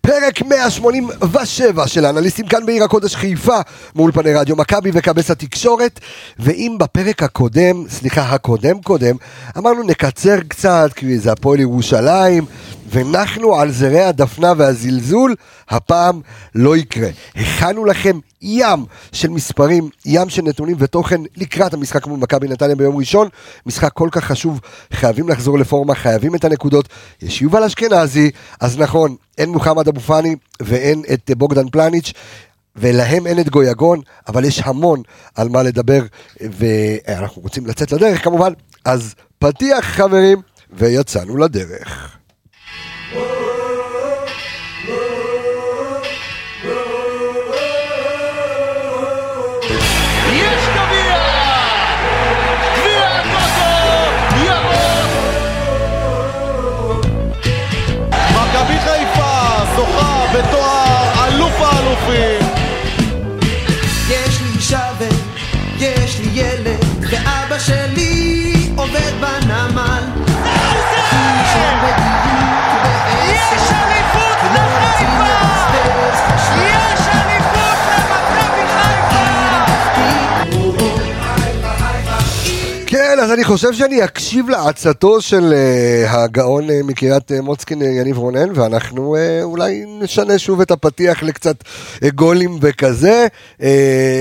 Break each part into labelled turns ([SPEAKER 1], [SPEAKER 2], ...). [SPEAKER 1] פרק 187 של האנליסטים כאן בעיר הקודש חיפה, מאולפני רדיו מכבי וכבש התקשורת. ואם בפרק הקודם, סליחה, הקודם קודם, אמרנו נקצר קצת, כי זה הפועל ירושלים, ונחנו על זרי הדפנה והזלזול, הפעם לא יקרה. הכנו לכם ים של מספרים, ים של נתונים ותוכן לקראת המשחק מול מכבי נתניה ביום ראשון. משחק כל כך חשוב, חייבים לחזור לפורמה, חייבים את הנקודות. יש יובל אשכנזי, אז נכון, אין מוחמד אבו פאני ואין את בוגדן פלניץ'. ולהם אין את גויגון, אבל יש המון על מה לדבר, ואנחנו רוצים לצאת לדרך כמובן, אז פתיח חברים, ויצאנו לדרך.
[SPEAKER 2] יש גביע! גביע הטוטו ירוק!
[SPEAKER 3] מכבי חיפה זוכה בתואר אלוף האלופים
[SPEAKER 4] יש לי שווה, יש לי ילד, ואבא שלי עובד בנמל.
[SPEAKER 2] יש אליפות
[SPEAKER 4] לא
[SPEAKER 2] לחיפה! יש אליפות למכבי חיפה!
[SPEAKER 1] כן, אז אני חושב שאני אקשיב לעצתו של uh, הגאון uh, מקריית uh, מוצקין, uh, יניב רונן, ואנחנו uh, אולי נשנה שוב את הפתיח לקצת uh, גולים וכזה. Uh,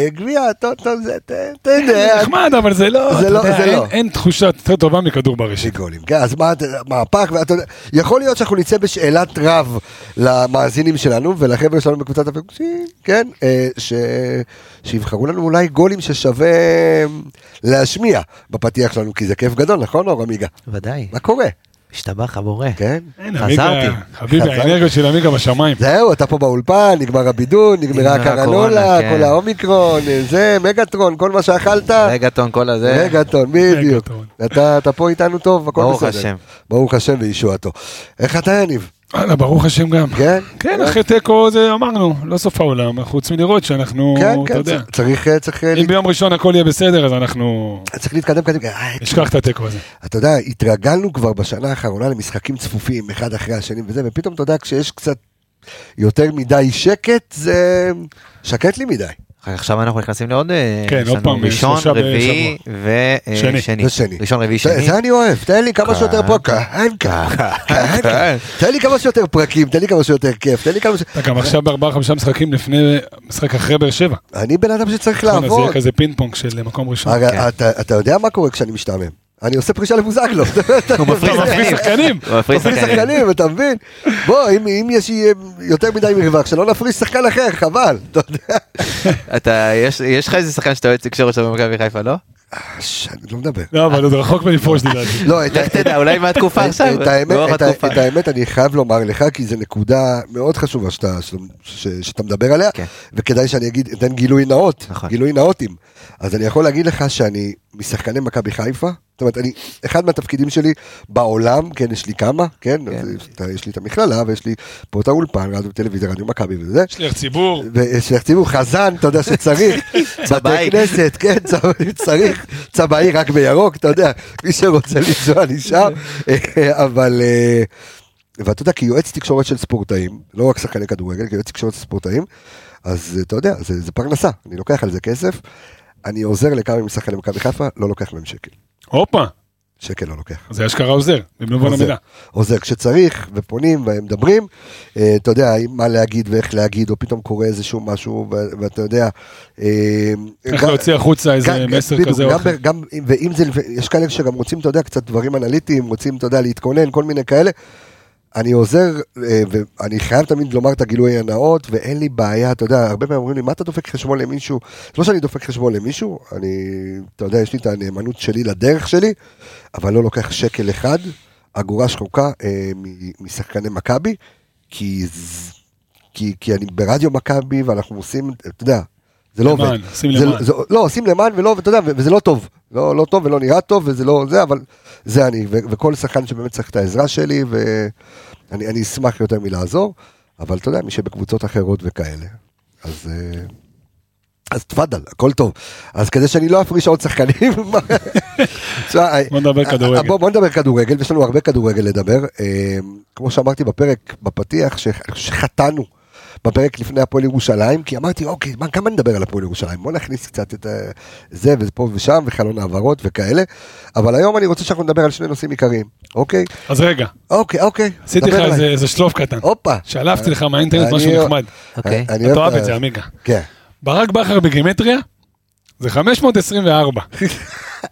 [SPEAKER 1] גביע, טוטו, זה, ת- אתה יודע.
[SPEAKER 5] זה אה, נחמד, אבל זה לא,
[SPEAKER 1] זה
[SPEAKER 5] אתה
[SPEAKER 1] לא-
[SPEAKER 5] יודע,
[SPEAKER 1] זה לא.
[SPEAKER 5] אין- אין תחושה יותר טובה מכדור
[SPEAKER 1] זה
[SPEAKER 5] בראשית.
[SPEAKER 1] גולים, כן, אז מה, מהפך, ואתה יודע, יכול להיות שאנחנו נצא בשאלת רב למאזינים שלנו ולחבר'ה שלנו בקבוצת הפגושים, כן, אה, ש... שיבחרו לנו אולי גולים ששווה אה, להשמיע בפתיח שלנו, כי זה כיף גדול, נכון אור עמיגה?
[SPEAKER 6] ודאי,
[SPEAKER 1] מה קורה?
[SPEAKER 6] השתבח הבורא.
[SPEAKER 1] כן?
[SPEAKER 5] אין, עמיגה-
[SPEAKER 6] חזרתי.
[SPEAKER 5] חביבי,
[SPEAKER 1] חזרתי.
[SPEAKER 5] האנרגיות של עמיגה בשמיים.
[SPEAKER 1] זהו, אתה פה באולפן, נגמר הבידוד, נגמרה
[SPEAKER 6] נגמרה
[SPEAKER 1] הקרנולה,
[SPEAKER 6] הקורונה, כן.
[SPEAKER 1] כל האומיקרון, זה, מגאטרון, כל מה שאכלת.
[SPEAKER 6] רגטון כל הזה.
[SPEAKER 1] מגאטון, בדיוק.
[SPEAKER 5] מגאטון.
[SPEAKER 1] אתה אתה פה איתנו טוב, הכל בסדר.
[SPEAKER 6] ברוך השם.
[SPEAKER 1] ברוך השם וישועתו. איך אתה יניב?
[SPEAKER 5] וואלה, ברוך השם גם.
[SPEAKER 1] כן?
[SPEAKER 5] כן, אחרי תיקו זה אמרנו, לא סוף העולם, חוץ מלראות שאנחנו,
[SPEAKER 1] כן,
[SPEAKER 5] אתה
[SPEAKER 1] כן,
[SPEAKER 5] יודע.
[SPEAKER 1] צ- צריך, אה, צריך, אה,
[SPEAKER 5] אם ביום ראשון הכל יהיה בסדר, אז אנחנו
[SPEAKER 1] להת- צריך להתקדם קדימה. אה,
[SPEAKER 5] נשכח את התיקו הזה.
[SPEAKER 1] אתה יודע, התרגלנו כבר בשנה האחרונה למשחקים צפופים, אחד אחרי השני וזה, ופתאום אתה יודע, כשיש קצת יותר מדי שקט, זה שקט לי מדי.
[SPEAKER 6] כן. עכשיו אנחנו נכנסים לעוד... אה,
[SPEAKER 5] כן,
[SPEAKER 6] יש
[SPEAKER 5] עוד
[SPEAKER 6] לנו
[SPEAKER 5] פעם,
[SPEAKER 6] ראשון,
[SPEAKER 5] שלושה
[SPEAKER 6] רביעי
[SPEAKER 5] שני.
[SPEAKER 6] ושני.
[SPEAKER 1] ושני.
[SPEAKER 6] ראשון, רביעי,
[SPEAKER 1] זה-
[SPEAKER 6] שני. כן.
[SPEAKER 1] זה אני אוהב, תן לי כמה שיותר
[SPEAKER 6] כאן.
[SPEAKER 1] פה, כהן כהן, תן לי כמה שיותר פרקים, תן לי כמה שיותר כיף, תן לי כמה ש...
[SPEAKER 5] אתה גם עכשיו בארבעה חמישה משחקים לפני משחק אחרי באר שבע.
[SPEAKER 1] אני בן אדם שצריך
[SPEAKER 5] נכון, אז יהיה
[SPEAKER 1] לעבוד.
[SPEAKER 5] כזה פינג פונג של מקום ראשון.
[SPEAKER 1] הרי
[SPEAKER 6] כן.
[SPEAKER 1] אתה- אתה יודע מה קורה כשאני משתעמם. אני עושה פרישה לבוזגלו.
[SPEAKER 6] הוא מפריז
[SPEAKER 5] אתה מפריז שחקנים.
[SPEAKER 6] הוא מפריז
[SPEAKER 1] מפריש
[SPEAKER 6] שחקנים.
[SPEAKER 1] שחקנים, אתה מבין? בוא, אם אם יש אה, יותר מדי מרווח, שלא נפריש שחקן אחר, חבל. אתה יודע.
[SPEAKER 6] אתה- יש- יש לך איזה שחקן שאתה אוהד תקשורת שלו במכבי חיפה, לא?
[SPEAKER 1] ש- אני לא מדבר.
[SPEAKER 5] לא, אבל עוד רחוק מלפרוש לדעתי.
[SPEAKER 1] לא, את ה-
[SPEAKER 6] לך תדע, אולי מהתקופה
[SPEAKER 1] את-
[SPEAKER 6] עכשיו.
[SPEAKER 1] את האמת-
[SPEAKER 6] ברוח
[SPEAKER 1] את ה-
[SPEAKER 6] התקופה.
[SPEAKER 1] את האמת אני חייב לומר לך, כי זו נקודה מאוד חשובה שאתה- שאתה- ש- שאתה מדבר עליה,
[SPEAKER 6] כן.
[SPEAKER 1] וכדאי שאני אגיד, אתן גילוי נאות,
[SPEAKER 6] נכון.
[SPEAKER 1] גילוי נאותים. אז אני יכול להגיד לך שאני משחקני מכבי חיפה, זאת אומרת, אני, אחד מהתפקידים שלי בעולם, כן, יש לי כמה, כן,
[SPEAKER 6] כן.
[SPEAKER 1] אז יש- יש לי את המכללה, ויש לי פה את האולפן, רדיו טלוויזיה, רדיו מכבי וזה,
[SPEAKER 5] שליח ציבור.
[SPEAKER 1] ושיכתיבו חזן, אתה יודע שצריך, בתי
[SPEAKER 6] צבעי.
[SPEAKER 1] כנסת, כן, צבעי, צריך, צבעי רק בירוק, אתה יודע, מי שרוצה לנסוע נשאר, אבל, אה, ואתה יודע, כיועץ תקשורת של ספורטאים, לא רק שחקני כדורגל, כיועץ תקשורת של ספורטאים, אז אה, אתה יודע, זה, זה פרנסה, אני לוקח על זה כסף, אני עוזר לכמה משחקני מכבי חיפה, לא לוקח מהם שקל,
[SPEAKER 5] הופה,
[SPEAKER 1] שקל לא לוקח.
[SPEAKER 5] זה אשכרה עוזר, לא במובן
[SPEAKER 1] עוזר.
[SPEAKER 5] המילה.
[SPEAKER 1] עוזר כשצריך, ופונים ומדברים. אה, אתה יודע, מה להגיד ואיך להגיד, או פתאום קורה איזשהו משהו, ו- ואתה יודע... אה,
[SPEAKER 5] איך
[SPEAKER 1] גם-
[SPEAKER 5] להוציא החוצה איזה
[SPEAKER 1] גם-
[SPEAKER 5] מסר
[SPEAKER 1] בדיוק,
[SPEAKER 5] כזה או
[SPEAKER 1] גם
[SPEAKER 5] אחר.
[SPEAKER 1] ב- גם, אם- ואם זה, יש כאלה שגם רוצים, אתה יודע, קצת דברים אנליטיים, רוצים, אתה יודע, להתכונן, כל מיני כאלה. אני עוזר, אה, ואני חייב תמיד לומר את הגילוי הנאות, ואין לי בעיה, אתה יודע, הרבה פעמים אומרים לי, מה אתה דופק חשבון למישהו? זה לא שאני דופק חשבון למישהו, אני, אתה יודע, יש לי את הנאמנות שלי לדרך שלי, אבל לא לוקח שקל אחד, אגורה שחוקה אה, מ- משחקני מכבי, כי, ז- כי, כי אני ברדיו מכבי, ואנחנו עושים, אתה יודע, זה לא
[SPEAKER 5] למען,
[SPEAKER 1] עובד.
[SPEAKER 5] שים
[SPEAKER 1] זה-
[SPEAKER 5] למען.
[SPEAKER 1] זה, לא, עושים למען ולא, ואתה יודע, ו- וזה לא טוב. לא, לא טוב ולא נראה טוב וזה לא זה, אבל זה אני, ו- וכל שחקן שבאמת צריך את העזרה שלי, ואני אני אשמח יותר מלעזור, אבל אתה יודע, מי שבקבוצות אחרות וכאלה, אז אה, אז תפאדל, הכל טוב. אז כדי שאני לא אפריש עוד שחקנים. מה- תשמע,
[SPEAKER 5] בוא נדבר
[SPEAKER 1] אה,
[SPEAKER 5] כדורגל.
[SPEAKER 1] אה, בוא בוא נדבר כדורגל, ויש לנו הרבה כדורגל לדבר. אה, כמו שאמרתי בפרק, בפתיח, ש- שחטאנו בפרק לפני הפועל ירושלים, כי אמרתי, אוקיי, מה, כמה נדבר על הפועל ירושלים? בוא נכניס קצת את אה, זה ופה ושם, וחלון העברות וכאלה. אבל היום אני רוצה שאנחנו נדבר על שני נושאים עיקריים, אוקיי?
[SPEAKER 5] אז רגע,
[SPEAKER 1] אוקיי, אוקיי.
[SPEAKER 5] עשיתי
[SPEAKER 1] דבר
[SPEAKER 5] לך
[SPEAKER 1] אליי.
[SPEAKER 5] איזה- איזה שלוף קטן.
[SPEAKER 1] הופה.
[SPEAKER 5] שלפתי לך מהאינטרנט
[SPEAKER 1] אני- לא
[SPEAKER 5] משהו נחמד.
[SPEAKER 6] אוקיי.
[SPEAKER 1] אני
[SPEAKER 5] אתה
[SPEAKER 1] אוהב
[SPEAKER 5] אוהב
[SPEAKER 1] ה-
[SPEAKER 5] את זה, אה? עמיגה.
[SPEAKER 1] כן.
[SPEAKER 5] ברק בכר בגימטריה זה 524.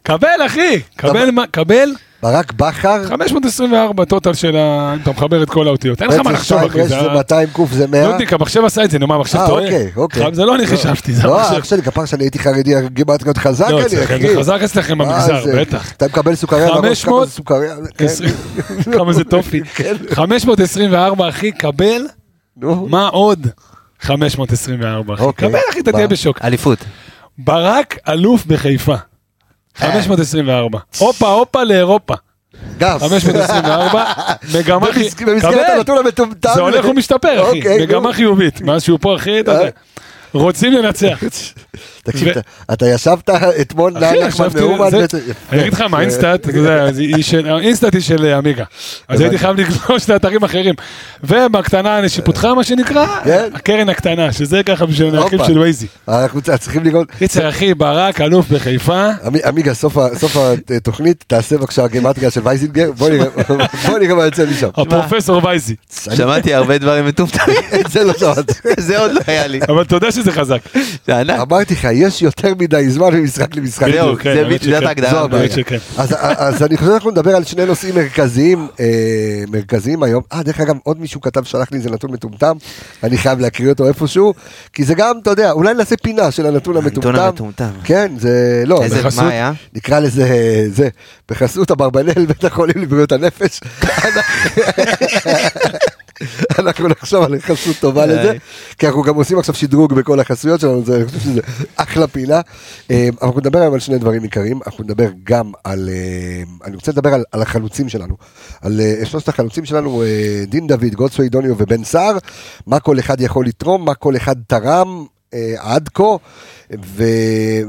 [SPEAKER 5] קבל אחי, קבל מה, קבל
[SPEAKER 1] ברק בכר,
[SPEAKER 5] 524 טוטל של ה... אם אתה מחבר את כל האותיות, אין לך מה
[SPEAKER 1] בעצם
[SPEAKER 5] לחשוב
[SPEAKER 1] שתיים
[SPEAKER 5] אחי,
[SPEAKER 1] רש
[SPEAKER 5] זה
[SPEAKER 1] זה
[SPEAKER 5] ה- לא
[SPEAKER 1] 200 קוף זה 100.
[SPEAKER 5] דודיק המחשב עשה את זה, נו מה המחשב
[SPEAKER 1] אה,
[SPEAKER 5] טועה?
[SPEAKER 1] אוקיי, אוקיי.
[SPEAKER 5] זה לא אני חשבתי, זה
[SPEAKER 1] לא,
[SPEAKER 5] המחשב.
[SPEAKER 1] אח שלי, כפר שאני הייתי חרדי, גימטריות חזק
[SPEAKER 5] לא,
[SPEAKER 1] אני,
[SPEAKER 5] אצלכם
[SPEAKER 1] אחי.
[SPEAKER 5] זה חזק אצלכם
[SPEAKER 1] מה
[SPEAKER 5] במגזר,
[SPEAKER 1] זה?
[SPEAKER 5] בטח.
[SPEAKER 1] אתה מקבל סוכריה, על הראש,
[SPEAKER 5] 500?
[SPEAKER 1] כמה זה סוכריה, כן.
[SPEAKER 5] עשרים- כמה זה טופי. 524 אחי, קבל,
[SPEAKER 1] כן, נו,
[SPEAKER 5] מה עוד? 524 אחי,
[SPEAKER 1] אוקיי.
[SPEAKER 5] קבל אחי, אתה
[SPEAKER 1] מה?
[SPEAKER 5] תהיה בשוק.
[SPEAKER 6] אליפות.
[SPEAKER 5] ברק אלוף בחיפה.
[SPEAKER 1] אה.
[SPEAKER 5] 524. הופה הופה לאירופה.
[SPEAKER 1] גב.
[SPEAKER 5] 524. מגמה חיובית.
[SPEAKER 1] במסג- במסגרת הנתון המטומטם.
[SPEAKER 5] זה הולך ומשתפר אחי.
[SPEAKER 1] אוקיי, נו. אה.
[SPEAKER 5] מגמה חיובית. מאז שהוא פה אחי, אתה יודע. רוצים לנצח.
[SPEAKER 1] תקשיב,
[SPEAKER 5] ו-
[SPEAKER 1] אתה- אתה ישבת אתמול,
[SPEAKER 5] אחי,
[SPEAKER 1] נעל נחמן
[SPEAKER 5] ישבתי-
[SPEAKER 1] מאומן,
[SPEAKER 5] זה-
[SPEAKER 1] בעצם- אה,
[SPEAKER 5] אני אגיד לך מה, אינסטאט, אתה יודע, זה- היא של- האינסטאט היא של אה, עמיגה. אז הייתי חייב לגלוש לאתרים אחרים. ובקטנה לשיפוטך, מה שנקרא,
[SPEAKER 1] כן.
[SPEAKER 5] הקרן הקטנה, שזה ככה בשביל הנכים
[SPEAKER 1] הופה.
[SPEAKER 5] של וייזי.
[SPEAKER 1] אנחנו צ- צריכים לראות.
[SPEAKER 5] קיצר אחי, ברק, אלוף בחיפה.
[SPEAKER 1] עמי- עמיגה, סוף ה- סוף התוכנית, תעשה בבקשה גימטריה של וייזינגר, בוא נראה- בוא נראה מה יוצא משם.
[SPEAKER 5] הפרופסור וייזי.
[SPEAKER 6] שמעתי הרבה דברים מטומטמים.
[SPEAKER 1] את זה לא שמעתי.
[SPEAKER 6] זה עוד לא היה לי.
[SPEAKER 5] אבל אתה יודע שזה חזק.
[SPEAKER 6] זה
[SPEAKER 5] אה,
[SPEAKER 6] ענק.
[SPEAKER 1] אמרתי לך, יש יותר מדי זמן ממשחק למשחק.
[SPEAKER 6] זהו,
[SPEAKER 5] כן,
[SPEAKER 6] זה
[SPEAKER 5] האמת
[SPEAKER 6] בדיוק, זאת
[SPEAKER 5] שכן.
[SPEAKER 6] ההגדרה.
[SPEAKER 1] זו
[SPEAKER 5] באמת
[SPEAKER 1] הבעיה.
[SPEAKER 5] שכן.
[SPEAKER 1] אז, אז אני חושב שאנחנו נדבר על שני נושאים מרכזיים, אה, מרכזיים היום. אה, דרך אגב, עוד מישהו כתב, שלח לי איזה נתון מטומטם, אני חייב להקריא אותו איפשהו, כי זה גם, אתה יודע, אולי נעשה פינה של הנתון המטומטם.
[SPEAKER 6] הנתון המטומטם.
[SPEAKER 1] כן, זה, לא,
[SPEAKER 6] איזה,
[SPEAKER 1] בחסות-
[SPEAKER 6] מה היה?
[SPEAKER 1] נקרא לזה, זה, בחסות אברבנאל, בית החולים לבריאות הנפש. אנחנו- אנחנו נחשוב על חסות טובה לזה, כי אנחנו גם עושים עכשיו שדרוג בכל החסויות שלנו, זה- אני חושב שזה אחלה פינה. אה, אנחנו נדבר היום על שני דברים עיקריים, אנחנו נדבר גם על, אה, אני רוצה לדבר על- על החלוצים שלנו, על אה, שלושת החלוצים שלנו, אה, דין דוד, גודסווי דוניו ובן סער, מה כל אחד יכול לתרום, מה כל אחד תרם. אה, עד כה, ו...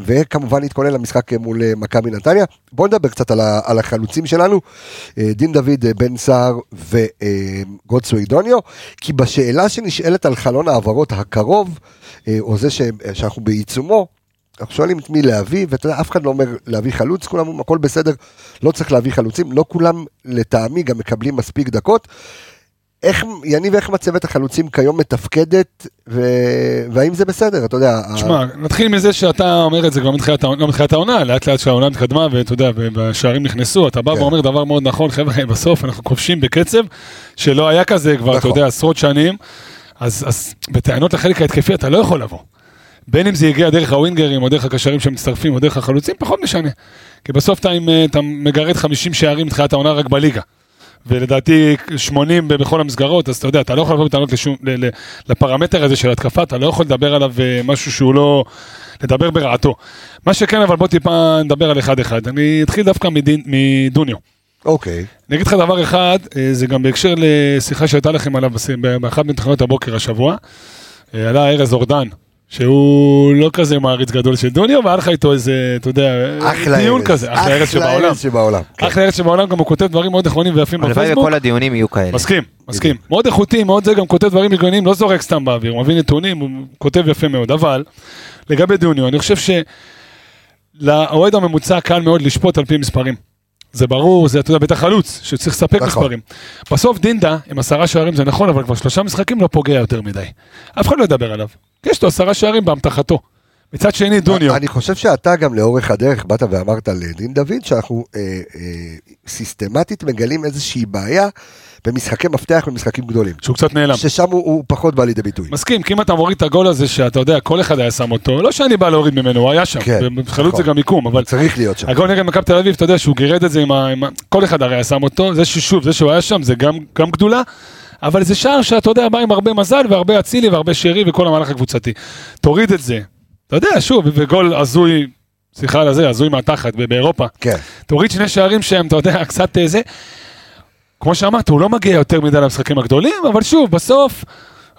[SPEAKER 1] וכמובן התכונן למשחק מול אה, מכבי נתניה. בואו נדבר קצת על, ה... על החלוצים שלנו, אה, דין דוד, אה, בן סער וגודסווי דוניו, כי בשאלה שנשאלת על חלון ההעברות הקרוב, אה, או זה ש... שאנחנו בעיצומו, אנחנו שואלים את מי להביא, ואתה יודע, אף אחד לא אומר להביא חלוץ, כולם אומרים הכל בסדר, לא צריך להביא חלוצים, לא כולם לטעמי גם מקבלים מספיק דקות. איך, יניב, איך מצבת החלוצים כיום מתפקדת, ו... והאם זה בסדר, אתה יודע. ה-
[SPEAKER 5] תשמע, נתחיל מזה שאתה אומר את זה כבר מתחילת העונה, לא מתחילת העונה, לאט לאט שהעונה התקדמה, ואתה יודע, והשערים נכנסו, אתה בא
[SPEAKER 1] כן.
[SPEAKER 5] ואומר דבר מאוד נכון, חבר'ה, בסוף אנחנו כובשים בקצב שלא היה כזה כבר, אתה
[SPEAKER 1] נכון.
[SPEAKER 5] יודע, עשרות שנים, אז אז בטענות לחלק ההתקפי אתה לא יכול לבוא. בין אם זה יגיע דרך הווינגרים, או דרך הקשרים שמצטרפים, או דרך החלוצים, פחות משנה. כי בסוף אתה, עם, אה, אתה מגרד 50 שערים מתחילת העונה רק בליגה. ולדעתי 80 ב- בכל המסגרות, אז אתה יודע, אתה לא יכול לבוא בטענות לשום, ל- ל- לפרמטר הזה של התקפה, אתה לא יכול לדבר עליו אה, משהו שהוא לא... לדבר ברעתו. מה שכן, אבל בוא טיפה נדבר על אחד-אחד. אני אתחיל דווקא מדין, מדוניו.
[SPEAKER 1] אוקיי,
[SPEAKER 5] אני אגיד לך דבר אחד, אה, זה גם בהקשר לשיחה שהייתה לכם עליו בס- ב- באחת מתחנות הבוקר השבוע. אה, עלה ארז אורדן, שהוא לא כזה מעריץ גדול של דוניו, והיה לך איתו איזה, אתה יודע,
[SPEAKER 1] אחלה
[SPEAKER 5] אה, דיון
[SPEAKER 1] ארץ.
[SPEAKER 5] כזה, אחלה ארץ שבעולם.
[SPEAKER 1] ארץ שבעולם. כן.
[SPEAKER 5] אחלה ארץ שבעולם, גם הוא כותב דברים מאוד נכונים ויפים
[SPEAKER 6] הלוואי
[SPEAKER 5] בפייסבוק.
[SPEAKER 6] וכל הדיונים יהיו כאלה.
[SPEAKER 5] מסכים, מסכים. מאוד איכותי, מאוד זה, גם כותב דברים הגיוניים, לא זורק סתם באוויר, הוא מביא נתונים, הוא כותב יפה מאוד. אבל, לגבי דוניו, אני חושב שלאוהד הממוצע קל מאוד לשפוט על פי מספרים. זה ברור, זה, אתה יודע, בטח חלוץ, שצריך לספק
[SPEAKER 1] נכון.
[SPEAKER 5] מספרים. בסוף דינדה, עם עשרה שערים זה נכון, אבל כבר שלושה משחקים לא פוגע יותר מדי. אף אחד לא ידבר עליו. יש לו עשרה שערים באמתחתו. מצד שני, דוניו.
[SPEAKER 1] אני חושב שאתה גם לאורך הדרך באת ואמרת לדין דוד שאנחנו אה, אה, סיסטמטית מגלים איזושהי בעיה במשחקי מפתח ומשחקים גדולים.
[SPEAKER 5] שהוא קצת נעלם.
[SPEAKER 1] ששם הוא, הוא פחות בא לידי ביטוי.
[SPEAKER 5] מסכים, כי אם אתה מוריד את הגול הזה שאתה יודע, כל אחד היה שם אותו, לא שאני בא להוריד ממנו, הוא היה שם,
[SPEAKER 1] כן,
[SPEAKER 5] חלוץ זה
[SPEAKER 1] נכון.
[SPEAKER 5] גם מיקום, אבל
[SPEAKER 1] צריך להיות שם.
[SPEAKER 5] הגול נגד מכבי תל אביב, אתה יודע שהוא גירד את זה עם ה... עם ה- כל אחד הרי שם אותו, זה ששוב, זה שהוא היה שם, זה גם, גם גדולה, אבל זה שער שאתה יודע, בא עם הרבה מזל והרבה אצילי והרבה שרי וכל המהלך הקבוצתי. תוריד את זה, אתה יודע, שוב, וגול הזוי, סליחה על הזה, הזוי מהתחת ב- באירופה.
[SPEAKER 1] כן.
[SPEAKER 5] תוריד שני שערים שהם, אתה יודע, קצת אה, זה. כמו שאמרת, הוא לא מגיע יותר מדי למשחקים הגדולים, אבל שוב, בסוף,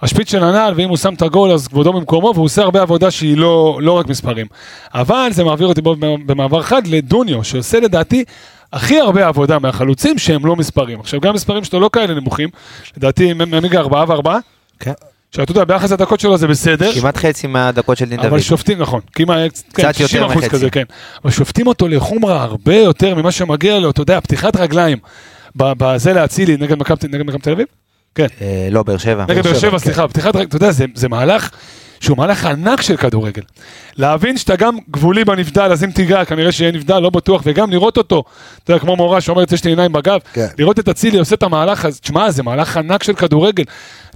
[SPEAKER 5] השפיץ של הנעל, ואם הוא שם את הגול אז כבודו במקומו, והוא עושה הרבה עבודה שהיא לא, לא רק מספרים. אבל זה מעביר אותי בו- במעבר חד לדוניו, שעושה לדעתי הכי הרבה עבודה מהחלוצים שהם לא מספרים. עכשיו, גם מספרים שלו לא כאלה נמוכים, לדעתי ממיגה ארבעה וארבעה,
[SPEAKER 6] כן.
[SPEAKER 5] שאתה יודע, ביחס לדקות שלו זה בסדר.
[SPEAKER 6] כמעט חצי מהדקות של דין
[SPEAKER 5] אבל
[SPEAKER 6] דוד.
[SPEAKER 5] שופטים, נכון, כמעט, כן,
[SPEAKER 6] קצת
[SPEAKER 5] 60
[SPEAKER 6] יותר
[SPEAKER 5] אחוז
[SPEAKER 6] מחצי.
[SPEAKER 5] כזה, כן. אבל שופטים אותו לחומרה הרבה יותר ממה שמגיע לו, אתה יודע, פתיחת רגליים. ב- בזה להצילי נגד מכבי נגד מכבי תל אביב?
[SPEAKER 6] אה, לא, באר שבע.
[SPEAKER 5] נגד באר שבע,
[SPEAKER 6] כן.
[SPEAKER 5] סליחה, פתיחת רגליים, אתה יודע, זה- זה מהלך שהוא מהלך ענק של כדורגל. להבין שאתה גם גבולי בנבדל, אז אם תיגע, כנראה שיהיה נבדל, לא בטוח, וגם לראות אותו, אתה יודע, כמו מורה שאומרת, יש לי עיניים בגב,
[SPEAKER 1] כן.
[SPEAKER 5] לראות את אצילי עושה את המהלך הזה, תשמע, זה מהלך ענק של כדורגל.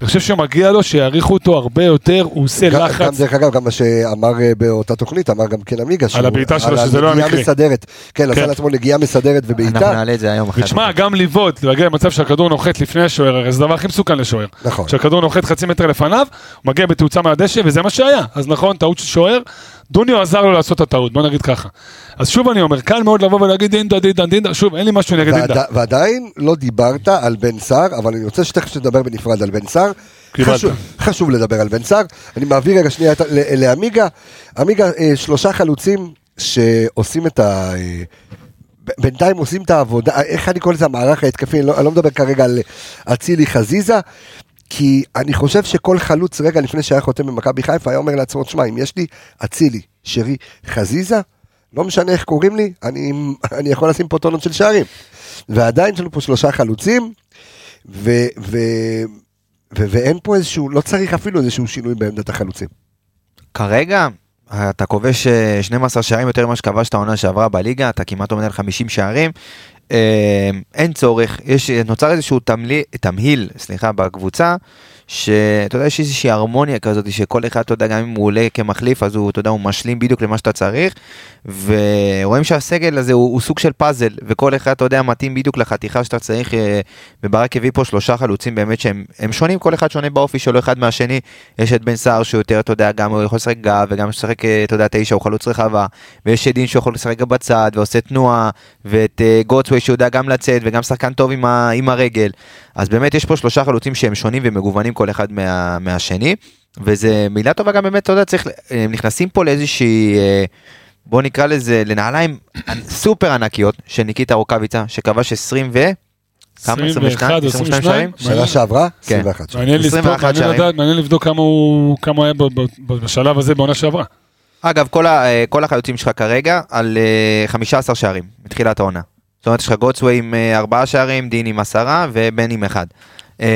[SPEAKER 5] אני חושב שמגיע לו שיעריכו אותו הרבה יותר, הוא עושה
[SPEAKER 1] גם-
[SPEAKER 5] כן, לחץ.
[SPEAKER 1] גם דרך אגב, גם מה שאמר אה, באותה תוכנית, אמר גם כן עמיגה, שהוא-
[SPEAKER 5] הבעיטה שלו,
[SPEAKER 1] על
[SPEAKER 5] שזה לא היה
[SPEAKER 1] הנגיעה
[SPEAKER 5] מקרי.
[SPEAKER 1] מסדרת. כן,
[SPEAKER 5] כן.
[SPEAKER 1] עשה לעצמו נגיעה מסדרת
[SPEAKER 6] אנחנו
[SPEAKER 1] ובעיטה.
[SPEAKER 6] נעלה את זה היום אחרי.
[SPEAKER 5] ותשמע, גם לבעוט, להגיע למצב שהכדור נוחת לפני השוער, הרי זה הדבר הכי מסוכן לשוער.
[SPEAKER 1] נכון.
[SPEAKER 5] כשהכדור נוחת חצי מטר לפניו, הוא מגיע בתאוצה מהדשא, וזה מה שהיה. אז נכון, טעות של שוער, דוניו עזר לו לעשות את הטעות, בוא נגיד ככה. אז שוב אני אומר, קל מאוד לבוא ולהגיד דינדה, דינדה, דינדה, שוב, אין לי משהו נגד דינדה.
[SPEAKER 1] ועדי- ועדיין לא דיברת על בן סער, אבל אני רוצה שתכף נדבר בנפרד על בן סער.
[SPEAKER 5] קיבלת.
[SPEAKER 1] חשוב- חשוב לדבר על בן סער. אני מעביר רגע שנייה את ה- ל- לעמיגה. עמיגה, אה, שלושה חלוצים שעושים את ה... אה, ב- בינתיים עושים את העבודה, אה, איך אני קורא לזה המערך ההתקפי, אני לא, אני לא מדבר כרגע על אה, אצילי חזיזה, כי אני חושב שכל חלוץ רגע לפני שהיה חותם במכבי חיפה היה אומר לעצמו, תשמע, אם יש לי אצילי, שרי, חזיזה, לא משנה איך קוראים לי, אני, אני יכול לשים פה טונות של שערים. ועדיין יש לנו פה שלושה חלוצים, ו, ו, ו, ואין פה איזשהו, לא צריך אפילו איזשהו שינוי בעמדת החלוצים.
[SPEAKER 6] כרגע, אתה כובש אה, 12 שערים יותר ממה שכבשת העונה שעברה בליגה, אתה כמעט עומד על 50 שערים. אה, אין צורך, יש, נוצר איזשהו תמלי, תמהיל, סליחה, בקבוצה, שאתה יודע, יש איזושהי הרמוניה כזאת, שכל אחד, אתה יודע, גם אם הוא עולה כמחליף, אז הוא, אתה יודע, הוא משלים בדיוק למה שאתה צריך, ורואים שהסגל הזה הוא, הוא סוג של פאזל, וכל אחד, אתה יודע, מתאים בדיוק לחתיכה שאתה צריך, אה, וברק הביא פה שלושה חלוצים באמת שהם הם שונים, כל אחד שונה באופי שלו אחד מהשני, יש את בן סער שהוא יותר, אתה יודע, גם הוא יכול לשחק גב, וגם לשחק, אה, אתה יודע, תשע, הוא חלוץ רחבה, ויש את דין שהוא יכול לשחק גם בצד, ועושה תנועה, ואת אה, גוטסווי שהוא יודע גם לצאת, וגם שחקן טוב עם, ה, עם הרגל. אז באמת יש פה שלושה חלוצים שהם שונים ומגוונים כל אחד מה, מהשני, וזה מילה טובה גם באמת, אתה יודע, צריך, אה, הם נכנסים פה לאיזושהי... אה, בוא נקרא לזה לנעליים סופר ענקיות של ניקיטה רוקאביצה שכבש 20 ו... כמה?
[SPEAKER 5] 21,
[SPEAKER 6] 22
[SPEAKER 5] 22?
[SPEAKER 6] שערים?
[SPEAKER 1] שנה שעברה,
[SPEAKER 6] כן.
[SPEAKER 1] 21 שנה.
[SPEAKER 5] מעניין לספור,
[SPEAKER 6] 21
[SPEAKER 5] מעניין
[SPEAKER 6] שערים.
[SPEAKER 5] לדעת- מעניין לבדוק כמה הוא כמה הוא היה ב- ב- ב- בשלב הזה בעונה שעברה.
[SPEAKER 6] אגב, כל, ה, אה, כל החלוצים שלך כרגע על אה, 15 שערים מתחילת העונה. זאת אומרת, יש לך גוטסווי עם 4 שערים, דין עם 10 ובן עם 1. אז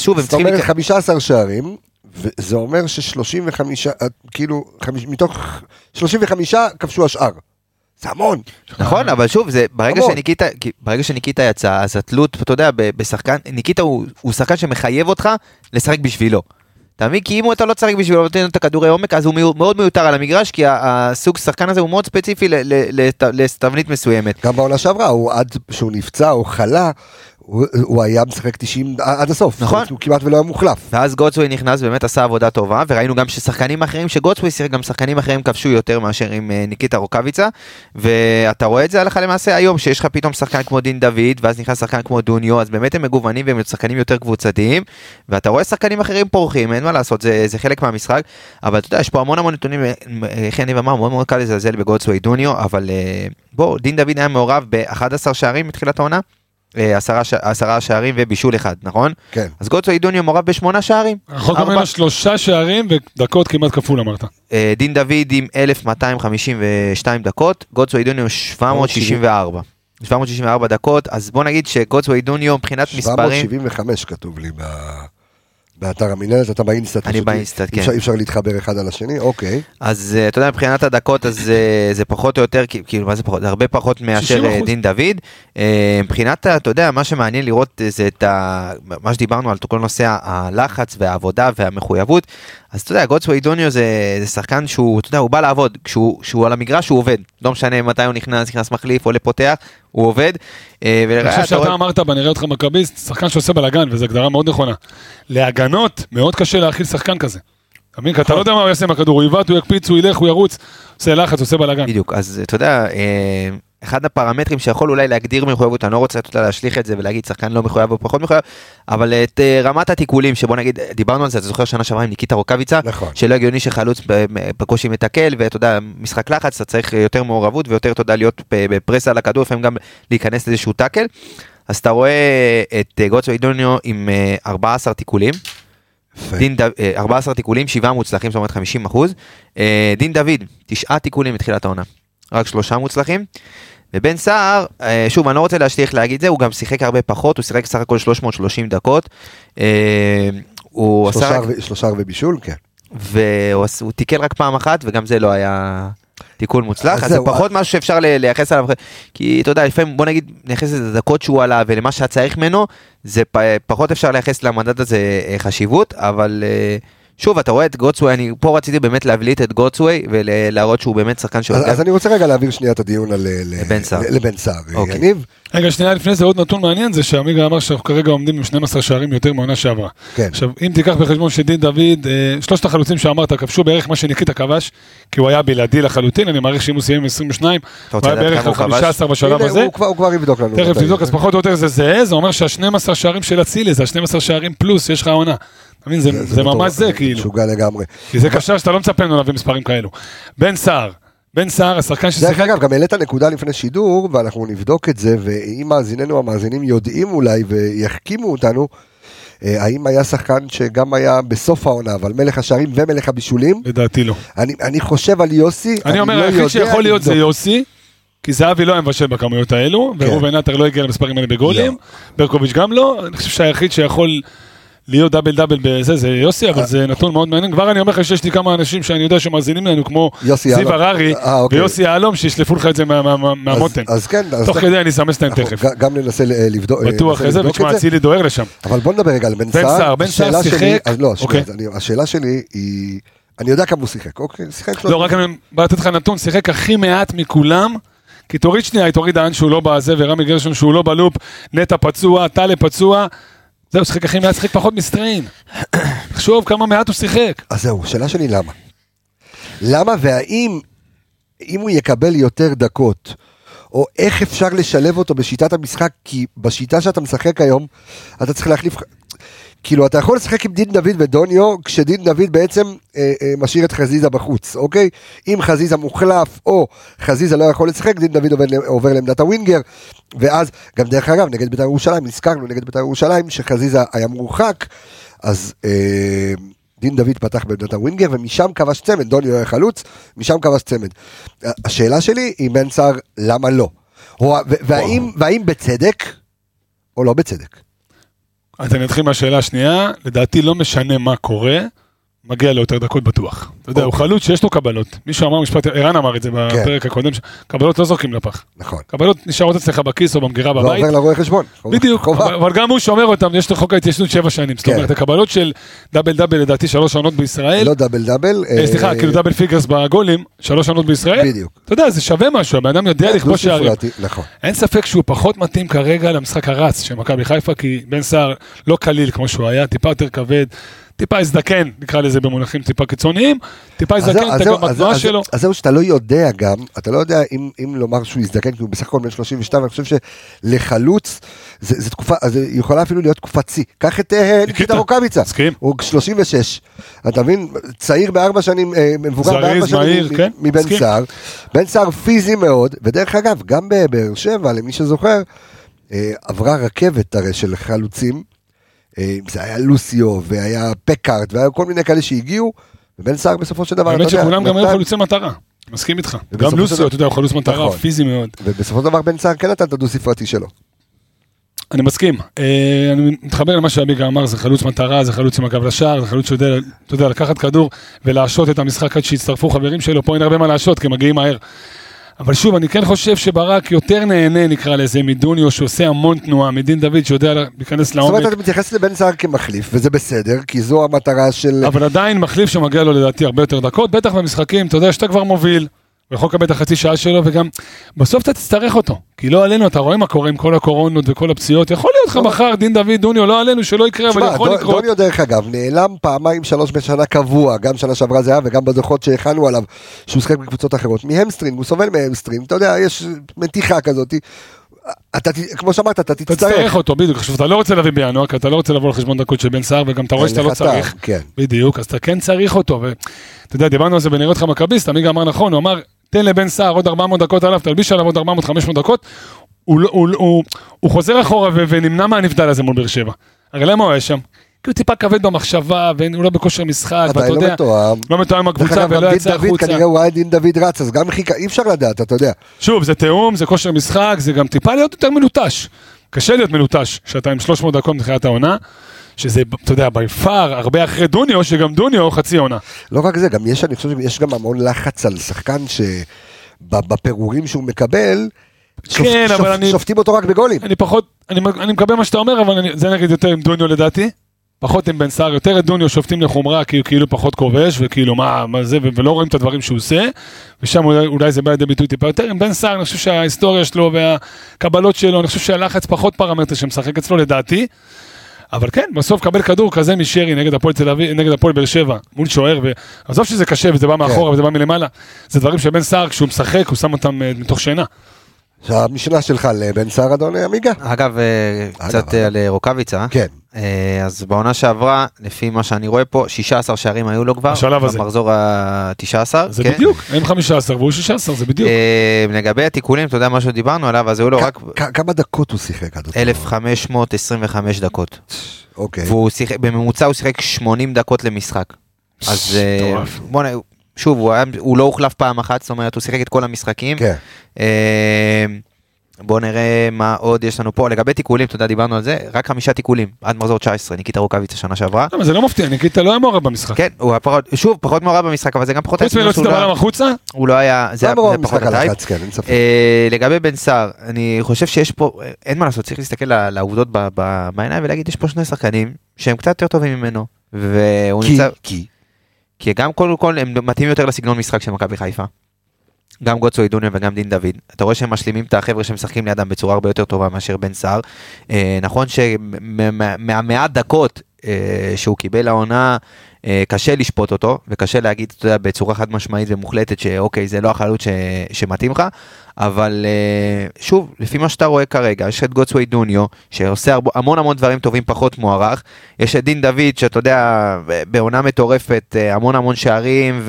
[SPEAKER 6] שוב, הם
[SPEAKER 1] זאת
[SPEAKER 6] צריכים...
[SPEAKER 1] אומרת
[SPEAKER 6] להיכ-
[SPEAKER 1] 15 שערים, וזה אומר ש35, כאילו, חמיש- מתוך 35 כבשו השאר. זה המון.
[SPEAKER 6] נכון, אבל שוב, זה ברגע
[SPEAKER 1] המון.
[SPEAKER 6] שניקיטה, כי ברגע שניקיטה יצא, אז התלות, אתה יודע, ב- בשחקן, ניקיטה הוא, הוא שחקן שמחייב אותך לשחק בשבילו. אתה מבין? כי אם אתה לא תשחק בשבילו ונותן לו את הכדורי עומק, אז הוא מיו- מאוד מיותר על המגרש, כי ה- הסוג שחקן הזה הוא מאוד ספציפי ל- ל- לת- לתבנית מסוימת.
[SPEAKER 1] גם בעונה שעברה, הוא עד שהוא נפצע או חלה, הוא הוא היה משחק 90 עד הסוף.
[SPEAKER 6] נכון.
[SPEAKER 1] הוא כמעט ולא היה מוחלף.
[SPEAKER 6] ואז גוטסווי נכנס ובאמת עשה עבודה טובה וראינו גם ששחקנים אחרים שגוטסווי שיחק גם שחקנים אחרים כבשו יותר מאשר עם אה, ניקיטה רוקאביצה ואתה רואה את זה הלכה למעשה היום שיש לך פתאום שחקן כמו דין דוד ואז נכנס שחקן כמו דוניו אז באמת הם מגוונים והם שחקנים יותר קבוצתיים ואתה רואה שחקנים אחרים פורחים אין מה לעשות זה, זה חלק מהמשחק אבל אתה יודע יש פה המון המון נתונים אה, איך יניב אמר מאוד מאוד קל לזלזל בגוטסווי דוניו אבל אה, בוא דין דוד היה מעורב ב-11 שערים מתחילת העונה אה, עשרה ש- עשרה שערים ובישול אחד נכון?
[SPEAKER 1] כן.
[SPEAKER 6] אז גוטסווי דוניו מעורב בשמונה שערים.
[SPEAKER 5] רחוק
[SPEAKER 6] ארבע.
[SPEAKER 5] ממנו שלושה שערים ודקות כמעט כפול אמרת.
[SPEAKER 6] אה, דין דוד עם 1,252 דקות, גוטסווי דוניו 764. 764 דקות, אז בוא נגיד שגוטסווי דוניו מבחינת מספרים...
[SPEAKER 1] 775 כתוב לי ב- באתר המינהלת, אתה באינסטאט.
[SPEAKER 6] אני
[SPEAKER 1] פשוט.
[SPEAKER 6] באינסטאט,
[SPEAKER 1] אי אפשר-
[SPEAKER 6] כן.
[SPEAKER 1] אי אפשר להתחבר אחד על השני, אוקיי.
[SPEAKER 6] אז אה, אתה יודע, מבחינת הדקות, אז אה, זה פחות או יותר, כי- כאילו, מה זה פחות? זה הרבה פחות מאשר אה,
[SPEAKER 5] 60%.
[SPEAKER 6] דין דוד. אה, מבחינת, ה- אתה יודע, מה שמעניין לראות אה, זה את ה... מה שדיברנו על כל נושא הלחץ והעבודה והמחויבות. אז אתה יודע, גוטסווי דוניו זה זה שחקן שהוא, אתה יודע, הוא בא לעבוד. כשהוא כשהוא על המגרש, הוא עובד. לא משנה מתי הוא נכנס, נכנס מחליף, עולה פותח, הוא עובד. אה, ולראה,
[SPEAKER 5] אני חושב
[SPEAKER 6] אתה
[SPEAKER 5] שאתה
[SPEAKER 6] רואה-
[SPEAKER 5] אמרת בנראה אותך מכביסט, שחקן שעושה בלאגן, וזו הגדרה מאוד נכונה. להגנות, מאוד קשה להכיל שחקן כזה. אתה מבין? כי
[SPEAKER 6] נכון.
[SPEAKER 5] אתה לא יודע מה הוא יעשה עם הכדור, הוא יבעט, הוא יקפיץ, הוא ילך, הוא ירוץ, עושה לחץ, עושה בלאגן.
[SPEAKER 6] בדיוק, אז אתה יודע, אה, אחד הפרמטרים שיכול אולי להגדיר מחויבות, אני לא רוצה אתה יודע, להשליך את זה ולהגיד שחקן לא מחויב או פחות מחויב, אבל את אה, רמת התיקולים, שבוא נגיד, אה, דיברנו על זה, אתה זוכר שנה שעברה עם ניקיטה רוקאביצה,
[SPEAKER 1] נכון.
[SPEAKER 6] שלא הגיוני שחלוץ ב- בקושי מתקל, ואתה יודע, משחק לחץ, אתה צריך יותר מעורבות ויותר, אתה יודע, להיות ב- בפרס על הכדור, לפעמים גם להיכנס לאיזשהו טאקל. אז אתה רואה את אה, גוצו אידוניו עם אה, 14 תיקולים,
[SPEAKER 1] יפה.
[SPEAKER 6] דין דוד, 14 תיקולים, 7 מוצלחים, זאת אומרת 50 אחוז. אה, דין דוד, 9 תיקולים מתחילת העונה, רק 3 מוצלחים. ובן סער, אה, שוב, אני לא רוצה להשליך להגיד זה, הוא גם שיחק הרבה פחות, הוא שיחק סך הכל 330 דקות. אה, הוא עשה
[SPEAKER 1] שלושה
[SPEAKER 6] רק,
[SPEAKER 1] ערבי- שלושה ערבי בישול, כן.
[SPEAKER 6] והוא עש- הוא תיקל רק פעם אחת, וגם זה לא היה תיקול מוצלח,
[SPEAKER 1] אז
[SPEAKER 6] אז זה
[SPEAKER 1] זהו,
[SPEAKER 6] פחות משהו שאפשר ל- לייחס עליו, כי אתה יודע, לפעמים, בוא נגיד, נייחס לזה לדקות שהוא עלה ולמה שהיה צריך ממנו, זה פ- פחות אפשר לייחס למדד הזה אה, חשיבות, אבל אה, שוב, אתה רואה את גוטסווי, אני פה רציתי באמת להבליט את גוטסווי ולהראות שהוא באמת שחקן שהוא...
[SPEAKER 1] אז- אז אני רוצה רגע להעביר שנייה את הדיון על... אה, ל-
[SPEAKER 6] לבן סער.
[SPEAKER 1] לבן סער. אה,
[SPEAKER 6] אוקיי.
[SPEAKER 1] יניב?
[SPEAKER 5] רגע, שנייה לפני זה עוד נתון מעניין, זה שעמיגה אמר שאנחנו כרגע עומדים עם 12 שערים יותר מהעונה שעברה.
[SPEAKER 1] כן.
[SPEAKER 5] עכשיו, אם תיקח בחשבון שדין דוד, אה, שלושת החלוצים שאמרת כבשו בערך מה שניקיטה כבש, כי הוא היה בלעדי לחלוטין, אני מעריך שאם הוא סיים עם 22,
[SPEAKER 6] אתה
[SPEAKER 5] הוא
[SPEAKER 6] רוצה
[SPEAKER 5] היה
[SPEAKER 6] לדעת
[SPEAKER 5] בערך
[SPEAKER 6] כמה
[SPEAKER 5] על
[SPEAKER 6] הוא כבש?
[SPEAKER 5] 15 בשלב
[SPEAKER 1] הנה,
[SPEAKER 5] הזה.
[SPEAKER 1] הוא כבר- הוא כבר יבדוק לנו.
[SPEAKER 5] תכף
[SPEAKER 1] מתי.
[SPEAKER 5] תבדוק, אז פחות או יותר זה זהה, זה אומר שה-12 שערים של אצילי זה ה-12 שערים פלוס שיש לך העונה. אתה מבין, זה- זה
[SPEAKER 1] מטורף,
[SPEAKER 5] ממש זה כאילו.
[SPEAKER 1] משוגע לגמרי.
[SPEAKER 5] כי זה קשר שאתה לא מצפה ממנו להביא מספרים כאלו. בן סער, בן סער, השחקן
[SPEAKER 1] דרך
[SPEAKER 5] ששיחק...
[SPEAKER 1] אגב, גם העלית נקודה לפני שידור, ואנחנו נבדוק את זה, ואם מאזיננו המאזינים יודעים אולי ויחכימו אותנו, אה, האם היה שחקן שגם היה בסוף העונה, אבל מלך השערים ומלך הבישולים?
[SPEAKER 5] לדעתי לא.
[SPEAKER 1] אני, אני חושב על יוסי,
[SPEAKER 5] אני אומר,
[SPEAKER 1] לא
[SPEAKER 5] היחיד
[SPEAKER 1] יודע,
[SPEAKER 5] שיכול להיות זה
[SPEAKER 1] נבדוק.
[SPEAKER 5] יוסי, כי זהבי לא היה מבשל בכמויות האלו,
[SPEAKER 1] כן.
[SPEAKER 5] וראובן עטר לא הגיע למספרים האלה בגולים, ברקוביץ' גם לא, אני חושב שהיחיד שיכול להיות דאבל דאבל בזה זה יוסי,
[SPEAKER 1] אה.
[SPEAKER 5] אבל זה נתון מאוד מעניין. כבר אני אומר לך שיש לי כמה אנשים שאני יודע שמאזינים לנו, כמו
[SPEAKER 1] יוסי
[SPEAKER 5] זיו
[SPEAKER 1] יהלום.
[SPEAKER 5] הררי
[SPEAKER 1] אה, אוקיי.
[SPEAKER 5] ויוסי יהלום, שישלפו לך את זה מה- מה- מה- מהמותן.
[SPEAKER 1] אז כן, אז
[SPEAKER 5] תוך
[SPEAKER 1] אנחנו-
[SPEAKER 5] כדי אני אסמס להם
[SPEAKER 1] אנחנו
[SPEAKER 5] תכף.
[SPEAKER 1] ג- גם ננסה ל- לבדוק
[SPEAKER 5] בטוח
[SPEAKER 1] ננסה
[SPEAKER 5] איזה,
[SPEAKER 1] לבדוק
[SPEAKER 5] ותשמע,
[SPEAKER 1] את זה.
[SPEAKER 5] אצילי דוהר לשם.
[SPEAKER 1] אבל בוא נדבר רגע על בן סער.
[SPEAKER 5] סער, בן סער
[SPEAKER 1] השאלה שלי-
[SPEAKER 5] שיחק.
[SPEAKER 1] אז לא, שנייה,
[SPEAKER 5] אוקיי.
[SPEAKER 1] אז אני- השאלה שלי היא, אני יודע כמה הוא שיחק, אוקיי? שיחק
[SPEAKER 5] לא, רק אני בא לתת לך נתון, שיחק הכי מעט מכולם. כי תוריד שנייה את אורי דהן שהוא לא בזה, ורמי גרשון שהוא לא בלופ, נטע פצוע, טלה פצוע. זהו, שיחק הכי מעט, שיחק פחות מסטריין. תחשוב כמה מעט הוא שיחק.
[SPEAKER 1] אז זהו, שאלה שלי למה. למה והאם, אם הוא יקבל יותר דקות, או איך אפשר לשלב אותו בשיטת המשחק, כי בשיטה שאתה משחק היום, אתה צריך להחליף... כאילו, אתה יכול לשחק עם דין דוד ודוניו, כשדין דוד בעצם אה, אה, משאיר את חזיזה בחוץ, אוקיי? אם חזיזה מוחלף, או חזיזה לא יכול לשחק, דין דוד עובר, עובר לעמדת הווינגר, ואז, גם דרך אגב, נגד בית"ר ירושלים, הזכרנו נגד בית"ר ירושלים, שחזיזה היה מורחק, אז... אה, דין דוד פתח בעמדת הווינגר ומשם כבש צמד, דוניו היה חלוץ, משם כבש צמד. השאלה שלי היא בן סער, למה לא? או- ו- והאם, והאם בצדק או לא בצדק?
[SPEAKER 5] אז אני אתחיל מהשאלה השנייה, לדעתי לא משנה מה קורה, מגיע לו יותר דקות בטוח. אתה יודע, הוא חלוץ שיש לו קבלות. מישהו אמר משפט, ערן אמר את זה בפרק הקודם, ש- קבלות לא זורקים לפח.
[SPEAKER 1] נכון.
[SPEAKER 5] קבלות נשארות אצלך בכיס או במגירה בבית.
[SPEAKER 1] ועובר לא לרואה חשבון.
[SPEAKER 5] בדיוק,
[SPEAKER 1] חובה.
[SPEAKER 5] אבל- אבל גם הוא שומר אותם, יש לו חוק ההתיישנות שבע שנים. זאת
[SPEAKER 1] כן.
[SPEAKER 5] אומרת, הקבלות של דאבל דאבל לדעתי שלוש עונות בישראל,
[SPEAKER 1] לא דאבל דאבל.
[SPEAKER 5] אה, סליחה, כאילו דאבל פיגרס בגולים, שלוש עונות בישראל,
[SPEAKER 1] בדיוק. כן,
[SPEAKER 5] אתה יודע, זה שווה משהו, הבן אדם יודע לכבוש שערים.
[SPEAKER 1] דו-ספרתי, נכון.
[SPEAKER 5] אין ספק שהוא פחות מתאים כרגע למשחק הרץ של מכבי חיפה, כי בן סער לא קליל כמו שהוא היה, טיפה יותר כבד, טיפה הזדקן, נקרא לזה במונחים טיפה קיצוניים, טיפה
[SPEAKER 1] אז זהו,
[SPEAKER 5] הזדקן,
[SPEAKER 1] אז
[SPEAKER 5] אתה
[SPEAKER 1] זהו,
[SPEAKER 5] גם
[SPEAKER 1] אז
[SPEAKER 5] בתנועה
[SPEAKER 1] זהו,
[SPEAKER 5] שלו.
[SPEAKER 1] אז זהו שאתה לא יודע גם, אתה לא יודע אם, אם לומר שהוא יזדקן, כי הוא בסך הכל בן 32, אני חושב שלחלוץ, זה, זה תקופה, אז זה יכולה אפילו להיות תקופת שיא. קח את אה, ניקיטה רוקאביצה,
[SPEAKER 5] מסכים.
[SPEAKER 1] הוא 36, אתה מבין, צעיר בארבע שנים, אה, מבוגר
[SPEAKER 5] זריז,
[SPEAKER 1] בארבע שנים
[SPEAKER 5] מהיר,
[SPEAKER 1] מ-
[SPEAKER 5] כן,
[SPEAKER 1] מבן
[SPEAKER 5] מסכים.
[SPEAKER 1] סער. בן סער פיזי מאוד, ודרך אגב, גם בבאר שבע, למי שזוכר, אה, עברה רכבת הרי של חלוצים, אה, זה היה לוסיו, והיה פקארט, והיה כל מיני כאלה שהגיעו, ובן סער בסופו של דבר,
[SPEAKER 5] האמת
[SPEAKER 1] אתה יודע,
[SPEAKER 5] שכולם גם היו
[SPEAKER 1] נתן-
[SPEAKER 5] חלוצי מטרה, מסכים איתך.
[SPEAKER 1] ובסופו
[SPEAKER 5] גם
[SPEAKER 1] של דבר-
[SPEAKER 5] לוסיו, אתה יודע, הוא חלוץ מטרה,
[SPEAKER 1] נכון.
[SPEAKER 5] פיזי מאוד.
[SPEAKER 1] ובסופו של דבר בן סער כן נתן את הדו ספרתי שלו.
[SPEAKER 5] אני מסכים, אה, אני מתחבר למה שאביגה אמר, זה חלוץ מטרה, זה חלוץ עם הגב לשער, זה חלוץ שיודע, אתה יודע, לקחת כדור ולהשעות את המשחק עד שיצטרפו חברים שלו, פה אין הרבה מה להשעות, כי הם מגיעים מהר. אבל שוב, אני כן חושב שברק יותר נהנה, נקרא לזה, מדוניו, שעושה המון תנועה, מדין דוד, שיודע לה- להיכנס
[SPEAKER 1] זאת
[SPEAKER 5] לעומק,
[SPEAKER 1] אומרת, אתה מתייחס לבן סער כמחליף, וזה בסדר, כי זו המטרה של...
[SPEAKER 5] אבל עדיין מחליף שמגיע לו לדעתי הרבה יותר דקות, בטח במשחקים, אתה יודע, שאתה כבר מוביל, הוא יכול לקבל את החצי שעה שלו, וגם בסוף אתה תצטרך אותו. כי לא עלינו, אתה רואה מה קורה עם כל הקורונות וכל הפציעות. יכול להיות לך מחר דין דוד דוניו, לא עלינו, שלא יקרה, אבל
[SPEAKER 1] תשמע,
[SPEAKER 5] יכול
[SPEAKER 1] לא. דו-
[SPEAKER 5] לקרות.
[SPEAKER 1] דוניו דרך אגב, נעלם פעמיים שלוש בשנה קבוע, גם שנה שעברה זה היה וגם בדוחות שהכנו עליו, שהוא שחק בקבוצות אחרות, מהמסטרינג, הוא סובל מהמסטרינג, אתה יודע, יש מתיחה כזאת, אתה, ת- כמו שאמרת, אתה
[SPEAKER 5] אתה
[SPEAKER 1] תצטרך.
[SPEAKER 5] תצטרך אותו, בדיוק. עכשיו, אתה לא רוצה להביא בינואר, כי אתה לא רוצה לבוא על חשבון דקות של בן סער, וגם אתה רואה שאתה לא
[SPEAKER 1] לך טעם,
[SPEAKER 5] צריך.
[SPEAKER 1] כן.
[SPEAKER 5] בדיוק, אז אתה כן צריך אותו. ואתה יודע, דיברנו על זה בנראות לך מכביסט, עמיגה אמר נכון, הוא אמר, תן לבן סער עוד 400 דקות עליו, תלביש עליו עוד 400-500 דקות, הוא, לא- הוא, הוא, הוא חוזר אחורה ו- ונמנע מהנבדל הזה מול באר שבע. הרי למה הוא היה שם? כי הוא טיפה כבד במחשבה, והוא לא בכושר משחק,
[SPEAKER 1] עדיין
[SPEAKER 5] ואתה
[SPEAKER 1] לא
[SPEAKER 5] יודע,
[SPEAKER 1] מתואם.
[SPEAKER 5] לא מתואם עם
[SPEAKER 1] דרך
[SPEAKER 5] הקבוצה
[SPEAKER 1] אגב,
[SPEAKER 5] ולא
[SPEAKER 1] גם
[SPEAKER 5] יצא
[SPEAKER 1] דין דוד,
[SPEAKER 5] החוצה.
[SPEAKER 1] כנראה הוא היה דין דוד רץ, אז גם חיכה, אי אפשר לדעת, אתה יודע.
[SPEAKER 5] שוב, זה תיאום, זה כושר משחק, זה גם טיפה להיות יותר מלוטש. קשה להיות מלוטש, שאתה עם 300 דקות מתחילת העונה, שזה, אתה יודע, בי פאר, הרבה אחרי דוניו, שגם דוניו חצי עונה.
[SPEAKER 1] לא רק זה, גם יש, אני חושב שיש גם המון לחץ על שחקן שבפירורים שהוא מקבל, שופ-
[SPEAKER 5] כן, אבל
[SPEAKER 1] שופ-
[SPEAKER 5] אני-
[SPEAKER 1] שופטים אותו רק בגולים.
[SPEAKER 5] אני פחות, אני, אני מקבל מה שאתה אומר, אבל אני, זה נגיד יותר עם דוניו לדעתי. פחות עם בן סער, יותר את דוניו שופטים לחומרה, כי הוא כאילו פחות כובש, וכאילו מה, מה זה, ו- ולא רואים את הדברים שהוא עושה, ושם אולי, אולי זה בא לידי ביטוי טיפה יותר. עם בן סער, אני חושב שההיסטוריה שלו והקבלות שלו, אני חושב שהלחץ פחות פרמטר שמשחק אצלו לדעתי. אבל כן, בסוף קבל כדור כזה משרי נגד הפועל תל אביב, נגד הפועל באר שבע, מול שוער, ועזוב שזה קשה וזה בא מאחורה וזה בא מלמעלה, זה דברים שבן סער, כשהוא משחק, הוא שם אותם אה, מתוך שינה.
[SPEAKER 1] המשנה שלך לבן סער אדון עמיגה.
[SPEAKER 6] אגב, אה,
[SPEAKER 1] אגב,
[SPEAKER 6] קצת
[SPEAKER 1] אגב.
[SPEAKER 6] אה, על אה, רוקאביצה.
[SPEAKER 1] כן.
[SPEAKER 6] אה, אז בעונה שעברה, לפי מה שאני רואה פה, 16 שערים היו לו כבר.
[SPEAKER 5] בשלב הזה.
[SPEAKER 6] במחזור כן. ה-19.
[SPEAKER 5] זה בדיוק, הם 15 והוא 16, זה בדיוק.
[SPEAKER 6] אה, לגבי התיקולים, אתה יודע מה שדיברנו עליו, אז היו לו לא, רק
[SPEAKER 1] כ- כ- כמה דקות הוא שיחק עד אותו?
[SPEAKER 6] 1,525 דקות.
[SPEAKER 1] אוקיי.
[SPEAKER 6] והוא שיחק, בממוצע הוא שיחק 80 דקות למשחק. אז אה,
[SPEAKER 5] מטורף.
[SPEAKER 6] בוא'נה, שוב, הוא היה- הוא לא הוחלף פעם אחת, זאת אומרת, הוא שיחק את כל המשחקים.
[SPEAKER 1] כן.
[SPEAKER 6] אה, בואו נראה מה עוד יש לנו פה. לגבי תיקולים, אתה יודע, דיברנו על זה, רק חמישה תיקולים עד מחזור 19, ניקיטה רוקאביץ' השנה שעברה.
[SPEAKER 5] למה, זה לא מפתיע, ניקיטה לא היה מעורב במשחק.
[SPEAKER 6] כן, הוא היה פחות, שוב, פחות מעורב במשחק, אבל זה גם פחות...
[SPEAKER 5] חוץ
[SPEAKER 6] היה
[SPEAKER 5] מלהוציא את
[SPEAKER 6] שהוא לא-
[SPEAKER 5] הבלם החוצה,
[SPEAKER 6] הוא לא היה, זה היה
[SPEAKER 1] למה הוא
[SPEAKER 6] זה פחות
[SPEAKER 1] המשחק
[SPEAKER 6] הטייפ.
[SPEAKER 1] הלחץ, כן, אין ספק.
[SPEAKER 6] אה, לגבי בן סער, אני חושב שיש פה, אה, אין מה לעשות, צריך להסתכל ל- לעובדות ב- ב- בעיניים ולהגיד, יש פה שני שחקנים שהם קצת יותר טובים ממנו, והוא
[SPEAKER 1] כי,
[SPEAKER 6] נמצא,
[SPEAKER 1] כי,
[SPEAKER 6] כי גם קודם כל הם מתאים יותר לסגנון משחק של מכבי חיפה. גם גוצו אידוניה וגם דין דוד. אתה רואה שהם משלימים את החבר'ה שמשחקים לידם בצורה הרבה יותר טובה מאשר בן סער. אה, נכון שמהמעט דקות אה, שהוא קיבל העונה, אה, קשה לשפוט אותו, וקשה להגיד, אתה יודע, בצורה חד משמעית ומוחלטת, שאוקיי, זה לא החלוץ ש- שמתאים לך, אבל אה, שוב, לפי מה שאתה רואה כרגע, יש את גוצווי דוניו, שעושה הרב- המון המון דברים טובים, פחות מוערך, יש את דין דוד, שאתה יודע, בעונה מטורפת, אה, המון המון שערים,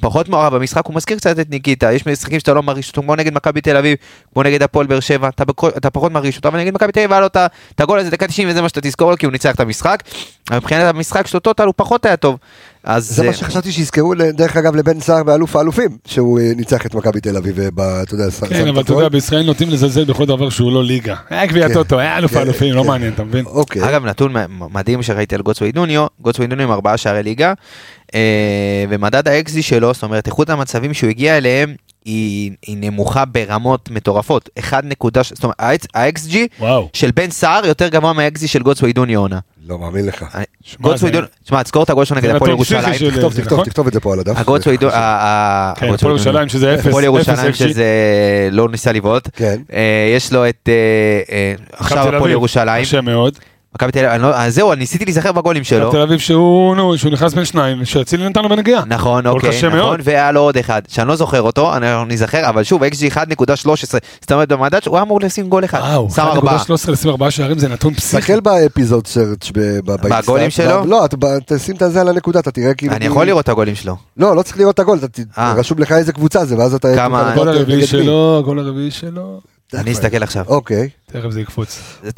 [SPEAKER 6] ופחות מוערך במשחק, הוא מזכיר קצת את ניקיטה, יש משחקים שאתה לא מרגיש אותם, כמו נגד מכבי תל אביב, כמו נגד הפועל באר שבע, אתה, בכל, אתה פחות מרגיש אותו, אבל נגד מכבי תל אביב היה לו את ה- את הגול הזה דקה 90 וזה מה שאתה תזכור לו, כי הוא ניצח את המשחק, אבל מבחינת המשחק שלו טוטל הוא פחות היה טוב, אז...
[SPEAKER 1] זה
[SPEAKER 6] אה,
[SPEAKER 1] מה שחשבתי שיזכרו, ל- דרך אגב, לבן סער באלוף האלופים, שהוא אה, ניצח את מכבי תל אביב, אה, ב- אתה יודע, ס- שם
[SPEAKER 5] כן,
[SPEAKER 1] את
[SPEAKER 5] אבל אתה
[SPEAKER 1] הגול.
[SPEAKER 5] יודע, בישראל נוטים לזלזל בכל דבר שהוא לא ליגה. היה גביע
[SPEAKER 1] כן,
[SPEAKER 5] טוטו, היה אלוף
[SPEAKER 1] כן,
[SPEAKER 5] האלופים, לא
[SPEAKER 1] כן.
[SPEAKER 5] מעניין, אתה מבין?
[SPEAKER 1] אוקיי.
[SPEAKER 6] אגב, נתון מ- מדהים שראיתי על גוצווי דוניו, גוצווי דוניו עם ארבעה שערי ליגה, אה, ומדד האקזי שלו, זאת אומרת, איכות המצבים שהוא הגיע אליהם, היא, היא נמוכה ברמות מטורפות. 1.6, זאת אומרת, האקסג'י
[SPEAKER 5] וואו.
[SPEAKER 6] של בן סער יותר גבוה מהאקזי של גוצווי דוניו עונה.
[SPEAKER 1] לא מאמין לך.
[SPEAKER 5] אה, שמע,
[SPEAKER 6] גוצווי
[SPEAKER 5] זה-
[SPEAKER 6] דוניו, תשמע, תזכור את הגול שלו נגד
[SPEAKER 5] נתון
[SPEAKER 6] הפועל
[SPEAKER 5] פסיכי
[SPEAKER 6] ירושלים.
[SPEAKER 5] של-
[SPEAKER 1] טוב,
[SPEAKER 5] זה
[SPEAKER 1] תכתוב,
[SPEAKER 5] נכון?
[SPEAKER 1] תכתוב את זה פה על הדף.
[SPEAKER 6] הגוצווי דוניו,
[SPEAKER 5] כן, הפועל ירושלים שזה אפס,
[SPEAKER 6] הפועל ירושלים
[SPEAKER 5] אפס אפס.
[SPEAKER 6] שזה לא ניסה לבעוט.
[SPEAKER 1] כן.
[SPEAKER 6] אה, יש לו את, אה, אה,
[SPEAKER 5] מכבי תל
[SPEAKER 6] עכשיו הפועל
[SPEAKER 5] אביב,
[SPEAKER 6] ירושלים.
[SPEAKER 5] קשה מאוד.
[SPEAKER 6] מכבי תל אביב, אני לא- אז זהו, אני ניסיתי להיזכר בגולים שלו.
[SPEAKER 5] מכבי תל אביב שהוא, נו, שהוא נכנס בין שניים, שאצילי נתן לו בנגיעה.
[SPEAKER 6] נכון,
[SPEAKER 5] גול
[SPEAKER 6] אוקיי,
[SPEAKER 5] קשה
[SPEAKER 6] נכון,
[SPEAKER 5] מאוד.
[SPEAKER 6] והיה לו עוד אחד, שאני לא זוכר אותו, אנחנו ניזכר, אבל שוב, XG 1.13, זאת אומרת במדד, הוא היה אמור לשים גול אחד,
[SPEAKER 5] וואו,
[SPEAKER 6] שם ארבעה.
[SPEAKER 5] 1.13 24 שערים זה נתון פסיכי.
[SPEAKER 1] תסתכל באפיזוד סרצ' ב- ב- באינסטגרם.
[SPEAKER 6] שלו?
[SPEAKER 1] לא, אתה ב- תשים את זה על הנקודה, אתה תראה כאילו...
[SPEAKER 6] אני יכול לראות את הגולים שלו.
[SPEAKER 1] לא, לא צריך לראות את הגול, אתה ת-
[SPEAKER 6] אה.
[SPEAKER 1] רשום לך איזה קבוצה זה, ואז אתה...
[SPEAKER 6] כמה-
[SPEAKER 1] אתה-
[SPEAKER 5] הגול
[SPEAKER 1] אתה- נגד
[SPEAKER 5] הרביעי
[SPEAKER 1] מי.
[SPEAKER 5] שלו, הגול הרביעי שלו,
[SPEAKER 6] אני אסתכל עכשיו.
[SPEAKER 1] אוקיי.
[SPEAKER 5] תכף זה יקפוץ.
[SPEAKER 6] זה-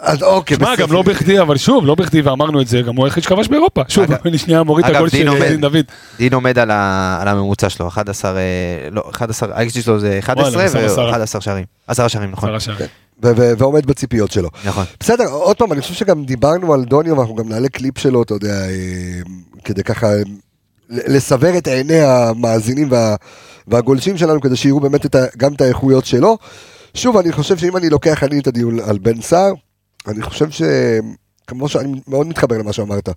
[SPEAKER 1] אז אוקיי,
[SPEAKER 5] שמע, גם לא בכדי, אבל שוב, לא בכדי, ואמרנו את זה, גם הוא היחיד שכבש באירופה. שוב,
[SPEAKER 6] אגב-
[SPEAKER 5] אני שנייה מוריד את
[SPEAKER 6] אגב,
[SPEAKER 5] הגול של
[SPEAKER 6] דין עומד.
[SPEAKER 5] דין דוד.
[SPEAKER 6] דין עומד על ה- על הממוצע שלו, 11, אה, לא, 11, ה-XG שלו זה 11
[SPEAKER 5] וואלה, עשרה, עשרה.
[SPEAKER 6] ו-11 שערים. 10 שערים, נכון.
[SPEAKER 5] עשרה שערים.
[SPEAKER 1] ו- ו- ועומד בציפיות שלו.
[SPEAKER 6] נכון.
[SPEAKER 1] בסדר, עוד פעם, אני חושב שגם דיברנו על דוניו, ואנחנו גם נעלה קליפ שלו, אתה יודע, אה, כדי ככה אה, לסבר את עיני המאזינים וה, והגולשים שלנו, כדי שיראו באמת את ה, גם את האיכויות שלו. שוב, אני חושב שאם אני לוקח אני את הדיון על בן סער, אני חושב ש... כמו שאני מאוד מתחבר למה שאמרת.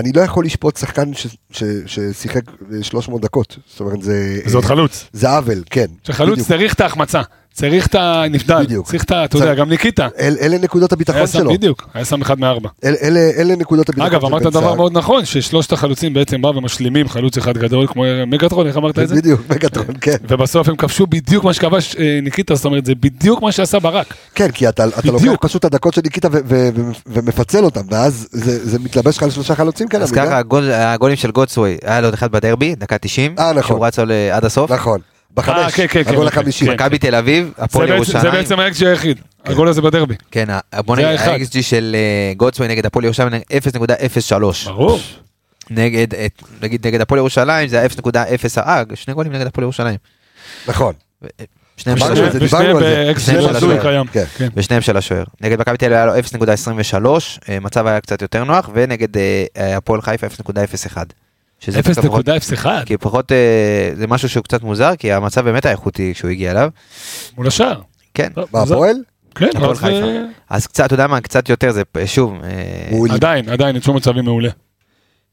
[SPEAKER 1] אני לא יכול לשפוט שחקן ש- ש- ששיחק 300 דקות, זאת אומרת זה...
[SPEAKER 5] זה עוד חלוץ.
[SPEAKER 1] זה עוול, כן.
[SPEAKER 5] שחלוץ
[SPEAKER 1] אה, בדיוק.
[SPEAKER 5] צריך את ההחמצה, צריך את הנבדל,
[SPEAKER 1] בדיוק.
[SPEAKER 5] צריך את ה... אתה יודע,
[SPEAKER 1] צריך-
[SPEAKER 5] גם ניקיטה.
[SPEAKER 1] אל, אלה נקודות הביטחון
[SPEAKER 5] היה שם
[SPEAKER 1] שלו.
[SPEAKER 5] בדיוק, היה שם אחד מארבע.
[SPEAKER 1] אל, אלה, אלה נקודות הביטחון
[SPEAKER 5] אגב,
[SPEAKER 1] של
[SPEAKER 5] אמרת
[SPEAKER 1] בן
[SPEAKER 5] דבר
[SPEAKER 1] סער.
[SPEAKER 5] מאוד נכון, ששלושת החלוצים בעצם באו ומשלימים חלוץ אחד גדול, כמו מגטרון, איך אמרת את זה?
[SPEAKER 1] כן, בדיוק, מגטרון, כן.
[SPEAKER 5] ובסוף הם כבשו בדיוק מה שכבש אה, ניקיטה, זאת אומרת, זה בדיוק מה שעשה ברק.
[SPEAKER 1] כן, כי אתה, אתה
[SPEAKER 5] בדיוק.
[SPEAKER 1] לוקח פשוט את הדקות של ניקיטה ו- ו- ו- ומפצל אותם, ואז זה, זה מתלבש לך על שלושה חלוצים כאלה.
[SPEAKER 6] אז
[SPEAKER 1] בגלל-
[SPEAKER 6] ככה הגול- הגולים של גודסווי, היה לו עוד אחד בדרבי, דקה 90,
[SPEAKER 1] אה, נכון.
[SPEAKER 6] שהוא רץ לו ל- עד הסוף,
[SPEAKER 1] נכון.
[SPEAKER 5] אה,
[SPEAKER 1] בחמש,
[SPEAKER 5] כן, כן, כן,
[SPEAKER 1] הגול
[SPEAKER 5] אוקיי,
[SPEAKER 1] החמישי.
[SPEAKER 5] כן.
[SPEAKER 6] מכבי תל אביב,
[SPEAKER 5] זה
[SPEAKER 6] הפועל
[SPEAKER 5] בעצם- זה
[SPEAKER 6] ירושלים,
[SPEAKER 5] בעצם האקג'י היחיד, הגול הזה בדרבי.
[SPEAKER 6] כן, ה- בוא
[SPEAKER 5] זה
[SPEAKER 6] נגיד,
[SPEAKER 5] האחד.
[SPEAKER 6] ה-XG של אה, גודסווי נגד הפועל ירושלים 0.03,
[SPEAKER 5] ברור.
[SPEAKER 6] נגד, את- נגיד נגד הפועל ירושלים זה היה 0.0, אה, שני גולים נגד הפועל ירושלים,
[SPEAKER 5] כן.
[SPEAKER 1] נכון.
[SPEAKER 6] שניהם של
[SPEAKER 1] אמרנו
[SPEAKER 6] השוער.
[SPEAKER 1] את זה, דיברנו על זה.
[SPEAKER 5] ושניהם
[SPEAKER 6] שניהם
[SPEAKER 5] ב-XG הזוי
[SPEAKER 6] של
[SPEAKER 5] קיים.
[SPEAKER 1] כן.
[SPEAKER 5] כן.
[SPEAKER 6] ושניהם של השוער. נגד מכבי תל אביב היה לו 0.23, אה, מצב היה קצת יותר נוח, ונגד אה, הפועל חיפה 0.01. שזה דווקא פחות-
[SPEAKER 5] 0.01
[SPEAKER 6] כי פחות, אה, זה משהו שהוא קצת מוזר, כי המצב באמת היה איכותי כשהוא הגיע אליו.
[SPEAKER 5] מול השער.
[SPEAKER 6] כן,
[SPEAKER 5] טוב, מוזר.
[SPEAKER 1] בהפועל?
[SPEAKER 5] כן,
[SPEAKER 6] הפועל
[SPEAKER 5] אבל זה-
[SPEAKER 6] חיפה. אז קצת, אתה יודע מה, קצת יותר זה, אה, שוב, אה,
[SPEAKER 1] הוא
[SPEAKER 5] עדיין, עדיין, יש לו מצבים מעולה.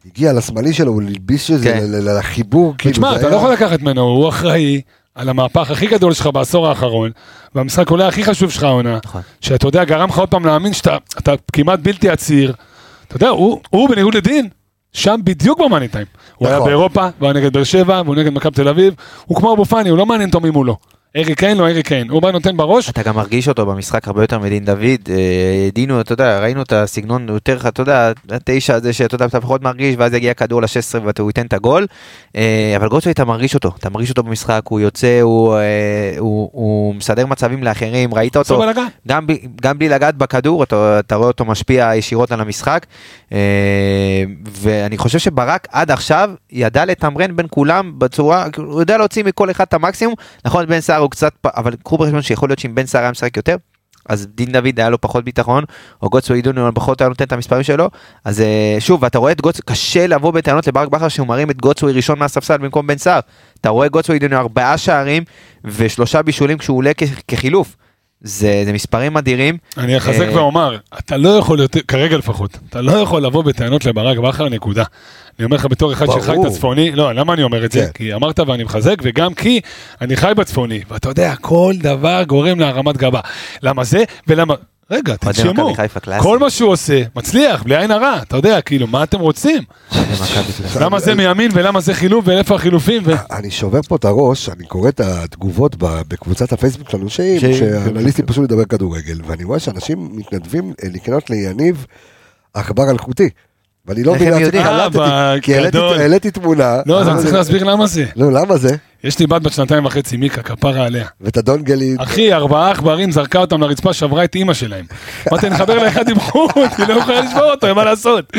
[SPEAKER 1] הגיע לשמאלי שלו, הוא הלביש את זה
[SPEAKER 6] כן.
[SPEAKER 1] ל- ל- לחיבור, כאילו.
[SPEAKER 5] תשמע,
[SPEAKER 1] זה
[SPEAKER 5] אתה
[SPEAKER 1] היה-
[SPEAKER 5] לא יכול לקחת ממנו, הוא אחראי על המהפך הכי גדול שלך בעשור האחרון, והמשחק אולי הכי חשוב שלך העונה,
[SPEAKER 6] נכון.
[SPEAKER 5] שאתה יודע, גרם לך עוד פעם להאמין שאתה אתה כמעט בלתי עציר. אתה יודע, הוא הוא בניגוד לדין, שם בדיוק במאני טיים. הוא היה
[SPEAKER 1] נכון.
[SPEAKER 5] באירופה, והוא היה נגד באר שבע, והוא נגד מכבי תל אביב, הוא כמו אבו פאני, הוא לא מעניין אותו מי מולו. ארי קיין לא ארי קיין, הוא בא נותן בראש,
[SPEAKER 6] אתה גם מרגיש אותו במשחק הרבה יותר מדין דוד, אה, דינו, אתה יודע, ראינו את הסגנון יותר לך, אתה יודע, התשע הזה שאתה יודע, אתה פחות מרגיש, ואז יגיע כדור ל-16 ואתה הוא ייתן את הגול, אה, אבל גולדשוי אתה מרגיש אותו, אתה מרגיש אותו במשחק, הוא יוצא, הוא, אה, הוא, הוא מסדר מצבים לאחרים, ראית
[SPEAKER 5] עושה
[SPEAKER 6] אותו,
[SPEAKER 5] בלאגן.
[SPEAKER 6] גם, ב- גם בלי לגעת בכדור, אתה, אתה רואה אותו משפיע ישירות על המשחק, אה, ואני חושב שברק עד עכשיו ידע לתמרן בין כולם בצורה, הוא יודע להוציא מכל אחד את המקסימום, נכון בן סער הוא קצת, פ- אבל קחו בחשבון שיכול להיות שאם בן סער היה משחק יותר, אז דין דוד היה לו פחות ביטחון, או גוטסו עידון פחות היה נותן את המספרים שלו, אז אה, שוב, ואתה רואה את גוטסו, קשה לבוא בטענות לברק בכר שהוא מרים את גוטסווי ראשון מהספסל במקום בן סער. אתה רואה גוטסווי עידון ארבעה שערים ושלושה בישולים כשהוא עולה כ- כחילוף. זה, זה מספרים אדירים.
[SPEAKER 5] אני אחזק
[SPEAKER 6] אה,
[SPEAKER 5] ואומר, אתה לא יכול יותר, כרגע לפחות, אתה לא יכול לבוא בטענות לברק בכר, נקודה. אני אומר לך בתור אחד שחי את
[SPEAKER 1] ברור.
[SPEAKER 5] הצפוני, לא, למה אני אומר את זה?
[SPEAKER 1] כן.
[SPEAKER 5] כי אמרת ואני מחזק, וגם כי אני חי בצפוני, ואתה יודע, כל דבר גורם להרמת גבה. למה זה ולמה... רגע,
[SPEAKER 6] אוהדי
[SPEAKER 5] תנשמו,
[SPEAKER 6] מכבי חיפה קלאסי.
[SPEAKER 5] כל מה שהוא עושה, מצליח, בלי עין הרע, אתה יודע, כאילו, מה אתם רוצים? למה זה מימין ולמה זה חילוף ואיפה החילופים? ו-
[SPEAKER 1] אני שובר פה את הראש, אני קורא את התגובות ב- בקבוצת הפייסבוק שלנו, שאם- שהאנליסטים
[SPEAKER 6] כן.
[SPEAKER 1] פשוט מדבר כדורגל, ואני רואה שאנשים מתנדבים אה, לקנות ליניב עכבר אלחוטי. ואני לא
[SPEAKER 6] איך הם
[SPEAKER 1] מבין,
[SPEAKER 6] יודעים?
[SPEAKER 1] קלטתי,
[SPEAKER 5] אבא,
[SPEAKER 1] כי העליתי-
[SPEAKER 5] גדול.
[SPEAKER 1] העליתי תמונה.
[SPEAKER 5] לא, אז
[SPEAKER 1] אה,
[SPEAKER 5] אני צריך להסביר למה זה.
[SPEAKER 1] לא, למה זה?
[SPEAKER 5] יש לי בת בת שנתיים וחצי, מיקה, כפרה עליה.
[SPEAKER 1] ואת הדונגלים,
[SPEAKER 5] אחי, ארבעה עכברים זרקה אותם לרצפה, שברה את אימא שלהם. אמרתי, אני אחבר לאחד עם חוט, היא לא יכולה לשבור אותו, מה לעשות?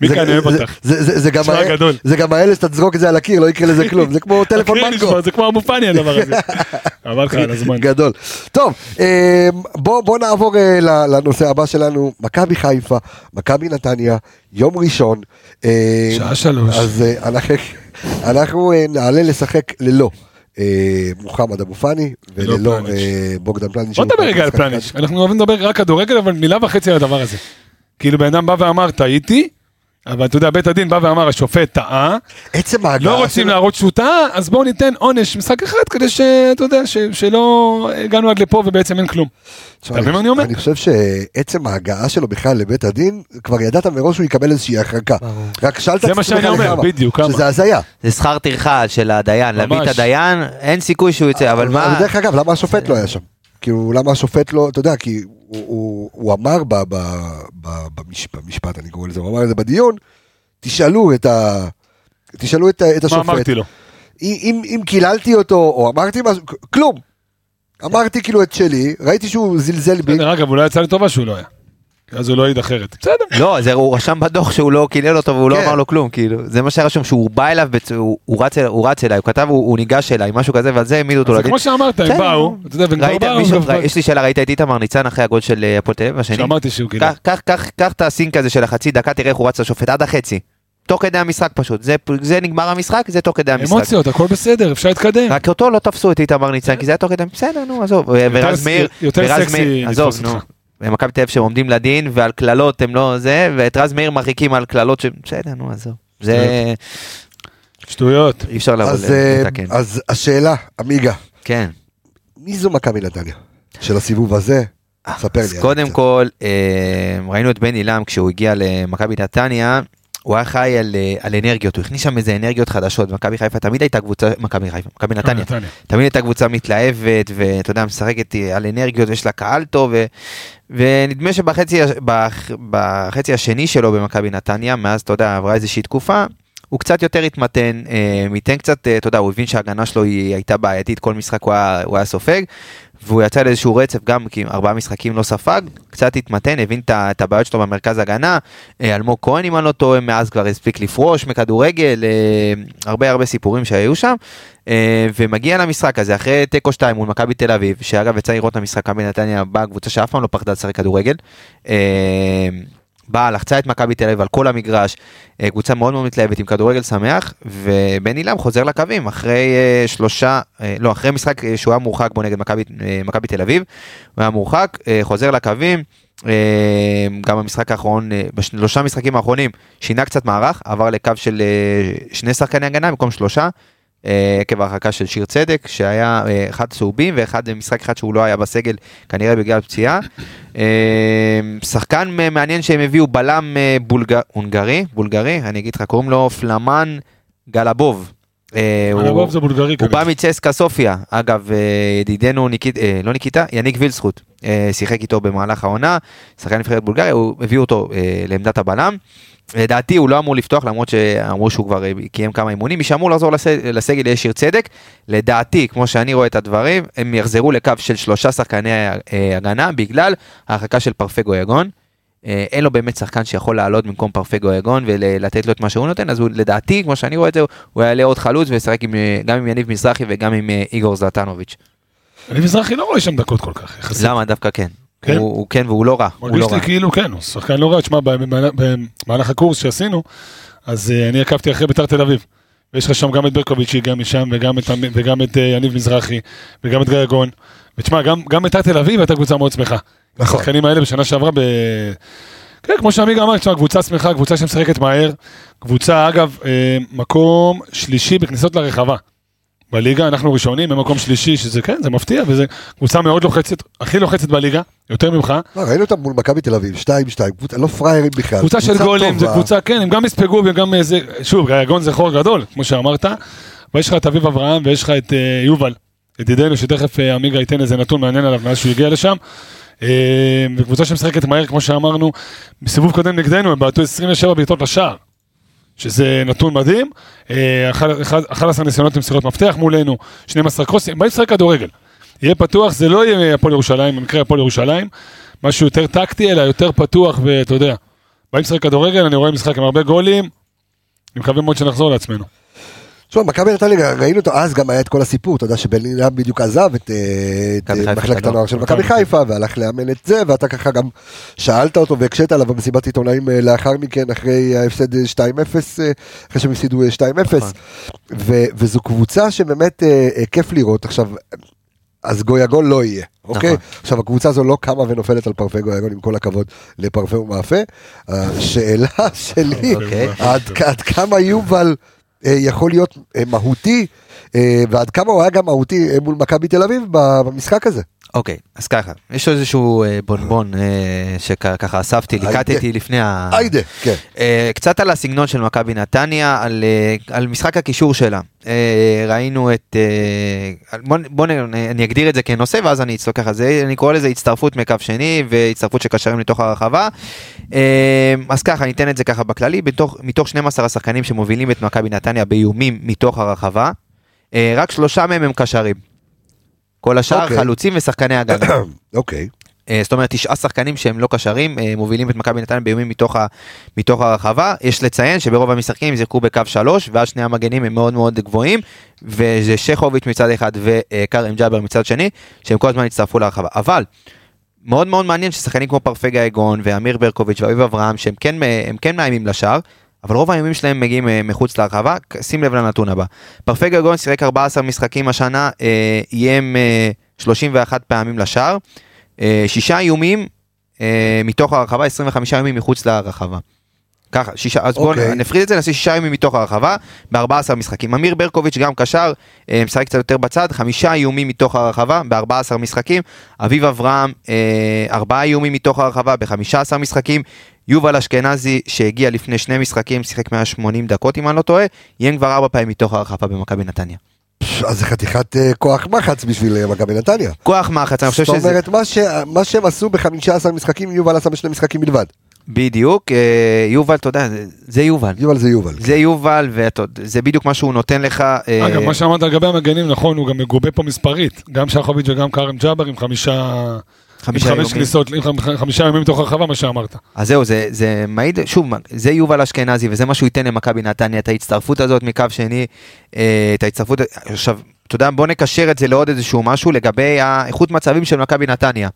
[SPEAKER 5] מיקה, אני אוהב
[SPEAKER 1] זה-
[SPEAKER 5] אותך.
[SPEAKER 1] זה- זה- זה גם
[SPEAKER 5] שמע,
[SPEAKER 1] ה-
[SPEAKER 5] גדול.
[SPEAKER 1] זה גם האלה שאתה תזרוק את זה על הקיר, לא יקרה לזה כלום, זה כמו טלפון
[SPEAKER 5] תקריא לי
[SPEAKER 1] מנגו.
[SPEAKER 5] כבר, זה כמו אבו פאני הדבר הזה. אבל לך על הזמן.
[SPEAKER 1] גדול. טוב, אה, בוא בוא נעבור אה, ל- לנושא הבא שלנו, מכבי חיפה, מכבי נתניה, יום ראשון. אה,
[SPEAKER 5] שעה שלוש.
[SPEAKER 1] אז אה, אנחנו- אנחנו אה, נעלה לשחק ללא. אה, מוחמד אבו פאני
[SPEAKER 5] ללא
[SPEAKER 1] וללא
[SPEAKER 5] פלניץ'.
[SPEAKER 1] אה, בוגדן פלניץ'.
[SPEAKER 5] בוא נדבר רגע על
[SPEAKER 1] משחק אחד.
[SPEAKER 5] פלניץ'. אנחנו אוהבים לדבר רק כדורגל, אבל מילה וחצי על הדבר הזה. כאילו, בן אדם בא ואמר, טעיתי, אבל אתה יודע, בית הדין בא ואמר, השופט טעה,
[SPEAKER 1] עצם ההגעה.
[SPEAKER 5] לא רוצים
[SPEAKER 1] שלו-
[SPEAKER 5] להראות שהוא טעה, אז בואו ניתן עונש משחק אחד, כדי שאתה יודע, ש- שלא הגענו עד לפה ובעצם אין כלום.
[SPEAKER 1] תשמע,
[SPEAKER 5] אתה מבין מה אני אומר?
[SPEAKER 1] אני חושב שעצם ההגעה שלו בכלל לבית הדין, כבר ידעת מראש שהוא יקבל איזושהי הרחקה. רק שאלת
[SPEAKER 5] זה מה שאני אומר, בדיוק, כמה.
[SPEAKER 1] שזה הזיה.
[SPEAKER 6] זה שכר טרחה של הדיין, להביא את
[SPEAKER 5] ממש.
[SPEAKER 6] הדיין, אין סיכוי שהוא יצא, אבל מה...
[SPEAKER 1] אבל דרך אגב, למה השופט לא היה שם? כאילו, למה השופט לא, אתה יודע, כי הוא- הוא- הוא אמר ב- ב- ב- במש- במשפט, אני קורא לזה, הוא אמר את זה בדיון, תשאלו את ה... תשאלו את ה- את
[SPEAKER 5] מה
[SPEAKER 1] השופט.
[SPEAKER 5] אמרתי לו?
[SPEAKER 1] אם- אם אם קיללתי אותו, או אמרתי משהו, כלום. אמרתי כאילו את שלי, ראיתי שהוא זלזל בי,
[SPEAKER 5] בסדר, אגב, אולי יצא לטובה שהוא לא היה. אז הוא לא העיד אחרת. בסדר.
[SPEAKER 6] לא, זה הוא רשם בדוח שהוא לא קילל אותו והוא לא
[SPEAKER 1] כן.
[SPEAKER 6] אמר לו כלום, כאילו, זה מה שהיה רשום, שהוא בא אליו, בצ- הוא- הוא רץ אל- הוא רץ אליי, הוא כתב, הוא הוא ניגש אליי, משהו כזה, ועל זה העמידו אותו
[SPEAKER 5] זה
[SPEAKER 6] לדין.
[SPEAKER 5] כמו שאמרת,
[SPEAKER 6] כן,
[SPEAKER 5] הם באו, אתה יודע, והם כבר
[SPEAKER 6] ראית
[SPEAKER 5] באו,
[SPEAKER 6] מישהו-
[SPEAKER 5] הם כבר-
[SPEAKER 6] ראי- יש לי שאלה, ראית את איתמר ניצן אחרי הגול של אה, הפועל תל אביב השני?
[SPEAKER 5] שאמרתי שהוא גילה.
[SPEAKER 6] קח- קח- קח- קח את הסינק הזה של החצי דקה, תראה איך הוא רץ לשופט, עד החצי. תוך כדי המשחק פשוט, זה- זה נגמר המשחק, זה תוך כדי המשחק.
[SPEAKER 5] אמוציות, הכל בסדר, אפשר להתקדם.
[SPEAKER 6] רק אותו לא תפסו את איתמר ניצן, כי זה היה תוך כדי, בסדר, נו, עזוב, ורז
[SPEAKER 5] ס-
[SPEAKER 6] מאיר,
[SPEAKER 5] יותר
[SPEAKER 6] ורז
[SPEAKER 5] סקסי
[SPEAKER 6] מאיר,
[SPEAKER 5] לתפוס
[SPEAKER 6] עזוב, נו,
[SPEAKER 5] אותך.
[SPEAKER 6] מכבי תל אביב שהם עומדים לדין ועל קללות הם לא זה, ואת רז מאיר מרחיקים על קללות ש... בסדר, נו, עזוב. זה
[SPEAKER 5] שטויות.
[SPEAKER 6] אי אפשר לבוא
[SPEAKER 1] אז, אה,
[SPEAKER 6] לתקן.
[SPEAKER 1] אז השאלה, עמיגה,
[SPEAKER 6] כן.
[SPEAKER 1] מי זו מכבי נתניה? של הסיבוב הזה? אה, ספר לי.
[SPEAKER 6] אה, אז
[SPEAKER 1] עליה
[SPEAKER 6] קודם
[SPEAKER 1] קצת.
[SPEAKER 6] כל, אה, ראינו את בני לם כשהוא הגיע למכבי נתניה. הוא היה חי על, אה, על אנרגיות, הוא הכניס שם איזה אנרגיות חדשות, מכבי חיפה תמיד הייתה קבוצה, מכבי חיפה, מכבי
[SPEAKER 5] אה,
[SPEAKER 6] נתניה,
[SPEAKER 5] נתניה.
[SPEAKER 6] תמיד הייתה קבוצה מתלהבת, ואתה יודע, משחקת על אנרגיות, ויש לה קהל טוב, ו... ונדמה שבחצי הש- בח... בחצי השני שלו במכבי נתניה, מאז, אתה יודע, עברה איזושהי תקופה, הוא קצת יותר התמתן, אה, מיתן קצת, אה, אתה יודע, הוא הבין שההגנה שלו היא הייתה בעייתית, כל משחק הוא היה, הוא היה סופג, והוא יצא לאיזשהו רצף, גם כי ארבעה משחקים לא ספג, קצת התמתן, הבין את ה- את הבעיות שלו במרכז הגנה, אה, אלמוג כהן, אם אני לא טועה, מאז כבר הספיק לפרוש מכדורגל, אה, הרבה הרבה סיפורים שהיו שם, אה, ומגיע למשחק הזה אחרי תיקו 2 מול מכבי תל אביב, שאגב יצא לראות את המשחק, מכבי נתניה באה קבוצה שאף פעם לא פחדה לשחק כדורגל. אה, באה, לחצה את מכבי תל אביב על כל המגרש, אה, קבוצה מאוד מאוד מתלהבת עם כדורגל שמח, ובן אילם חוזר לקווים אחרי אה, שלושה, אה, לא, אחרי משחק אה, שהוא היה מורחק בו נגד מכבי אה, מכבי תל אביב, הוא היה מורחק, אה, חוזר לקווים, אה, גם במשחק האחרון, אה, בשלושה משחקים האחרונים, שינה קצת מערך, עבר לקו של אה, שני שחקני הגנה במקום שלושה. אה, עקב ההרחקה של שיר צדק, שהיה אה, אחד צהובים ואחד משחק אחד שהוא לא היה בסגל, כנראה בגלל פציעה. אה, שחקן אה, מעניין שהם הביאו, בלם אה, בולג... הונגרי, בולגרי, אני אגיד לך, קוראים לו פלמן גלבוב. אה, הוא-
[SPEAKER 5] הרבוב זה בולגרי
[SPEAKER 6] הוא
[SPEAKER 5] כנראה.
[SPEAKER 6] בא מצסקה סופיה, אגב אה, ידידנו ניקיט, אה, לא ניקיטה, יניק וילזכות, אה, שיחק איתו במהלך העונה, שחקן נבחרת בולגריה, הוא הביאו אותו אה, לעמדת הבלם. לדעתי הוא לא אמור לפתוח למרות שאמרו שהוא כבר אה, קיים כמה אימונים, מי שאמור לחזור לס- לסגל יהיה שיר צדק. לדעתי, כמו שאני רואה את הדברים, הם יחזרו לקו של שלושה שחקני אה, הגנה בגלל ההרחקה של פרפגו יגון. אה, אין לו באמת שחקן שיכול לעלות במקום פרפגו יגון ולתת לו את מה שהוא נותן, אז הוא לדעתי, כמו שאני רואה את זה, הוא יעלה עוד חלוץ וישחק עם, אה, גם עם יניב מזרחי וגם עם אה, איגור זלטנוביץ'.
[SPEAKER 5] אני מזרחי לא רואה שם דקות כל כך. יחסית.
[SPEAKER 6] למה דווקא כן?
[SPEAKER 5] כן?
[SPEAKER 6] הוא, הוא כן והוא לא רע, הוא
[SPEAKER 5] מרגיש
[SPEAKER 6] לא רע.
[SPEAKER 5] לי כאילו כן, הוא שחקן לא רע, תשמע, במהלך- במהלך הקורס שעשינו, אז אה, אני עקבתי אחרי ביתר תל אביב. ויש לך שם גם את ברקוביץ' שהגיע משם, וגם את, עמי- וגם את אה, יניב מזרחי, וגם את גיא גון. ותשמע, גם, גם ביתר תל אביב הייתה קבוצה מאוד שמחה.
[SPEAKER 1] נכון.
[SPEAKER 5] השחקנים האלה בשנה שעברה ב... כן, כמו שעמיגה אמר, תשמע, קבוצה שמחה, קבוצה שמשחקת מהר. קבוצה, אגב, אה, מקום שלישי בכניסות לרחבה. בליגה אנחנו ראשונים, במקום שלישי, שזה כן, זה מפתיע, וזה קבוצה מאוד לוחצת, הכי לוחצת בליגה, יותר ממך.
[SPEAKER 1] לא, ראינו אותם מול מכבי תל אביב, 2-2, קבוצה- לא פראיירים בכלל.
[SPEAKER 5] קבוצה של גולים, זה
[SPEAKER 1] טובה.
[SPEAKER 5] קבוצה, כן, הם גם יספגו והם גם אה, זה, שוב, גון זה חור גדול, כמו שאמרת, ויש לך את אביב אברהם ויש לך את אה, יובל, ידידנו, שתכף אה, עמיגה ייתן איזה נתון מעניין עליו מאז שהוא הגיע לשם. אה, וקבוצה שמשחקת מהר, כמו שאמרנו, בסיבוב קודם נגדנו, הם בעטו 27 בעיטות לשער, שזה נתון מדהים. אה, אחד- אחד- 11 ניסיונות למסירות מפתח מולנו, 12 קרוסים, הם באים לשחק כדורגל. יהיה פתוח, זה לא יהיה הפועל ירושלים, במקרה הפועל ירושלים, משהו יותר טקטי, אלא יותר פתוח, ואתה יודע, באים לשחק כדורגל, אני רואה משחק עם הרבה גולים, אני מקווה מאוד שנחזור לעצמנו.
[SPEAKER 1] תשמע, מכבי נתניה, ראינו אותו, אז גם היה את כל הסיפור, אתה יודע שבן לילם בדיוק עזב את אה, את,
[SPEAKER 6] מכבי
[SPEAKER 1] אה,
[SPEAKER 6] חיפה,
[SPEAKER 1] מחלקת
[SPEAKER 6] כדור.
[SPEAKER 1] הנוער של מכבי
[SPEAKER 5] מכבי
[SPEAKER 1] חיפה, והלך לאמן את זה, ואתה ככה גם שאלת אותו והקשית עליו במסיבת עיתונאים אה, לאחר מכן, אחרי ההפסד אה, 2-0, אה, אחרי שהם הפסידו אה, 2-0, ו- וזו קבוצה שבאמת אה, אה, כיף לראות. עכשיו, אז גויגון לא יהיה,
[SPEAKER 6] נכון.
[SPEAKER 1] אוקיי? עכשיו, הקבוצה הזו לא קמה ונופלת על פרפה גויגון, עם כל הכבוד לפרפה ומאפה. השאלה שלי,
[SPEAKER 6] אוקיי.
[SPEAKER 1] עד, כ- עד כמה יובל אה, יכול להיות אה, מהותי, אה, ועד כמה הוא היה גם מהותי אה, מול מכבי תל אביב ב- במשחק הזה.
[SPEAKER 6] אוקיי, אז ככה, יש לו איזשהו אה, בונבון אה, שככה אספתי,
[SPEAKER 1] היידה.
[SPEAKER 6] ליקטתי לפני ה...
[SPEAKER 1] היידה, כן.
[SPEAKER 6] אה, קצת על הסגנון של מכבי נתניה, על, אה, על משחק הקישור שלה. אה, ראינו את... בואו אני אגדיר את זה כנושא ואז אני אצלוק ככה, זה- אני קורא לזה הצטרפות מקו שני והצטרפות של קשרים לתוך הרחבה. אה, אז ככה, אני אתן את זה ככה בכללי, בתוך- מתוך 12 השחקנים שמובילים את מכבי נתניה באיומים מתוך הרחבה, אה, רק שלושה מהם הם קשרים. כל השאר
[SPEAKER 1] אוקיי.
[SPEAKER 6] חלוצים ושחקני הגנה.
[SPEAKER 1] אוקיי.
[SPEAKER 6] אה, זאת אומרת תשעה שחקנים שהם לא קשרים אה, מובילים את מכבי נתניה באיומים מתוך, ה, מתוך הרחבה יש לציין שברוב המשחקים הם זירקו בקו שלוש ואז שני המגנים הם מאוד מאוד גבוהים וזה שכוביץ' מצד אחד וכרם ג'אבר מצד שני שהם כל הזמן הצטרפו להרחבה אבל מאוד מאוד מעניין ששחקנים כמו פרפגה אגון ואמיר ברקוביץ' ואביב אברהם שהם כן, הם כן מאיימים לשער אבל רוב האיומים שלהם מגיעים אה, מחוץ להרחבה שים לב לנתון הבא פרפגה אגון שיחק 14 משחקים השנה אה, איים אה, 31 פעמים לשער אה, שישה איומים אה, מתוך הרחבה, 25 ימים מחוץ לרחבה. ככה, שישה, אז בואו
[SPEAKER 1] אוקיי.
[SPEAKER 6] נפריד את זה, נעשה שישה ימים מתוך הרחבה, ב-14 משחקים. אמיר ברקוביץ' גם קשר, אה, משחק קצת יותר בצד, חמישה איומים מתוך הרחבה, ב-14 משחקים. אביב אברהם, אה, ארבעה איומים מתוך הרחבה, ב-15 משחקים. יובל אשכנזי, שהגיע לפני שני משחקים, שיחק 180 דקות, אם אני לא טועה, יהיה כבר ארבע פעמים מתוך הרחבה במכבי נתניה.
[SPEAKER 1] פש, אז זה חתיכת אה, כוח מחץ בשביל אה, מכבי נתניה.
[SPEAKER 6] כוח מחץ, אני חושב
[SPEAKER 1] זאת
[SPEAKER 6] שזה...
[SPEAKER 1] אומרת, מה ש- מה שהם עשו ב-15 משחקים, יובל עשה בשני משחקים בלבד.
[SPEAKER 6] בדיוק, אה, יובל, אתה יודע, זה- זה יובל.
[SPEAKER 1] יובל זה יובל.
[SPEAKER 6] זה יובל, וזה בדיוק מה שהוא נותן לך. אה,
[SPEAKER 5] אגב, מה שאמרת לגבי המגנים, נכון, הוא גם מגובה פה מספרית. גם שחוביץ' וגם כרם ג'אבר עם חמישה... עם
[SPEAKER 6] חמישה
[SPEAKER 5] חמש
[SPEAKER 6] איומים.
[SPEAKER 5] כניסות, עם חמ- חמישה ימים מתוך הרחבה, מה שאמרת.
[SPEAKER 6] אז זהו, זה, זה מעיד, שוב, זה יובל אשכנזי, וזה מה שהוא ייתן למכבי נתניה, את ההצטרפות הזאת מקו שני, אה, את ההצטרפות, עכשיו, אתה יודע, בוא נקשר את זה לעוד איזשהו משהו לגבי האיכות מצבים של מכבי נתניה.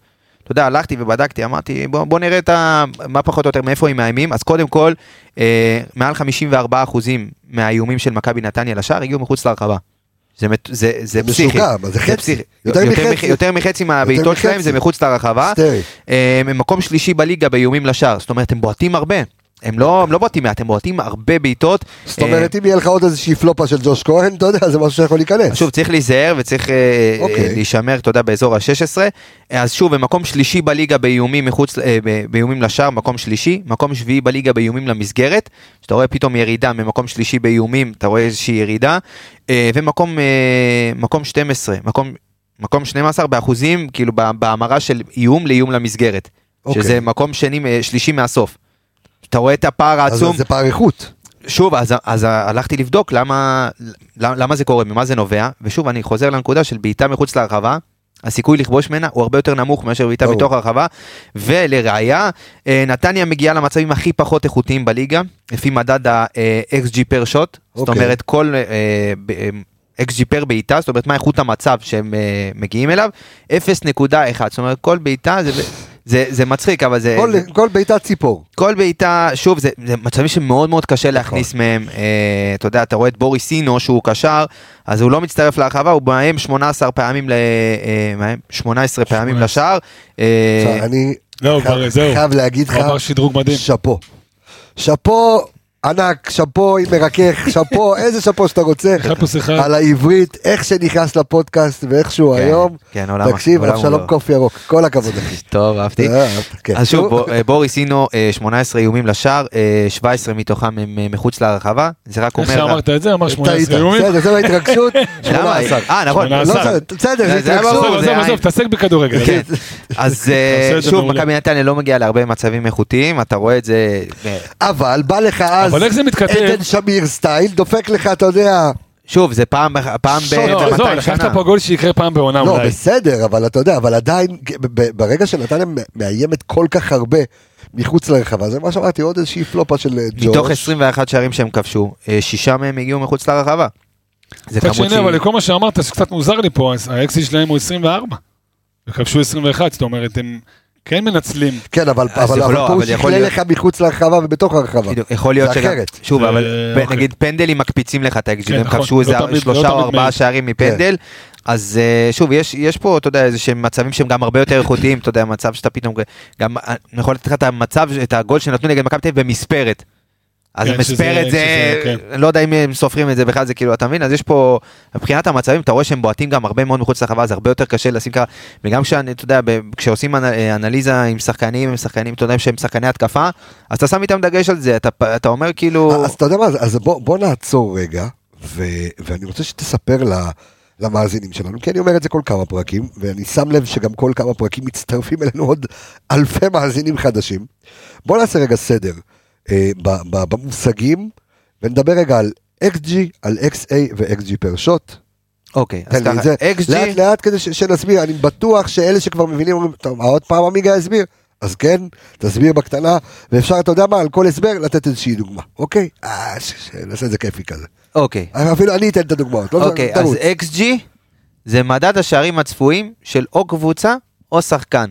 [SPEAKER 6] אתה יודע, הלכתי ובדקתי, אמרתי, בוא, בוא נראה את ה... מה פחות או יותר, מאיפה הם מאיימים. אז קודם כל, אה, מעל 54% מהאיומים של מכבי נתניה לשער הגיעו מחוץ לרחבה. זה, מת- זה, זה
[SPEAKER 1] זה
[SPEAKER 6] פסיכי.
[SPEAKER 1] משוגע, אבל זה חצי.
[SPEAKER 6] פסיכי.
[SPEAKER 1] יותר מחצי.
[SPEAKER 6] מח- יותר מחצי מהבעיטות
[SPEAKER 1] מחצי.
[SPEAKER 6] שלהם זה מחוץ לרחבה.
[SPEAKER 1] היסטרי.
[SPEAKER 6] אה, הם מקום שלישי בליגה באיומים לשער, זאת אומרת הם בועטים הרבה. הם לא, הם לא בועטים מעט, הם בועטים הרבה בעיטות.
[SPEAKER 1] זאת אומרת, אם יהיה לך עוד איזושהי פלופה של ג'וש כהן, אתה יודע, זה משהו שיכול
[SPEAKER 6] אה,
[SPEAKER 1] להיכנס.
[SPEAKER 6] שוב, צריך להיזהר וצריך אה,
[SPEAKER 1] אוקיי.
[SPEAKER 6] אה, להישמר, אתה יודע, באזור ה-16. אז שוב, הם מקום שלישי בליגה באיומים מחוץ, אה, ב- באיומים לשער, מקום שלישי. מקום שביעי בליגה באיומים למסגרת. שאתה רואה פתאום ירידה ממקום שלישי באיומים, אתה רואה איזושהי ירידה. אה, ומקום אה, מקום 12, מקום, מקום 12 באחוזים, כאילו ב- בהמרה של איום לאיום למסגרת.
[SPEAKER 1] אוקיי.
[SPEAKER 6] שזה מקום שני, אה, שלישי מהסוף. אתה רואה את הפער
[SPEAKER 1] אז
[SPEAKER 6] העצום.
[SPEAKER 1] זה פער איכות.
[SPEAKER 6] שוב, אז, אז הלכתי לבדוק למה, למה, למה זה קורה, ממה זה נובע, ושוב, אני חוזר לנקודה של בעיטה מחוץ לרחבה, הסיכוי לכבוש ממנה הוא הרבה יותר נמוך מאשר בעיטה
[SPEAKER 1] ברור.
[SPEAKER 6] מתוך הרחבה, ולראיה, אה, נתניה מגיעה למצבים הכי פחות איכותיים בליגה, לפי מדד ה-XG פר שוט, זאת
[SPEAKER 1] אוקיי.
[SPEAKER 6] אומרת כל אה, XG פר בעיטה, זאת אומרת מה איכות המצב שהם אה, מגיעים אליו, 0.1, זאת אומרת כל בעיטה זה... זה, זה מצחיק, אבל אה, זה... אה.
[SPEAKER 1] כל- כל בעיטת ציפור.
[SPEAKER 6] כל בעיטה, שוב, זה, זה מצבים שמאוד מאוד
[SPEAKER 1] נכון.
[SPEAKER 6] קשה להכניס מהם. אה, אתה יודע, אתה רואה את בוריס אינו שהוא קשר, אז הוא לא מצטרף להרחבה, הוא מאיים 18 פעמים, ל, אה, מאיים 18 פעמים לשער. אה,
[SPEAKER 1] עכשיו, אני
[SPEAKER 5] לא,
[SPEAKER 1] חייב-
[SPEAKER 5] כבר זהו.
[SPEAKER 1] חייב להגיד לך,
[SPEAKER 5] הוא עבר שדרוג מדהים.
[SPEAKER 1] שאפו. שאפו ענק, שאפו עם מרכך, שאפו, איזה שאפו שאתה רוצה.
[SPEAKER 5] הייתה פה שיחה,
[SPEAKER 1] על העברית, איך שנכנס לפודקאסט ואיך שהוא
[SPEAKER 6] כן,
[SPEAKER 1] היום.
[SPEAKER 6] כן, עולם-
[SPEAKER 1] תקשיב,
[SPEAKER 6] עולם
[SPEAKER 1] אבשלום
[SPEAKER 6] ומלואו.
[SPEAKER 1] קוף ירוק, כל הכבוד אחי.
[SPEAKER 6] טוב, אהבתי.
[SPEAKER 1] אה, כן.
[SPEAKER 6] אז שוב, בור- אה, בוריס אינו, אה, 18 איומים לשער, אה, 17 מתוכם הם אה, מחוץ להרחבה, זה רק
[SPEAKER 5] איך
[SPEAKER 6] אומר...
[SPEAKER 5] שאמרת את זה, אמר
[SPEAKER 6] אה,
[SPEAKER 5] 18
[SPEAKER 1] טעית,
[SPEAKER 5] איומים.
[SPEAKER 1] בסדר, זו ההתרגשות,
[SPEAKER 6] למה?
[SPEAKER 1] 18.
[SPEAKER 6] אה, נכון.
[SPEAKER 1] לא,
[SPEAKER 5] 18.
[SPEAKER 1] בסדר, בסדר,
[SPEAKER 6] זה
[SPEAKER 1] זה
[SPEAKER 6] היה
[SPEAKER 1] התרגשות.
[SPEAKER 6] ברור,
[SPEAKER 5] עזוב,
[SPEAKER 6] זה
[SPEAKER 5] עזוב,
[SPEAKER 6] עין.
[SPEAKER 5] עזוב, תעסק בכדורגל.
[SPEAKER 6] כן. אז אה,
[SPEAKER 5] עושה את זה
[SPEAKER 6] שוב,
[SPEAKER 5] מעולה.
[SPEAKER 6] מכבי נתניה לא מגיעה להרבה מצבים איכותיים, אתה רואה את זה... אה,
[SPEAKER 1] אבל בא לך אז,
[SPEAKER 5] אבל איך זה מתכתב?
[SPEAKER 1] עדן שמיר סטייל, דופק לך, אתה יודע,
[SPEAKER 6] שוב, זה פעם, פעם ב...
[SPEAKER 1] לא,
[SPEAKER 5] לא,
[SPEAKER 6] ב-
[SPEAKER 5] עזוב,
[SPEAKER 6] 200
[SPEAKER 5] לקחת
[SPEAKER 6] שנה.
[SPEAKER 5] פה גול שיקרה פעם בעונה
[SPEAKER 1] לא,
[SPEAKER 5] אולי.
[SPEAKER 1] בסדר, אבל אתה יודע, אבל עדיין, ב- ב- ברגע שנתניה מאיימת כל כך הרבה מחוץ לרחבה, זה מה שאמרתי, עוד איזושהי פלופה של אה, ג'ורג'.
[SPEAKER 6] מתוך 21 שערים שהם כבשו, אה, שישה מהם הגיעו מחוץ לרחבה. זה
[SPEAKER 5] מצד
[SPEAKER 6] כמות
[SPEAKER 5] שני,
[SPEAKER 6] שהיא...
[SPEAKER 5] אבל לכל מה שאמרת, שקצת מוזר לי פה, אז האקסיט שלהם הוא 24. וכבשו 21, זאת אומרת, הם כן מנצלים.
[SPEAKER 1] כן, אבל
[SPEAKER 6] אז
[SPEAKER 1] אבל-
[SPEAKER 6] יכול-
[SPEAKER 1] אבל
[SPEAKER 6] לא,
[SPEAKER 1] פה הוא
[SPEAKER 6] אבל יכול
[SPEAKER 1] שכלל
[SPEAKER 6] להיות-
[SPEAKER 1] לך מחוץ לרחבה ובתוך הרחבה.
[SPEAKER 6] בדיוק, יכול להיות
[SPEAKER 1] זה
[SPEAKER 6] שגם,
[SPEAKER 1] אחרת.
[SPEAKER 6] שוב,
[SPEAKER 5] זה-
[SPEAKER 6] אבל ב-
[SPEAKER 5] אוקיי.
[SPEAKER 6] נגיד פנדלים מקפיצים לך את האקזיט,
[SPEAKER 5] כן,
[SPEAKER 6] הם
[SPEAKER 5] נכון,
[SPEAKER 6] כבשו איזה
[SPEAKER 5] לא תמיד-
[SPEAKER 6] שלושה
[SPEAKER 5] לא
[SPEAKER 6] או
[SPEAKER 5] תמיד
[SPEAKER 6] ארבעה
[SPEAKER 5] מעיד.
[SPEAKER 6] שערים מפנדל, אז אה, שוב, יש- יש פה, אתה יודע, איזה שהם מצבים שהם גם הרבה יותר איכותיים, אתה יודע, מצב שאתה פתאום, גם, אה, אני יכול לתת לך את המצב, את הגול שנתנו נגד מכבי תל אביב במספרת. אז
[SPEAKER 5] כן,
[SPEAKER 6] המספרת
[SPEAKER 5] שזה-
[SPEAKER 6] זה,
[SPEAKER 5] שזה- כן.
[SPEAKER 6] אני לא יודע אם הם סופרים את זה בכלל, זה כאילו, אתה מבין? אז יש פה, מבחינת המצבים, אתה רואה שהם בועטים גם הרבה מאוד מחוץ לחווה, זה הרבה יותר קשה לשים ככה, וגם כשאני, אתה יודע, ב- כשעושים אנ- אה, אנליזה עם שחקנים, עם שחקנים, אתה יודע, שהם שחקני התקפה, אז אתה שם איתם דגש על זה, אתה פ- אתה אומר כאילו,
[SPEAKER 1] אה, אז אתה יודע מה, אז בוא, בוא נעצור רגע, ו, ואני רוצה שתספר ל, למאזינים שלנו, כי אני אומר את זה כל כמה פרקים, ואני שם לב שגם כל כמה פרקים מצטרפים אלינו עוד אלפי מאזינים חדשים. בוא נעשה רגע סדר אה, ב, ב, במושגים, ונדבר רגע על XG, על XA ו-XG פר שוט.
[SPEAKER 6] אוקיי, אז
[SPEAKER 1] תן לי
[SPEAKER 6] ככה,
[SPEAKER 1] את זה,
[SPEAKER 6] XG,
[SPEAKER 1] לאט לאט כדי ש, שנסביר, אני בטוח שאלה שכבר מבינים אומרים, טוב, עוד פעם עמיגה הסביר, אז כן, תסביר בקטנה, ואפשר, אתה יודע מה, על כל הסבר לתת איזושהי דוגמה, אוקיי? אה, ש- ש- נעשה את זה כיפי כזה.
[SPEAKER 6] אוקיי,
[SPEAKER 1] אפילו אני אתן את הדוגמאות, לא
[SPEAKER 6] אוקיי, אז
[SPEAKER 1] תרוץ.
[SPEAKER 6] XG זה מדד השערים הצפויים של או קבוצה או שחקן.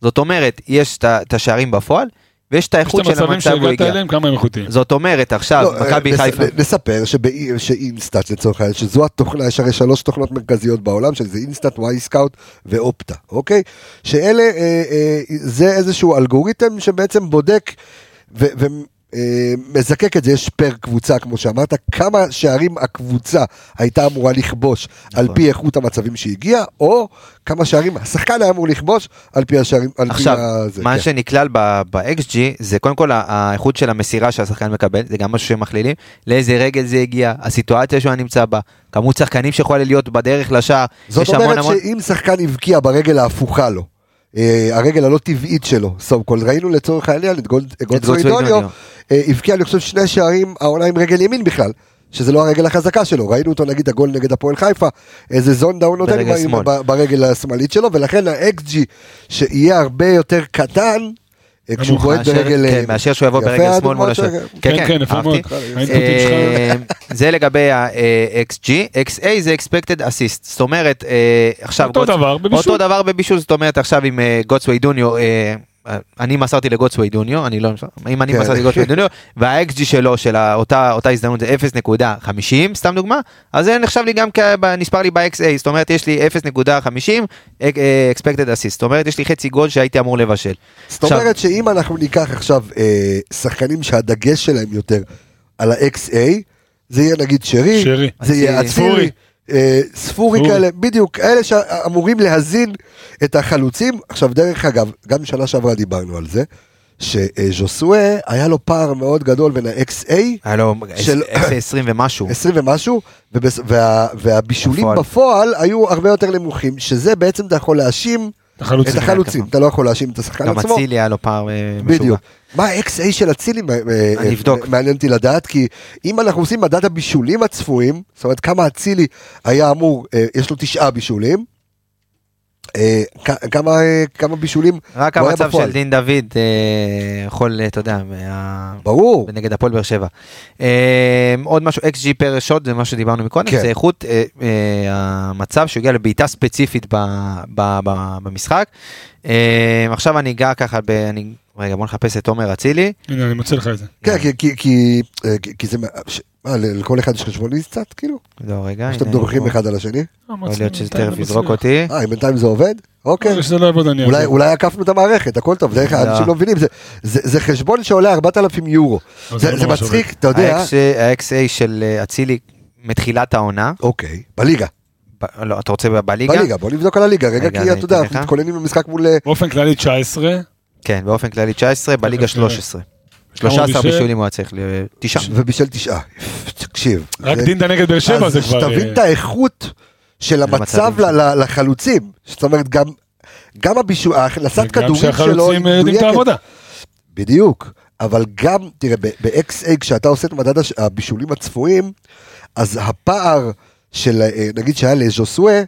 [SPEAKER 6] זאת אומרת, יש את ה- את השערים בפועל, ויש את
[SPEAKER 5] יש את
[SPEAKER 6] האיכות של
[SPEAKER 5] המצבים
[SPEAKER 6] המצב הוא
[SPEAKER 5] שהגעת
[SPEAKER 6] הגיע.
[SPEAKER 5] אליהם, כמה הם איכותיים.
[SPEAKER 6] זאת אומרת, עכשיו,
[SPEAKER 1] לא,
[SPEAKER 6] מכבי
[SPEAKER 1] נס-
[SPEAKER 6] חיפה,
[SPEAKER 1] נספר שבאי- שאינסטאט לצורך העניין, שזו התוכנה, יש הרי שלוש תוכנות מרכזיות בעולם, שזה אינסטאט, וואי סקאוט ואופטה, אוקיי? שאלה, אה, אה, זה איזשהו אלגוריתם שבעצם בודק ו- ו- אה, מזקק את זה, יש פר קבוצה, כמו שאמרת, כמה שערים הקבוצה הייתה אמורה לכבוש על
[SPEAKER 6] נכון.
[SPEAKER 1] פי איכות המצבים שהגיעה, או כמה שערים השחקן היה אמור לכבוש על פי השערים, על פי
[SPEAKER 6] עכשיו,
[SPEAKER 1] הזה,
[SPEAKER 6] מה
[SPEAKER 1] כן.
[SPEAKER 6] שנכלל ב-XG זה קודם כל ה- האיכות של המסירה שהשחקן מקבל, זה גם משהו שמכלילים, לאיזה רגל זה הגיע, הסיטואציה שהוא היה נמצא בה, כמות שחקנים שיכולה להיות בדרך לשער,
[SPEAKER 1] זאת
[SPEAKER 6] יש המון
[SPEAKER 1] אומרת
[SPEAKER 6] המון-
[SPEAKER 1] שאם שחקן הבקיע ברגל ההפוכה לו, אה, הרגל הלא טבעית שלו, סוף כל, ראינו לצורך העניין את גולד- את גולדסוידוניו,
[SPEAKER 6] גולדסוידוניו.
[SPEAKER 1] אה, הבקיע אני חושב שני שערים העונה עם רגל ימין בכלל, שזה לא הרגל החזקה שלו, ראינו אותו נגיד הגול נגד הפועל חיפה, איזה זונדה הוא נותן
[SPEAKER 6] ברגל
[SPEAKER 1] עם-
[SPEAKER 6] שמאל.
[SPEAKER 1] ב- ברגל השמאלית שלו, ולכן האקס ג'י שיהיה הרבה יותר קטן, אה, כשהוא
[SPEAKER 5] נמוך
[SPEAKER 1] בועט
[SPEAKER 6] מאשר-
[SPEAKER 1] ברגל...
[SPEAKER 6] כן,
[SPEAKER 1] אה,
[SPEAKER 6] מאשר שהוא יבוא
[SPEAKER 1] יפה,
[SPEAKER 6] ברגל שמאל
[SPEAKER 1] הדוגמאות
[SPEAKER 6] מול השוער.
[SPEAKER 1] האלה.
[SPEAKER 5] כן, כן, יפה
[SPEAKER 6] אהבתי.
[SPEAKER 5] מאוד. האינפוטים שלך.
[SPEAKER 6] אה, זה לגבי ה-XG, XA זה expected assist, זאת אומרת אה, עכשיו,
[SPEAKER 5] אותו
[SPEAKER 6] גוטס-
[SPEAKER 5] דבר בבישול.
[SPEAKER 6] אותו דבר בבישול, זאת אומרת עכשיו עם אה, גוטסווי דוניו, אה, אה, אני מסרתי לגוטסווי דוניו, אני לא, אם אני
[SPEAKER 1] כן.
[SPEAKER 6] מסרתי לגוטסווי דוניו, וה-XG שלו, של אותה אותה הזדמנות זה 0.50, סתם דוגמה, אז זה נחשב לי גם, כ- ב- נספר לי ב-XA, זאת אומרת יש לי 0.50 אה, אה, expected assist, זאת אומרת יש לי חצי גול שהייתי אמור לבשל.
[SPEAKER 1] זאת אומרת שאם אנחנו ניקח עכשיו אה, שחקנים שהדגש שלהם יותר על ה-XA, זה יהיה נגיד שרי,
[SPEAKER 5] שרי.
[SPEAKER 1] זה יהיה
[SPEAKER 6] אצילי.
[SPEAKER 1] אצילי, אה, ספורי
[SPEAKER 5] ספורי.
[SPEAKER 1] כאלה, בדיוק, אלה שאמורים להזין את החלוצים. עכשיו דרך אגב, גם שנה שעברה דיברנו על זה, שז'וסואה היה לו פער מאוד גדול בין ה-XA
[SPEAKER 6] היה לו
[SPEAKER 1] של-
[SPEAKER 6] XA 20 ומשהו.
[SPEAKER 1] 20 ומשהו, ובס... וה... והבישולים בפועל.
[SPEAKER 6] בפועל.
[SPEAKER 1] בפועל היו הרבה יותר נמוכים, שזה בעצם אתה יכול להאשים
[SPEAKER 5] החלוצים.
[SPEAKER 1] את החלוצים, אתה לא יכול להאשים את השחקן
[SPEAKER 6] גם
[SPEAKER 1] עצמו.
[SPEAKER 6] אצילי היה לו פער אה, משוגע.
[SPEAKER 1] בדיוק. מה ה-XA של אצילי מ-
[SPEAKER 6] אני
[SPEAKER 1] אה,
[SPEAKER 6] אבדוק.
[SPEAKER 1] מעניין אותי לדעת, כי אם אנחנו עושים מדד הבישולים הצפויים, זאת אומרת כמה אצילי היה אמור, אה, יש לו תשעה בישולים, אה, כ- כמה אה, כמה בישולים
[SPEAKER 6] רק
[SPEAKER 1] הוא היה
[SPEAKER 6] המצב
[SPEAKER 1] בפועל.
[SPEAKER 6] של דין דוד אה, יכול, אה, אתה יודע, מה-
[SPEAKER 1] ברור,
[SPEAKER 6] נגד הפועל באר שבע. אה, עוד משהו, XG פר שוט, זה מה שדיברנו מקודם,
[SPEAKER 1] כן.
[SPEAKER 6] זה איכות אה, אה, המצב שהוא הגיע לבעיטה ספציפית ב- ב- ב- במשחק. אה, עכשיו אני אגע ככה, ב- אני- רגע בוא נחפש את עומר אצילי.
[SPEAKER 5] הנה, אני מוצא לך את זה.
[SPEAKER 1] כן, כי- כי- כי אה, כי- כי זה, מה- ש- מה, ל- לכל אחד יש חשבונית קצת, כאילו?
[SPEAKER 6] לא, רגע. הנה,
[SPEAKER 1] שאתם
[SPEAKER 6] אני
[SPEAKER 1] דורכים
[SPEAKER 6] פה.
[SPEAKER 1] אחד על השני?
[SPEAKER 6] יכול להיות שזה תכף יזרוק אותי.
[SPEAKER 1] אה, אם בינתיים זה עובד? אוקיי.
[SPEAKER 5] שזה לא יעבוד אני
[SPEAKER 1] אולי,
[SPEAKER 5] אעזור.
[SPEAKER 1] אולי עקפנו את המערכת, הכל טוב, דרך אגב,
[SPEAKER 6] לא.
[SPEAKER 1] אנשים לא מבינים, זה, זה, זה חשבון שעולה 4,000 יורו.
[SPEAKER 5] לא, זה
[SPEAKER 1] זה,
[SPEAKER 5] לא
[SPEAKER 1] זה
[SPEAKER 5] ממש
[SPEAKER 1] מצחיק,
[SPEAKER 5] עובד.
[SPEAKER 1] אתה יודע,
[SPEAKER 6] ה-XA של אה, אצילי מתחילת העונה,
[SPEAKER 1] אוקיי, בליגה,
[SPEAKER 6] ב- לא, אתה רוצה ב- בליגה?
[SPEAKER 1] בליגה, בוא נבדוק על הליגה רגע,
[SPEAKER 6] רגע,
[SPEAKER 1] כי
[SPEAKER 6] אני
[SPEAKER 1] אתה יודע,
[SPEAKER 6] אתן
[SPEAKER 1] אנחנו
[SPEAKER 6] לך.
[SPEAKER 1] מתכוננים למשחק מול... אה,
[SPEAKER 5] באופן כללי 19,
[SPEAKER 6] כן, באופן כללי 19, בליגה
[SPEAKER 5] תכף נראה.
[SPEAKER 6] 13.
[SPEAKER 5] כמה הוא
[SPEAKER 6] 13
[SPEAKER 5] בישל?
[SPEAKER 6] בישולים הוא היה צריך, ל- תשעה.
[SPEAKER 1] ובישל תשעה, תקשיב.
[SPEAKER 5] רק
[SPEAKER 1] זה-
[SPEAKER 5] דינדה נגד באר שבע
[SPEAKER 1] אז
[SPEAKER 5] זה כבר...
[SPEAKER 1] שתבין
[SPEAKER 5] אה,
[SPEAKER 1] את האיכות של המצב
[SPEAKER 6] המצבים.
[SPEAKER 1] ל- ל- לחלוצים, זאת אומרת, גם... גם הבישול,
[SPEAKER 5] זה
[SPEAKER 1] הכנסת
[SPEAKER 5] גם
[SPEAKER 1] כדורים שלו היא
[SPEAKER 5] שהחלוצים אה, יודעים
[SPEAKER 1] מדויקת.
[SPEAKER 5] את העבודה.
[SPEAKER 1] בדיוק, אבל גם, תראה, ב- ב-XA כשאתה עושה את מדד הש- הבישולים הצפויים, אז הפער של, אה, נגיד שהיה לז'וסואה,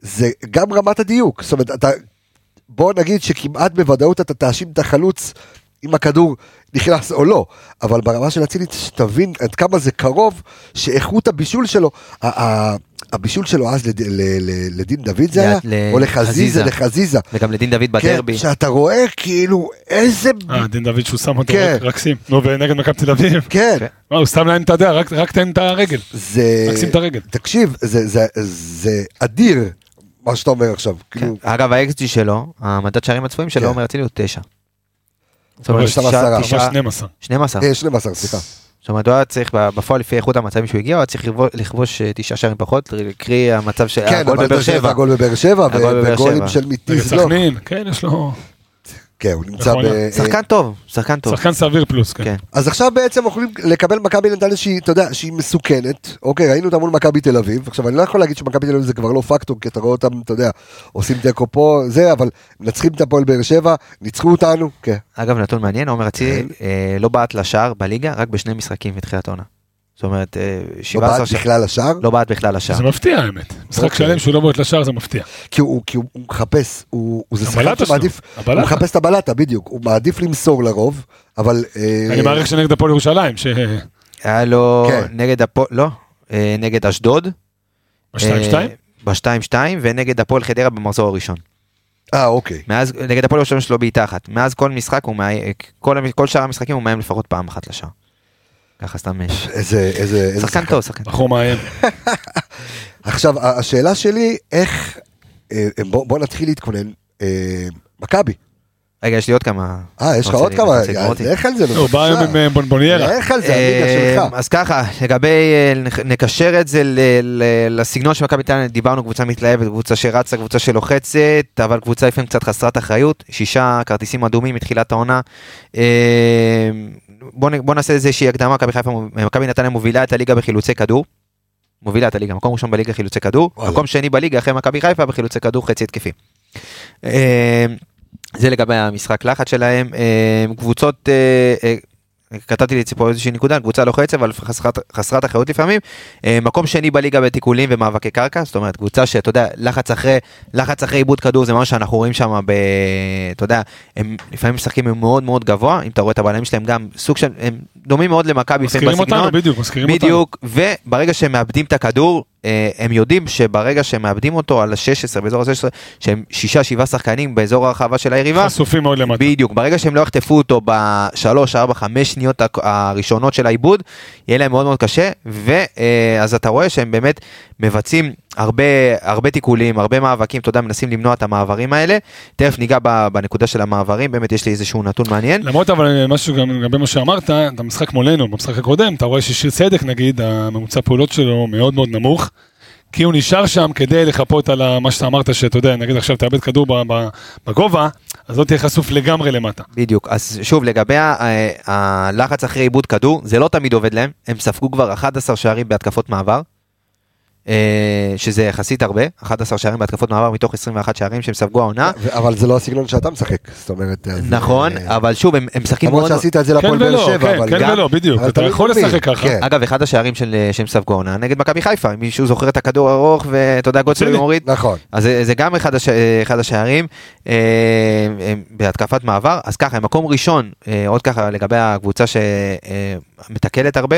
[SPEAKER 1] זה גם רמת הדיוק. זאת אומרת, אתה, בוא נגיד שכמעט בוודאות אתה תאשים את החלוץ אם הכדור נכנס או לא, אבל ברמה של אצילי, שתבין עד כמה זה קרוב, שאיכות הבישול שלו, ה- ה- הבישול שלו אז לד- ל- ל- לדין דוד זה
[SPEAKER 6] ל-
[SPEAKER 1] היה,
[SPEAKER 6] ל-
[SPEAKER 1] או לחזיזה,
[SPEAKER 6] חזיזה.
[SPEAKER 1] לחזיזה.
[SPEAKER 6] וגם לדין דוד בדרבי.
[SPEAKER 1] כן, שאתה רואה כאילו איזה...
[SPEAKER 5] אה, דין דוד שהוא שם אותו
[SPEAKER 1] כן.
[SPEAKER 5] רק- רק שים. נו, ונגד מכבי תל אביב.
[SPEAKER 1] כן,
[SPEAKER 6] כן.
[SPEAKER 5] מה, הוא שם להם את הדעה, רק- רק תן את הרגל.
[SPEAKER 1] זה...
[SPEAKER 5] רק שים את הרגל.
[SPEAKER 1] תקשיב, זה, זה, זה אדיר, מה שאתה אומר עכשיו.
[SPEAKER 6] כן.
[SPEAKER 1] כאילו,
[SPEAKER 6] אגב, ה-XG שלו, המדד שערים הצפויים
[SPEAKER 1] כן.
[SPEAKER 6] שלו, עומר אצילי הוא 9. זאת
[SPEAKER 5] אבל
[SPEAKER 6] אומרת,
[SPEAKER 1] שם
[SPEAKER 6] תשעה-
[SPEAKER 1] עשרה.
[SPEAKER 5] ממש
[SPEAKER 6] תשעה-
[SPEAKER 5] 12.
[SPEAKER 6] 12.
[SPEAKER 1] אה, 12, סליחה.
[SPEAKER 6] זאת אומרת, הוא היה צריך ב- בפועל לפי איכות המצבים שהוא הגיע, הוא היה צריך לבוא- לכבוש אה, תשעה שערים פחות, קרי המצב של
[SPEAKER 1] כן,
[SPEAKER 6] הגול
[SPEAKER 1] אבל
[SPEAKER 6] בבאר
[SPEAKER 1] אתה יודע,
[SPEAKER 6] שבע.
[SPEAKER 1] הגול בבאר שבע,
[SPEAKER 6] הגול
[SPEAKER 1] ו-
[SPEAKER 6] בבאר
[SPEAKER 1] וגולים
[SPEAKER 6] שבע.
[SPEAKER 1] של
[SPEAKER 5] נגד
[SPEAKER 1] מיטיז לא.
[SPEAKER 5] סכנין, כן, יש לו...
[SPEAKER 1] כן, הוא נמצא ב...
[SPEAKER 5] נכון,
[SPEAKER 1] אה,
[SPEAKER 6] שחקן טוב, שחקן טוב.
[SPEAKER 5] שחקן סביר פלוס, כן.
[SPEAKER 6] כן.
[SPEAKER 1] אז עכשיו בעצם יכולים לקבל מכבי נתניה שהיא, אתה יודע, שהיא מסוכנת. אוקיי, ראינו אותה מול מכבי תל אביב. עכשיו, אני לא יכול להגיד שמכבי תל אביב זה כבר לא פקטור, כי אתה רואה אותם, אתה יודע, עושים תיקו פה, זה, אבל מנצחים את הפועל באר שבע, ניצחו אותנו, כן.
[SPEAKER 6] אגב, נתון מעניין, עומר אצילי אה, לא בעט לשער בליגה, רק בשני משחקים מתחילת העונה. זאת אומרת, אה,
[SPEAKER 1] לא
[SPEAKER 6] 17
[SPEAKER 1] בעט
[SPEAKER 6] שער-
[SPEAKER 1] בכלל לשער.
[SPEAKER 6] לא בעט בכלל לשער.
[SPEAKER 5] זה מפתיע האמת. משחק
[SPEAKER 1] אוקיי. אה,
[SPEAKER 5] שלם שהוא לא בועט לשער זה מפתיע.
[SPEAKER 1] כי הוא, כי הוא הוא מחפש, הוא, הוא זה שחקן
[SPEAKER 5] הבלטה שלו,
[SPEAKER 1] שמעדיף, הוא
[SPEAKER 5] הבלטה.
[SPEAKER 1] מחפש את הבלטה בדיוק, הוא מעדיף למסור לרוב, אבל... אה,
[SPEAKER 5] אני מעריך שנגד הפועל ירושלים, ש...
[SPEAKER 6] היה לו
[SPEAKER 1] כן.
[SPEAKER 6] נגד הפועל, לא, אה, נגד אשדוד.
[SPEAKER 5] ב-2-2?
[SPEAKER 6] ב-2-2 ונגד הפועל חדרה במחזור הראשון.
[SPEAKER 1] אה, אוקיי.
[SPEAKER 6] מאז, נגד הפועל ירושלים יש לו בעיטה אחת. מאז כל משחק הוא מאיים, כל, המ- כל שאר המשחקים הוא מאיים לפחות פעם אחת לשער. ככה סתם יש.
[SPEAKER 1] איזה, איזה, איזה
[SPEAKER 6] שחקן טוב, שחקן.
[SPEAKER 5] בחור מאיים.
[SPEAKER 1] אה, עכשיו, ה- השאלה שלי, איך... אה, בוא, בוא נתחיל להתכונן. אה, מכבי.
[SPEAKER 6] רגע, יש לי עוד כמה.
[SPEAKER 1] אה, יש לך
[SPEAKER 6] רוצה
[SPEAKER 1] עוד
[SPEAKER 6] לי-
[SPEAKER 1] כמה,
[SPEAKER 6] רוצה לגמור
[SPEAKER 1] אז
[SPEAKER 6] אותי.
[SPEAKER 1] לך על זה,
[SPEAKER 5] הוא בא היום עם אה, בונבוניירה.
[SPEAKER 1] לך על זה, הליגה
[SPEAKER 6] אה,
[SPEAKER 1] שלך.
[SPEAKER 6] אז ככה, לגבי, אה, נק- נקשר את זה ל- ל- לסגנון של מכבי תל אביב, דיברנו קבוצה מתלהבת, קבוצה שרצה, קבוצה שלוחצת, אבל קבוצה לפעמים קצת חסרת אחריות, שישה כרטיסים אדומים מתחילת העונה. אה, בוא נ- בוא נעשה איזושהי הקדמה, מכבי חיפה, מוב- מכבי נתניה מובילה את הליגה בחילוצי כדור. מובילה את הליגה, מקום ראשון בליגה חילוצי כדור,
[SPEAKER 1] וואלה.
[SPEAKER 6] מקום שני בליגה אחרי מכבי חיפה בחילוצי כדור חצי התקפי. אה, זה לגבי המשחק לחץ שלהם, אה, קבוצות, אה, אה, כתבתי לי פה איזושהי נקודה, קבוצה לוחצת אבל חסרת, חסרת אחריות לפעמים, אה, מקום שני בליגה בתיקולים ומאבקי קרקע, זאת אומרת קבוצה שאתה יודע, לחץ אחרי, לחץ אחרי עיבוד כדור זה משהו שאנחנו רואים שם, ב- אתה יודע, הם לפעמים משחקים הם מאוד מאוד גבוה, אם אתה רואה את הבעלים שלהם גם סוג של, הם דומים מאוד למכבי לפעמים
[SPEAKER 5] מזכירים אותנו,
[SPEAKER 6] בסגנון,
[SPEAKER 5] בדיוק, מזכירים אותנו.
[SPEAKER 6] בדיוק, וברגע שהם מאבדים את הכדור, אה, הם יודעים שברגע שהם מאבדים אותו על ה-16, באזור ה-16, שהם שישה, שבעה שחקנים באזור הרחבה של היריבה,
[SPEAKER 5] חשופים מאוד למטה.
[SPEAKER 6] בדיוק, ברגע שהם לא יחטפו אותו בשלוש, ארבע, חמש שניות הכ- הראשונות של העיבוד, יהיה להם מאוד מאוד קשה, ואז אתה רואה שהם באמת מבצעים הרבה, הרבה תיקולים, הרבה מאבקים, אתה יודע, מנסים למנוע את המעברים האלה. תכף ניגע ב- בנקודה של המעברים, באמת יש לי איזשהו נתון מעניין.
[SPEAKER 5] למרות אבל אה, משהו גם לגבי מה שאמרת, את המשחק מולנו, במשחק הקודם, אתה רואה ששיר צדק נגיד, הממוצע פעולות שלו מאוד מאוד נמוך, כי הוא נשאר שם כדי לחפות על ה- מה שאתה אמרת, שאתה יודע, נגיד עכשיו תאבד כדור ב- ב- בגובה, אז לא תהיה חשוף לגמרי למטה.
[SPEAKER 6] בדיוק, אז שוב לגבי ה- ה- הלחץ אחרי עיבוד כדור, זה לא תמיד עובד להם, הם ספגו כבר 11 שערים בהתקפות מעבר, אה, שזה יחסית הרבה, 11 שערים בהתקפות מעבר מתוך 21 שערים שהם ספגו העונה,
[SPEAKER 1] ו- אבל זה לא הסגנון שאתה משחק, זאת אומרת... אז,
[SPEAKER 6] נכון,
[SPEAKER 1] אה,
[SPEAKER 6] אבל שוב הם הם משחקים
[SPEAKER 1] למרות
[SPEAKER 6] מאוד,
[SPEAKER 1] שעשית את זה
[SPEAKER 5] כן
[SPEAKER 1] להפועל באר
[SPEAKER 5] ולא,
[SPEAKER 1] שבע,
[SPEAKER 5] כן,
[SPEAKER 1] אבל
[SPEAKER 5] כן
[SPEAKER 1] גם...
[SPEAKER 5] ולא, בדיוק,
[SPEAKER 1] אבל
[SPEAKER 5] אתה
[SPEAKER 1] תמיד
[SPEAKER 5] יכול
[SPEAKER 1] מוביל,
[SPEAKER 5] לשחק ככה.
[SPEAKER 1] כן.
[SPEAKER 6] אגב אחד השערים של- שהם ספגו העונה נגד מכבי חיפה, אם מישהו זוכר את הכדור הארוך ואתה יודע גודסלוי
[SPEAKER 5] פיני.
[SPEAKER 6] מוריד,
[SPEAKER 1] נכון.
[SPEAKER 6] אז זה, זה גם אחד, הש... אה, אחד השערים אה, אה, בהתקפת מעבר. אז ככה, מקום ראשון, אה, עוד ככה לגבי הקבוצה שמתקלת הרבה,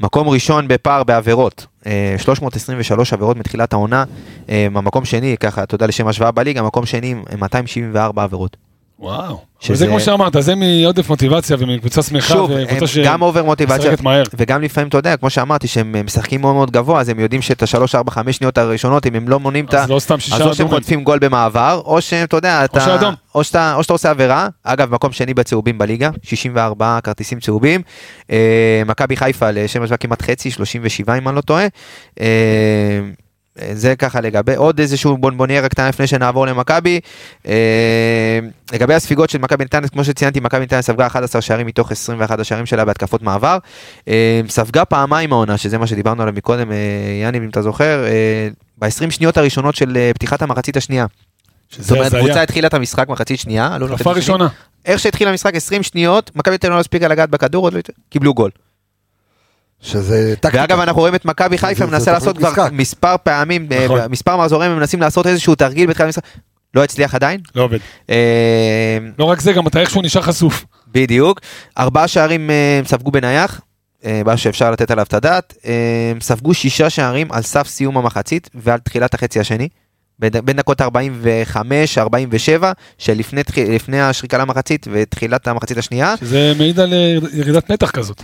[SPEAKER 6] מקום ראשון בפער בעבירות. אה, 323 עבירות מתחילת העונה, אה, המקום שני, ככה, תודה לשם השוואה בליגה, מקום שני אה, עם 274 עבירות.
[SPEAKER 5] וואו.
[SPEAKER 6] שזה-
[SPEAKER 5] שזה כמו שאמרת, זה מעודף מוטיבציה ומקבוצה שמחה,
[SPEAKER 6] שוב,
[SPEAKER 5] וקבוצה
[SPEAKER 6] הם גם אובר מוטיבציה,
[SPEAKER 5] שמשחקת מהר.
[SPEAKER 6] וגם לפעמים, אתה יודע, כמו שאמרתי, שהם אה, משחקים מאוד מאוד גבוה, אז הם יודעים שאת השלוש, ארבע, חמש שניות הראשונות, אם הם לא מונעים את ה...
[SPEAKER 5] אז לא סתם
[SPEAKER 6] אז
[SPEAKER 5] שישה
[SPEAKER 6] או שהם
[SPEAKER 5] אדומים.
[SPEAKER 6] חוטפים גול במעבר, או שאתה יודע, אתה,
[SPEAKER 5] שאדום.
[SPEAKER 6] או, שאתה, או שאתה עושה עבירה, אגב, מקום שני בצהובים בליגה, 64 כרטיסים צהובים, אה, מכבי חיפה לשם השוואה כמעט חצי, 37 אם אני לא טועה, אה, זה ככה לגבי עוד איזשהו בונבוניירה קטנה לפני שנעבור למכבי. אה, לגבי הספיגות של מכבי נתניה, כמו שציינתי, מכבי נתניה ספגה 11 שערים מתוך 21 השערים שלה בהתקפות מעבר. אה, ספגה פעמיים העונה, שזה מה שדיברנו עליו מקודם, אה, יאני, אם אתה זוכר, ב-20 שניות הראשונות של אה, פתיחת המחצית השנייה. זאת
[SPEAKER 5] שזה
[SPEAKER 6] אומרת, קבוצה
[SPEAKER 5] הזיה.
[SPEAKER 6] התחילה את המשחק מחצית שנייה, עלו
[SPEAKER 5] התקפה
[SPEAKER 6] לחצי שני.
[SPEAKER 5] ראשונה.
[SPEAKER 6] איך שהתחיל המשחק 20 שניות, מכבי תל אביב לא הספיקה לגעת בכדור, עוד לא הת- קיבלו גול.
[SPEAKER 1] שזה טקטיקה.
[SPEAKER 6] ואגב אנחנו רואים את מכבי
[SPEAKER 1] זה-
[SPEAKER 6] חיפה
[SPEAKER 1] זה
[SPEAKER 6] מנסה
[SPEAKER 1] תוכנית
[SPEAKER 6] לעשות כבר
[SPEAKER 1] משחק.
[SPEAKER 6] מספר פעמים, אה,
[SPEAKER 5] נכון.
[SPEAKER 6] מספר מחזורים הם מנסים לעשות איזשהו תרגיל בתחילת המשחק, לא הצליח עדיין.
[SPEAKER 5] לא עובד.
[SPEAKER 6] אה,
[SPEAKER 5] לא רק זה, גם אתה איכשהו נשאר חשוף.
[SPEAKER 6] בדיוק. ארבעה שערים אה, הם ספגו בנייח, אה, מה שאפשר לתת עליו את הדעת. אה, הם ספגו שישה שערים על סף סיום המחצית ועל תחילת החצי השני. בד- בין דקות 45-47 שלפני תח- לפני השריקה למחצית ותחילת המחצית השנייה.
[SPEAKER 5] שזה מעיד על אה, ירידת מתח כזאת.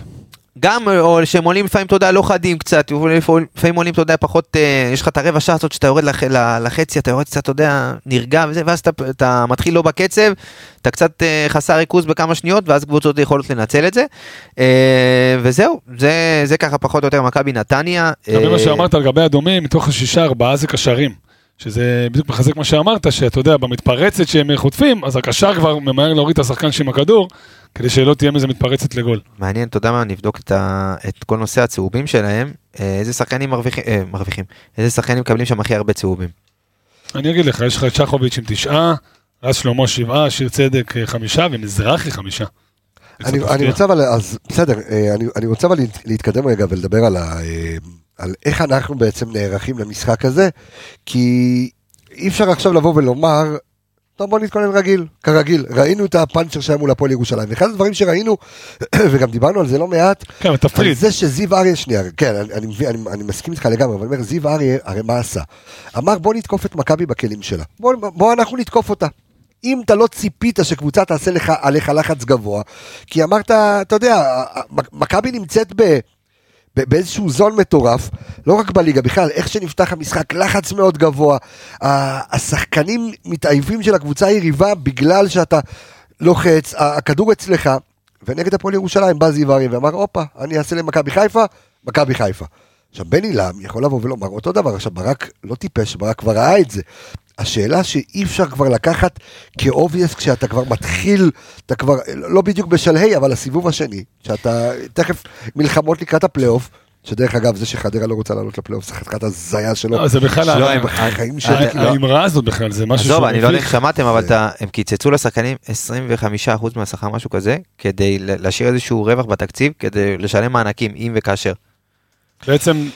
[SPEAKER 6] גם אה, או שהם עולים לפעמים אתה יודע לא חדים קצת לפעמים עולים אתה יודע פחות אה, יש לך את הרבע שעה הזאת שאתה יורד לח, ל- לחצי אתה יורד קצת אתה יודע נרגע וזה ואז אתה, אתה מתחיל לא בקצב אתה קצת אה, חסר ריכוז בכמה שניות ואז קבוצות יכולות לנצל את זה אה, וזהו זה זה ככה פחות או יותר מכבי נתניה.
[SPEAKER 5] לגבי מה
[SPEAKER 6] אה,
[SPEAKER 5] שאמרת לגבי אדומים, מתוך השישה ארבעה זה קשרים. שזה בדיוק מחזק מה שאמרת, שאתה יודע, במתפרצת שהם חוטפים, אז הקשר כבר ממהר להוריד את השחקן שעם הכדור, כדי שלא תהיה מזה מתפרצת לגול.
[SPEAKER 6] מעניין, אתה יודע מה, נבדוק את, ה... את כל נושא הצהובים שלהם, אה, איזה שחקנים מרוויחים, אה, מרוויחים, איזה שחקנים מקבלים שם הכי הרבה צהובים.
[SPEAKER 5] אני אגיד לך, יש לך את שחוביץ' עם תשעה, רז שלמה שבעה, שיר צדק אה, חמישה, ומזרחי חמישה. זה
[SPEAKER 1] אני,
[SPEAKER 5] קצת
[SPEAKER 1] אני
[SPEAKER 5] מפתיע.
[SPEAKER 1] רוצה אבל, אז בסדר, אה, אני, אני רוצה אבל להת- להתקדם רגע ולדבר על, ה, אה, על איך אנחנו בעצם נערכים למשחק הזה, כי אי אפשר עכשיו לבוא ולומר, טוב בוא נתכונן רגיל, כרגיל, ראינו את הפאנצ'ר שהיה מול הפועל ירושלים, ואחד הדברים שראינו, וגם דיברנו על זה לא מעט,
[SPEAKER 5] כן, אבל
[SPEAKER 1] על
[SPEAKER 5] תפריד.
[SPEAKER 1] זה שזיו אריה, שנייה, כן, אני, אני, מבין, אני, אני מסכים איתך לגמרי, אבל אני אומר, זיו אריה, הרי מה עשה? אמר בוא נתקוף את מכבי בכלים שלה, בוא, בוא אנחנו נתקוף אותה. אם אתה לא ציפית שקבוצה תעשה לך, עליך לחץ גבוה, כי אמרת, אתה יודע, מכבי נמצאת ב... ב- באיזשהו זון מטורף, לא רק בליגה, בכלל, איך שנפתח המשחק, לחץ מאוד גבוה, ה- השחקנים מתעייבים של הקבוצה היריבה בגלל שאתה לוחץ, ה- הכדור אצלך, ונגד הפועל ירושלים בא זיו הרי ואמר, הופה, אני אעשה למכבי חיפה, מכבי חיפה. עכשיו, בן עילם יכול לבוא ולומר אותו דבר, עכשיו, ברק לא טיפש, ברק כבר ראה את זה. השאלה שאי אפשר כבר לקחת כאובייס כשאתה כבר מתחיל, אתה כבר, לא בדיוק בשלהי, אבל הסיבוב השני, שאתה תכף מלחמות לקראת הפלייאוף, שדרך אגב, זה שחדרה לא רוצה לעלות לפלייאוף, זה חתיכת הזיה שלו.
[SPEAKER 5] לא, זה בכלל
[SPEAKER 1] שלא
[SPEAKER 5] ה-
[SPEAKER 1] היה
[SPEAKER 6] הם-
[SPEAKER 1] בחיים
[SPEAKER 6] אה,
[SPEAKER 1] שלי. כאילו,
[SPEAKER 6] אה, לא.
[SPEAKER 5] האמרה הזאת בכלל, זה משהו
[SPEAKER 6] עזוב, אני לא יודע אם
[SPEAKER 5] מביך.
[SPEAKER 6] שמעתם, אבל אתה- הם קיצצו לשחקנים 25% מהשכר, משהו כזה, כדי ל- להשאיר איזשהו רווח בתקציב, כדי לשלם מענקים, אם וכאשר.
[SPEAKER 5] בעצם,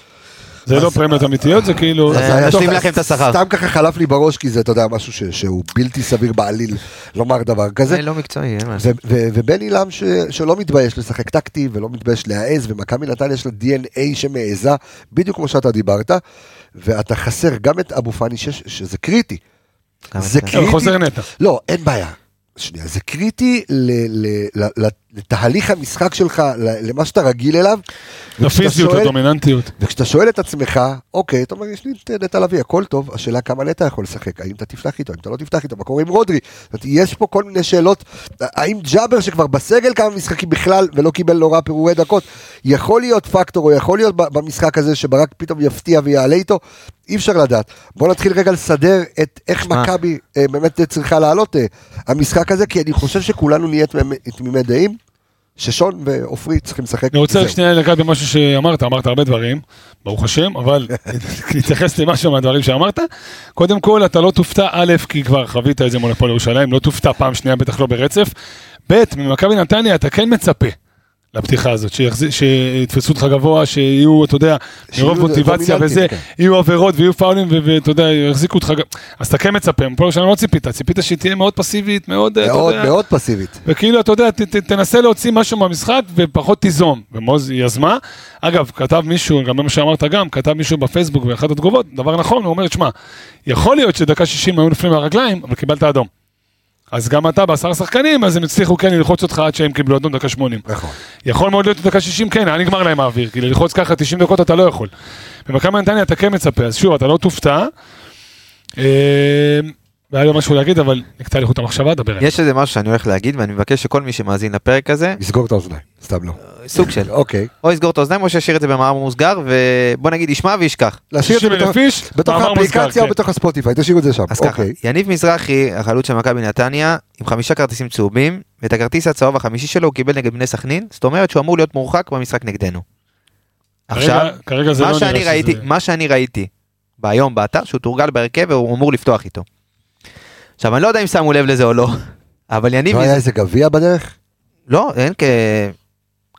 [SPEAKER 5] זה לא פרמיות אמיתיות, זה כאילו...
[SPEAKER 6] זה-
[SPEAKER 1] אז היה
[SPEAKER 6] נשלים
[SPEAKER 1] טוב,
[SPEAKER 6] לכם את השכר.
[SPEAKER 1] סתם ככה חלף לי בראש, כי זה, אתה יודע, משהו ש- שהוא בלתי סביר בעליל לומר דבר כזה.
[SPEAKER 6] זה לא מקצועי, אין מה לעשות.
[SPEAKER 1] ו- ו- ובן עילם ש- שלא מתבייש לשחק טקטי ולא מתבייש להעז, ומכבי נתניה יש לה DNA שמעזה, בדיוק כמו שאתה דיברת, ואתה חסר גם את אבו פאני, שש- שזה קריטי.
[SPEAKER 6] גם
[SPEAKER 1] זה
[SPEAKER 6] אתה.
[SPEAKER 1] כי-
[SPEAKER 5] אבל חוזר נטע.
[SPEAKER 1] לא, אין בעיה. שנייה, זה קריטי ל- ל- ל- לתהליך המשחק שלך, ל- למה שאתה רגיל אליו. וכשאתה
[SPEAKER 5] הפיזיות,
[SPEAKER 1] שואל-
[SPEAKER 5] הדומיננטיות.
[SPEAKER 1] וכשאתה שואל את עצמך, אוקיי, אתה אומר, יש לי את נטע לביא, הכל טוב, השאלה כמה נטע יכול לשחק, האם אתה תפתח איתו, האם אתה לא תפתח איתו, מה קורה עם רודרי? זאת אומרת, יש פה כל מיני שאלות, אה, האם ג'אבר שכבר בסגל כמה משחקים בכלל ולא קיבל נורא פירורי דקות, יכול להיות פקטור או יכול להיות ב- במשחק הזה שברק פתאום יפתיע ויעלה איתו, אי אפשר לדעת. בוא נתחיל רגע לסדר את איך
[SPEAKER 6] שמע.
[SPEAKER 1] מכבי אה, באמת צריכה לעלות אה, המשחק הזה, כי אני חושב שכולנו נהיה תמימי- תמימי דעים, ששון ועופרי צריכים לשחק.
[SPEAKER 5] אני רוצה
[SPEAKER 1] זהו.
[SPEAKER 5] רק שנייה לגעת במשהו שאמרת, אמרת הרבה דברים, ברוך השם, אבל להתייחס למשהו מהדברים שאמרת. קודם כל, אתה לא תופתע, א', כי כבר חווית את זה מול הפועל ירושלים, לא תופתע פעם שנייה, בטח לא ברצף. ב', ממכבי נתניה אתה כן מצפה לפתיחה הזאת, שיחז- שיתפסו אותך גבוה, שיהיו, אתה יודע,
[SPEAKER 1] שיהיו
[SPEAKER 5] מרוב מוטיבציה
[SPEAKER 1] דומיננטים,
[SPEAKER 5] וזה,
[SPEAKER 1] כן.
[SPEAKER 5] יהיו עבירות ויהיו פאולים, ו- ואתה יודע, יחזיקו אותך גם. אז אתה כן מצפה, מפועל ירושלים לא ציפית, ציפית שהיא תהיה מאוד פסיבית, מאוד, אתה
[SPEAKER 1] מאוד
[SPEAKER 5] יודע,
[SPEAKER 1] מאוד פסיבית.
[SPEAKER 5] וכאילו, אתה יודע, ת, ת, תנסה להוציא משהו מהמשחק ופחות תיזום. ומוז יזמה. אגב, כתב מישהו, גם מה שאמרת גם, כתב מישהו בפייסבוק באחת התגובות, דבר נכון, הוא אומר, שמע, יכול להיות שדקה 60 היו נופלים מהרגליים, אבל קיבלת אדום. אז גם אתה בעשרה שחקנים, אז הם הצליחו כן ללחוץ אותך עד שהם קיבלו אדום דקה 80.
[SPEAKER 1] נכון.
[SPEAKER 5] יכול מאוד להיות דקה 60, כן, היה נגמר להם האוויר, כי ללחוץ ככה 90 דקות אתה לא יכול. במכבי נתניה אתה כן מצפה, אז שוב, אתה לא תופתע. אה, והיה לי משהו להגיד, אבל נקטע לי חוט המחשבה, דבר עליו.
[SPEAKER 6] יש איזה משהו שאני הולך להגיד, ואני מבקש שכל מי שמאזין לפרק הזה,
[SPEAKER 1] לסגור את האוזניים, סתם לא.
[SPEAKER 6] סוג של,
[SPEAKER 1] אוקיי.
[SPEAKER 6] או יסגור את האוזניים או שישאיר את זה במאמר מוסגר, ובוא נגיד ישמע וישכח.
[SPEAKER 1] להשאיר את זה
[SPEAKER 5] 60,000
[SPEAKER 1] בתוך-
[SPEAKER 5] איש,
[SPEAKER 1] בתוך
[SPEAKER 5] מאמר מוזכר,
[SPEAKER 1] האפליקציה או
[SPEAKER 5] כן.
[SPEAKER 1] בתוך הספוטיפיי, תשאירו את זה שם.
[SPEAKER 6] אז ככה,
[SPEAKER 1] אוקיי.
[SPEAKER 6] יניב מזרחי, החלוץ של מכבי נתניה, עם חמישה כרטיסים צהובים, ואת הכרטיס הצהוב החמישי שלו הוא קיבל נגד בני סכנין, זאת אומרת שהוא אמור להיות מורחק במשחק נגדנו.
[SPEAKER 5] כרגע-
[SPEAKER 6] עכשיו,
[SPEAKER 5] כרגע זה
[SPEAKER 6] מה
[SPEAKER 5] לא
[SPEAKER 6] שאני
[SPEAKER 5] נראה
[SPEAKER 6] ראיתי,
[SPEAKER 5] שזה...
[SPEAKER 6] מה שאני ראיתי היום באתר, שהוא תורגל בהרכב והוא אמור לפתוח איתו. עכשיו, אני לא יודע אם שמו לב לזה או לא, אבל יניב...
[SPEAKER 1] לא
[SPEAKER 6] מזרחי-
[SPEAKER 1] היה איזה גביע בדרך?
[SPEAKER 6] לא, אין כ...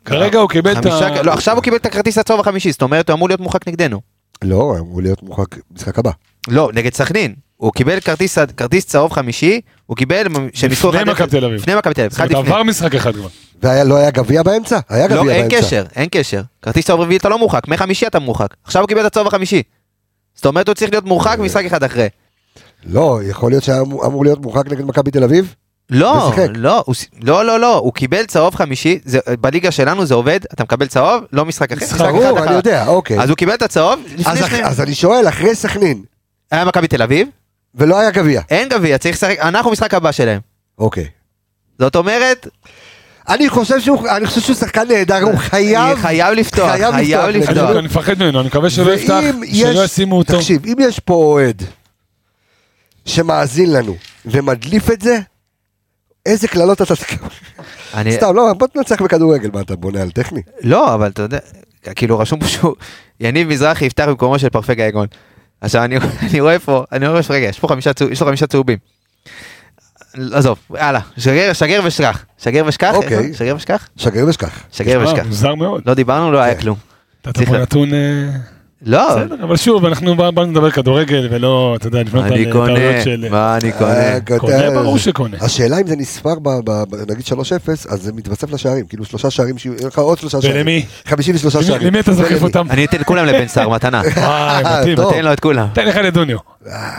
[SPEAKER 5] כרגע הוא קיבל את
[SPEAKER 6] חמישה...
[SPEAKER 5] ה...
[SPEAKER 6] לא, עכשיו הוא קיבל את הכרטיס הצהוב החמישי, זאת אומרת הוא אמור להיות מורחק נגדנו.
[SPEAKER 1] לא, אמור להיות מורחק משחק הבא.
[SPEAKER 6] לא, נגד סכנין. הוא קיבל כרטיס, כרטיס צהוב חמישי, הוא קיבל... שהם ניצחו
[SPEAKER 5] לפני
[SPEAKER 6] אחד אפס.
[SPEAKER 5] מכבי תל אביב.
[SPEAKER 6] לפני מכבי תל אביב,
[SPEAKER 5] זאת
[SPEAKER 6] אחד
[SPEAKER 5] אומרת,
[SPEAKER 6] לפני.
[SPEAKER 5] עבר משחק אחד כבר.
[SPEAKER 1] ולא לא היה גביע באמצע? היה גביע
[SPEAKER 6] לא,
[SPEAKER 1] באמצע.
[SPEAKER 6] אין קשר, אין קשר. כרטיס צהוב רביעי אתה לא מורחק, מחמישי אתה מורחק. עכשיו הוא קיבל את הצהוב החמישי. זאת אומרת הוא צריך להיות מורחק
[SPEAKER 1] אה.
[SPEAKER 6] משחק אחד אחרי.
[SPEAKER 1] לא, יכול להיות שהיה אמור אמור להיות מורחק נגד מכבי תל אביב?
[SPEAKER 6] לא,
[SPEAKER 1] לשחק.
[SPEAKER 6] לא, הוא ס- לא, לא, לא, הוא קיבל צהוב חמישי, זה- בליגה שלנו זה עובד, אתה מקבל צהוב, לא משחק אחר,
[SPEAKER 5] משחק
[SPEAKER 6] משחק אחד
[SPEAKER 1] ברור, אני
[SPEAKER 6] אחר.
[SPEAKER 1] יודע, אוקיי.
[SPEAKER 6] אז הוא קיבל את הצהוב, לפני
[SPEAKER 1] אז אח-
[SPEAKER 6] שניהם.
[SPEAKER 1] אז אני שואל, אחרי סכנין,
[SPEAKER 6] היה מכבי תל אביב,
[SPEAKER 1] ולא היה גביע.
[SPEAKER 6] אין גביע, צריך לשחק, אנחנו משחק הבא שלהם.
[SPEAKER 1] אוקיי.
[SPEAKER 6] זאת אומרת,
[SPEAKER 1] אני חושב שהוא אני חושב שהוא שחקן נהדר, הוא חייב...
[SPEAKER 6] חייב לפתוח,
[SPEAKER 1] חייב
[SPEAKER 6] חייב
[SPEAKER 1] לפתוח.
[SPEAKER 5] אני
[SPEAKER 6] לפתוח.
[SPEAKER 5] אני מפחד ממנו, אני מקווה שלא
[SPEAKER 1] ואם
[SPEAKER 5] יפתח,
[SPEAKER 1] יש-
[SPEAKER 5] שלא ישימו אותו.
[SPEAKER 1] תקשיב, אם יש פה אוהד שמאזין לנו ומדליף את זה, איזה קללות אתה תקבל.
[SPEAKER 5] אה,
[SPEAKER 6] אני-
[SPEAKER 1] סתם, לא, בוא תנצח בכדורגל, מה אתה בונה על טכני?
[SPEAKER 6] לא, אבל אתה יודע, כאילו רשום פה שהוא, יניב מזרחי יפתח במקומו של פרפק גייגון. עכשיו אני, אני רואה פה, אני רואה, רגע, יש פה חמישה, צהוב- יש לו חמישה צהובים. עזוב, הלאה, שגר, שגר ושכח. שגר ושכח?
[SPEAKER 1] אוקיי.
[SPEAKER 6] איך זה? שגר ושכח?
[SPEAKER 1] שגר ושכח.
[SPEAKER 6] שגר
[SPEAKER 5] אה,
[SPEAKER 6] ושכח.
[SPEAKER 5] מוזר מאוד.
[SPEAKER 6] לא דיברנו, לא היה כלום.
[SPEAKER 5] אתה
[SPEAKER 6] צריך
[SPEAKER 5] פה
[SPEAKER 6] לה-
[SPEAKER 5] נתון... אה,
[SPEAKER 6] לא,
[SPEAKER 5] בסדר, אבל שוב, אנחנו בא- באנו לדבר כדורגל, ולא, אתה יודע, לבנות על
[SPEAKER 6] אני
[SPEAKER 5] אה, טעויות של...
[SPEAKER 6] קונה, מה אני קונה?
[SPEAKER 1] אה, כותב.
[SPEAKER 5] קונה, ברור שקונה.
[SPEAKER 1] השאלה אם זה נספר, ב- ב- ב- נגיד 3-0, אז זה מתווסף לשערים, כאילו שלושה שערים, שיהיו- יהיה לך עוד שלושה שערים.
[SPEAKER 5] ולמי?
[SPEAKER 1] 53
[SPEAKER 5] למי-
[SPEAKER 1] שערים.
[SPEAKER 5] למי אתה זוקף
[SPEAKER 1] ולמי?
[SPEAKER 5] אותם?
[SPEAKER 6] אני אתן כולם לבן סער מתנה.
[SPEAKER 5] וואי,
[SPEAKER 1] אה,
[SPEAKER 5] מתאים.
[SPEAKER 1] טוב.
[SPEAKER 6] תן לו את כולם.
[SPEAKER 5] תן לך לדוניו.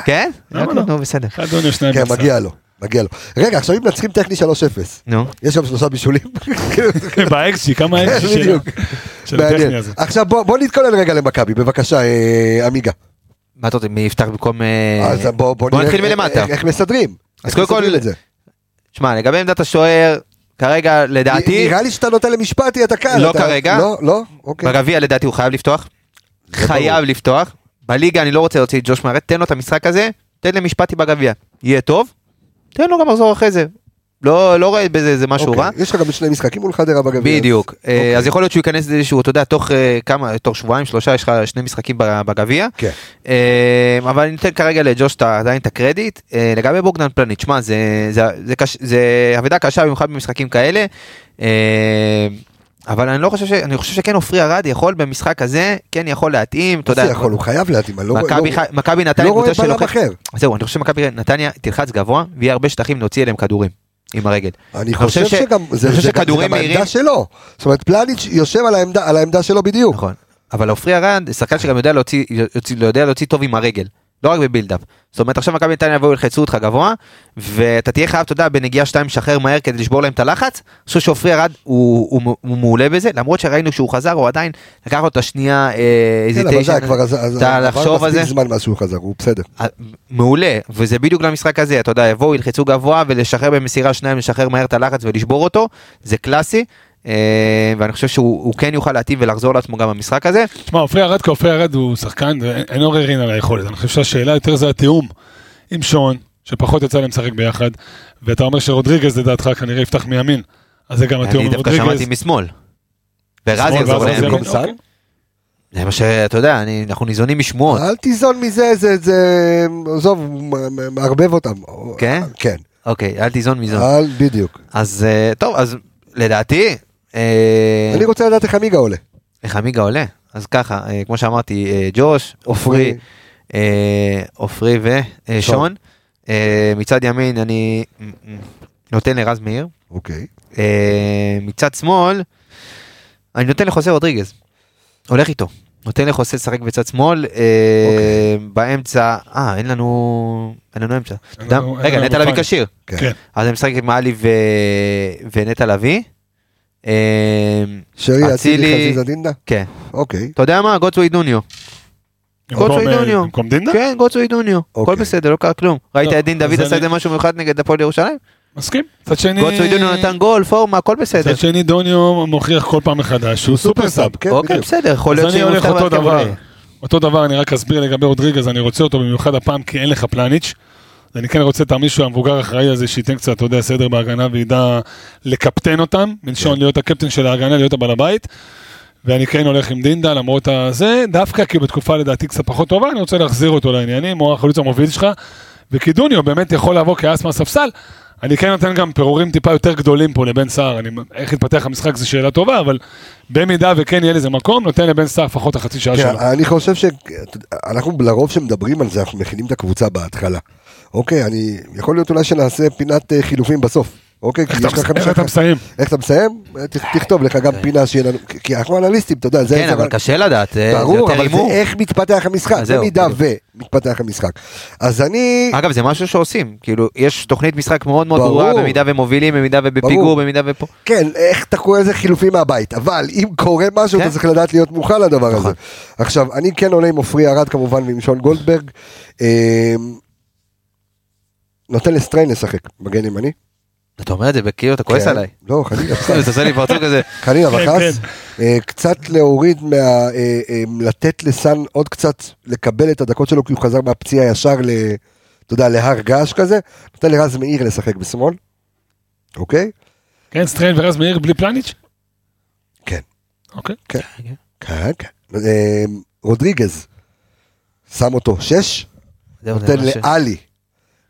[SPEAKER 6] כן?
[SPEAKER 5] למה לא?
[SPEAKER 6] נו, בסדר.
[SPEAKER 5] אחד דוניו, שניים
[SPEAKER 1] כן,
[SPEAKER 5] בשר.
[SPEAKER 1] מגיע לו. מגיע לו. רגע, עכשיו אם מנצחים טכני 3-0,
[SPEAKER 6] נו.
[SPEAKER 1] יש שם שלושה בישולים.
[SPEAKER 5] באקסי, כמה
[SPEAKER 1] כן,
[SPEAKER 5] האקסי של-
[SPEAKER 1] בדיוק.
[SPEAKER 5] של הטכני
[SPEAKER 1] מעניין.
[SPEAKER 5] הזה.
[SPEAKER 1] עכשיו בוא בוא נתכונן רגע למכבי, בבקשה, אה, עמיגה.
[SPEAKER 6] מה אתה רוצה, מי יפתח במקום... אה,
[SPEAKER 1] אז בוא בוא
[SPEAKER 6] בוא
[SPEAKER 1] נראה
[SPEAKER 6] נתחיל
[SPEAKER 1] איך-
[SPEAKER 6] מלמטה.
[SPEAKER 1] איך- איך מסדרים. איך
[SPEAKER 6] קודם כל,
[SPEAKER 1] מסדרים את זה.
[SPEAKER 6] אה. שמע, לגבי עמדת השוער, כרגע לדעתי,
[SPEAKER 1] נראה לי שאתה נותן למשפטי את הקהל.
[SPEAKER 6] לא
[SPEAKER 1] אתה-
[SPEAKER 6] כרגע.
[SPEAKER 1] לא, לא, אוקיי.
[SPEAKER 6] בגביע לדעתי הוא חייב לפתוח.
[SPEAKER 1] ברור.
[SPEAKER 6] חייב לפתוח. בליגה אני לא רוצה להוציא את ג'וש מארט, תן לו את המשחק הזה, תן למשפטי בגביע. יהיה טוב, תן לו גם לחזור אחרי זה. לא לא רואה בזה איזה משהו
[SPEAKER 1] אוקיי.
[SPEAKER 6] רע.
[SPEAKER 1] יש לך גם שני משחקים מול חדרה בגביע.
[SPEAKER 6] בדיוק.
[SPEAKER 1] אוקיי.
[SPEAKER 6] אה, אז יכול להיות שהוא ייכנס לאיזשהו, אתה יודע, תוך אה, כמה, תוך שבועיים, שלושה, יש לך שני משחקים ב- בגביע.
[SPEAKER 1] כן.
[SPEAKER 6] אה, אבל אני אתן כרגע לג'וש את ה- עדיין את הקרדיט. אה, לגבי בוגדן פלניץ', שמע, זה- זה- זה קש- זה אבדה קשה במיוחד במשחקים כאלה. אה, אבל אני לא חושב ש... אני חושב שכן עופרי ארד יכול במשחק הזה, כן יכול להתאים, אתה
[SPEAKER 1] אתה
[SPEAKER 6] יודע.
[SPEAKER 1] יכול, הוא חייב להתאים. אני לא-
[SPEAKER 6] מכבי
[SPEAKER 1] לא-
[SPEAKER 6] ח- מכבי נתניה
[SPEAKER 1] לא רואה
[SPEAKER 6] קבוצה
[SPEAKER 1] בלם
[SPEAKER 6] שלוחמת.
[SPEAKER 1] אחר.
[SPEAKER 6] זהו, אני חושב שמכבי נתניה תלחץ גבוה, ויהיה הרבה שטחים להוציא אליהם כדורים עם הרגל.
[SPEAKER 1] אני חושב
[SPEAKER 6] חושב ש-
[SPEAKER 1] שגם,
[SPEAKER 6] אני
[SPEAKER 1] זה זה
[SPEAKER 6] חושב
[SPEAKER 1] גם- זה
[SPEAKER 6] שכדורים
[SPEAKER 1] גם העמדה
[SPEAKER 6] מהירים-
[SPEAKER 1] שלו. זאת אומרת, פלניץ' יושב על העמדה- על העמדה שלו בדיוק.
[SPEAKER 6] נכון. אבל עופרי ארד, שחקן שגם יודע להוציא, יוציא- יודע להוציא טוב עם הרגל. לא רק בבילדאפ. זאת אומרת, עכשיו מכבי נתניה יבואו ילחצו אותך גבוה, ואתה תהיה חייב, אתה יודע, בנגיעה שתיים לשחרר מהר כדי לשבור להם את הלחץ. אני חושב שעופרי ארד הוא, הוא, הוא מעולה בזה, למרות שראינו שהוא חזר, הוא עדיין לקח לו את השנייה אה, איזה
[SPEAKER 1] כן, אבל זה היה כבר, אז- אז-
[SPEAKER 6] אתה לחשוב
[SPEAKER 1] עבר
[SPEAKER 6] על זה.
[SPEAKER 1] מספיק זמן מאז שהוא חזר, הוא בסדר.
[SPEAKER 6] אה, מעולה, וזה בדיוק למשחק הזה, אתה יודע, יבואו, ילחצו גבוה ולשחרר במסירה שניים, לשחרר מהר את הלחץ ולשבור אותו, זה קלאסי, אה, ואני חושב שהוא הוא כן יוכל להתאים ולחזור לעצמו גם במשחק הזה.
[SPEAKER 5] תשמע, עופרי ארד כעופרי ארד הוא שחקן, ואין אין עוררין על היכולת. אני חושב שהשאלה יותר זה התיאום עם שון, שפחות יצא להם לשחק ביחד, ואתה אומר שרודריגז לדעתך כנראה יפתח מימין, אז זה גם
[SPEAKER 6] אני
[SPEAKER 5] התיאום עם
[SPEAKER 6] דווקא
[SPEAKER 5] רודריגז.
[SPEAKER 6] שמעתי משמאל. ורז
[SPEAKER 5] שמאל,
[SPEAKER 6] יחזור
[SPEAKER 5] ואז
[SPEAKER 1] לימין.
[SPEAKER 6] לימין.
[SPEAKER 5] ימין, אוקיי.
[SPEAKER 6] זה מה שאתה יודע, אני- אנחנו ניזונים משמועות.
[SPEAKER 1] אל תיזון מזה, זה, זה, עזוב, הוא מ- מערבב אותם.
[SPEAKER 6] כן?
[SPEAKER 1] כן,
[SPEAKER 6] אוקיי, אל תיזון מזון.
[SPEAKER 1] אל, בדיוק.
[SPEAKER 6] אז אה, טוב, אז לדעתי, אה,
[SPEAKER 1] אני רוצה לדעת איך עמיגה עולה.
[SPEAKER 6] איך עמיגה עולה? אז ככה, אה, כמו שאמרתי, אה, ג'וש, עופרי, אה, עופרי ושון. אה, מצד ימין אני מ- מ- נותן לרז מאיר.
[SPEAKER 1] אוקיי.
[SPEAKER 6] אה, מצד שמאל, אני נותן לחוסה רודריגז. הולך איתו. נותן לחוסה לשחק בצד שמאל, אה, באמצע, אה, אין לנו, אין לנו אמצע. אתה יודע?
[SPEAKER 5] לנו- אוקיי. אין
[SPEAKER 6] רגע,
[SPEAKER 5] לנו
[SPEAKER 6] נטע לביא
[SPEAKER 5] מוכן.
[SPEAKER 6] כשיר.
[SPEAKER 1] כן.
[SPEAKER 5] כן.
[SPEAKER 6] אז אני משחק עם עלי ו- ונטע לביא. אה,
[SPEAKER 1] שרי,
[SPEAKER 6] אצילי-
[SPEAKER 1] אצילי, חזיזה דינדה?
[SPEAKER 6] כן.
[SPEAKER 1] אוקיי.
[SPEAKER 6] אתה יודע מה? גוטסווי דוניו.
[SPEAKER 5] במקום,
[SPEAKER 6] גוטסווי
[SPEAKER 5] אה,
[SPEAKER 6] דוניו.
[SPEAKER 5] במקום דינדה?
[SPEAKER 6] כן, גוטסווי דוניו. הכל
[SPEAKER 1] אוקיי.
[SPEAKER 6] בסדר, לא קרה כלום. ראית
[SPEAKER 5] לא,
[SPEAKER 6] את דין
[SPEAKER 5] אז
[SPEAKER 6] דוד עשה
[SPEAKER 5] אני- אה.
[SPEAKER 6] את זה משהו מיוחד נגד הפועל ירושלים?
[SPEAKER 5] מסכים. מצד שני...
[SPEAKER 6] גוטסווי דוניו נתן גול, פורמה, הכל בסדר.
[SPEAKER 5] מצד שני דוניו מוכיח כל פעם מחדש שהוא סופר סאב.
[SPEAKER 1] כן,
[SPEAKER 6] אוקיי,
[SPEAKER 1] בדיוק.
[SPEAKER 6] בסדר, יכול להיות
[SPEAKER 5] אז אני
[SPEAKER 6] שהוא
[SPEAKER 5] הולך
[SPEAKER 6] נפתח
[SPEAKER 5] אותו
[SPEAKER 6] בהרכב
[SPEAKER 5] דבר.
[SPEAKER 6] עולה.
[SPEAKER 5] אותו דבר, אני רק אסביר לגבי רודריגז, אני רוצה אותו במיוחד הפעם כי אין לך פלניץ'. אז אני כן רוצה את המישהו המבוגר האחראי הזה שייתן קצת, אתה יודע, סדר בהגנה וידע לקפטן אותם, מלשון להיות הקפטן של ההגנה, להיות הבעל הבית. ואני כן הולך עם דינדה למרות הזה, דווקא כי בתקופה לדעתי קצת פחות טובה, אני רוצה להחזיר אותו לעניינים, הוא החלוץ המוביל שלך, וכי דוניו באמת יכול לבוא כאס מהספסל, אני כן נותן גם פירורים טיפה יותר גדולים פה לבן סער, אני, איך יתפתח המשחק זו שאלה טובה, אבל במידה וכן יהיה לזה מקום, נותן לבן סער לפחות החצי שעה
[SPEAKER 1] כן,
[SPEAKER 5] שלו.
[SPEAKER 1] אני חושב שאנחנו לרוב שמדברים על זה, אנחנו מכינים את הקבוצה בהתחלה. אוקיי, אני, יכול להיות אולי שנעשה פינת אה, חילופים בסוף. אוקיי, כי
[SPEAKER 5] איך
[SPEAKER 1] יש
[SPEAKER 5] אתה
[SPEAKER 1] לך
[SPEAKER 5] מס- איך
[SPEAKER 1] חמישה...
[SPEAKER 5] אתה מסיים?
[SPEAKER 1] איך אתה מסיים? אה, ת- תכתוב לך גם פינה שיהיה לנו, כי- כי אנחנו אנליסטים, אתה יודע, זה...
[SPEAKER 6] כן,
[SPEAKER 1] זה-
[SPEAKER 6] אבל קשה לדעת, אה, זה
[SPEAKER 1] ברור,
[SPEAKER 6] יותר
[SPEAKER 1] אבל זה
[SPEAKER 6] הימור.
[SPEAKER 1] איך מתפתח המשחק,
[SPEAKER 6] אז זהו, כאילו. אה.
[SPEAKER 1] במידה ומתפתח המשחק. אז אני...
[SPEAKER 6] אגב, זה משהו שעושים, כאילו, יש תוכנית משחק מאוד מאוד
[SPEAKER 1] ברור.
[SPEAKER 6] ברורה, במידה ומובילים, במידה ובפיגור,
[SPEAKER 1] ברור.
[SPEAKER 6] במידה ופה.
[SPEAKER 1] כן, איך אתה קורא לזה חילופים מהבית, אבל אם קורה משהו,
[SPEAKER 6] כן.
[SPEAKER 1] אתה צריך לדעת להיות מוכן לדבר הזה.
[SPEAKER 6] נכון.
[SPEAKER 1] עכשיו, אני כן עולה עם עופרי ארד כמובן ועם שון גולדברג. אמ, נותן לסטריין לשחק, מגן ימני.
[SPEAKER 6] אתה אומר את זה כאילו, אתה כועס
[SPEAKER 1] כן.
[SPEAKER 6] עליי.
[SPEAKER 1] לא, חלילה,
[SPEAKER 6] אתה
[SPEAKER 1] בסדר.
[SPEAKER 6] עושה לי פרצוף כזה.
[SPEAKER 1] חלילה
[SPEAKER 5] כן,
[SPEAKER 1] וחס. אה, קצת להוריד מה... אה, אה, לתת לסאן עוד קצת לקבל את הדקות שלו, כי הוא חזר מהפציעה ישר ל... אתה יודע, להר געש כזה. נותן לרז מאיר לשחק בשמאל. אוקיי?
[SPEAKER 5] כן, סטריין ורז מאיר בלי פלניץ'?
[SPEAKER 1] כן.
[SPEAKER 5] אוקיי.
[SPEAKER 1] כן, כן. אה, רודריגז, שם אותו שש,
[SPEAKER 6] זהו, זה
[SPEAKER 1] נותן אה-
[SPEAKER 6] מה ש-
[SPEAKER 1] לאלי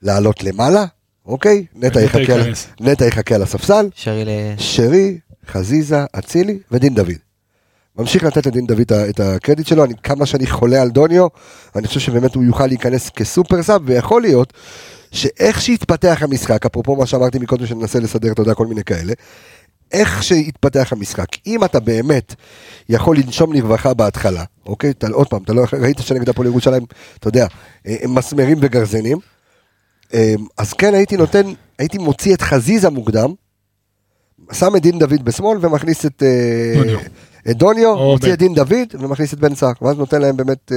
[SPEAKER 1] לעלות למעלה, אוקיי? נטע
[SPEAKER 5] ונטע
[SPEAKER 1] יחכה על-
[SPEAKER 5] ייכנס.
[SPEAKER 1] נטע יחכה על הספסל,
[SPEAKER 6] שרי ל...
[SPEAKER 1] שרי, חזיזה, אצילי ודין דוד. ממשיך לתת לדין דוד את ה- את הקרדיט שלו, אני, כמה שאני חולה על דוניו, אני חושב שבאמת הוא יוכל להיכנס כסופר סאב, ויכול להיות שאיך שהתפתח המשחק, אפרופו מה שאמרתי מקודם שננסה לסדר, אתה יודע, כל מיני כאלה, איך שהתפתח המשחק, אם אתה באמת יכול לנשום לרווחה בהתחלה, אוקיי? אתה, עוד פעם, אתה לא ראית שנגד הפועל ירושלים, אתה יודע, אה, מסמרים וגרזינים, אה, אז כן, הייתי נותן, הייתי מוציא את חזיזה מוקדם, שם את דין דוד בשמאל ומכניס את... אה,
[SPEAKER 5] דוניו.
[SPEAKER 1] את דוניו,
[SPEAKER 5] או
[SPEAKER 1] מוציא
[SPEAKER 5] בן.
[SPEAKER 1] את דין דוד ומכניס את בן סער, ואז נותן להם באמת...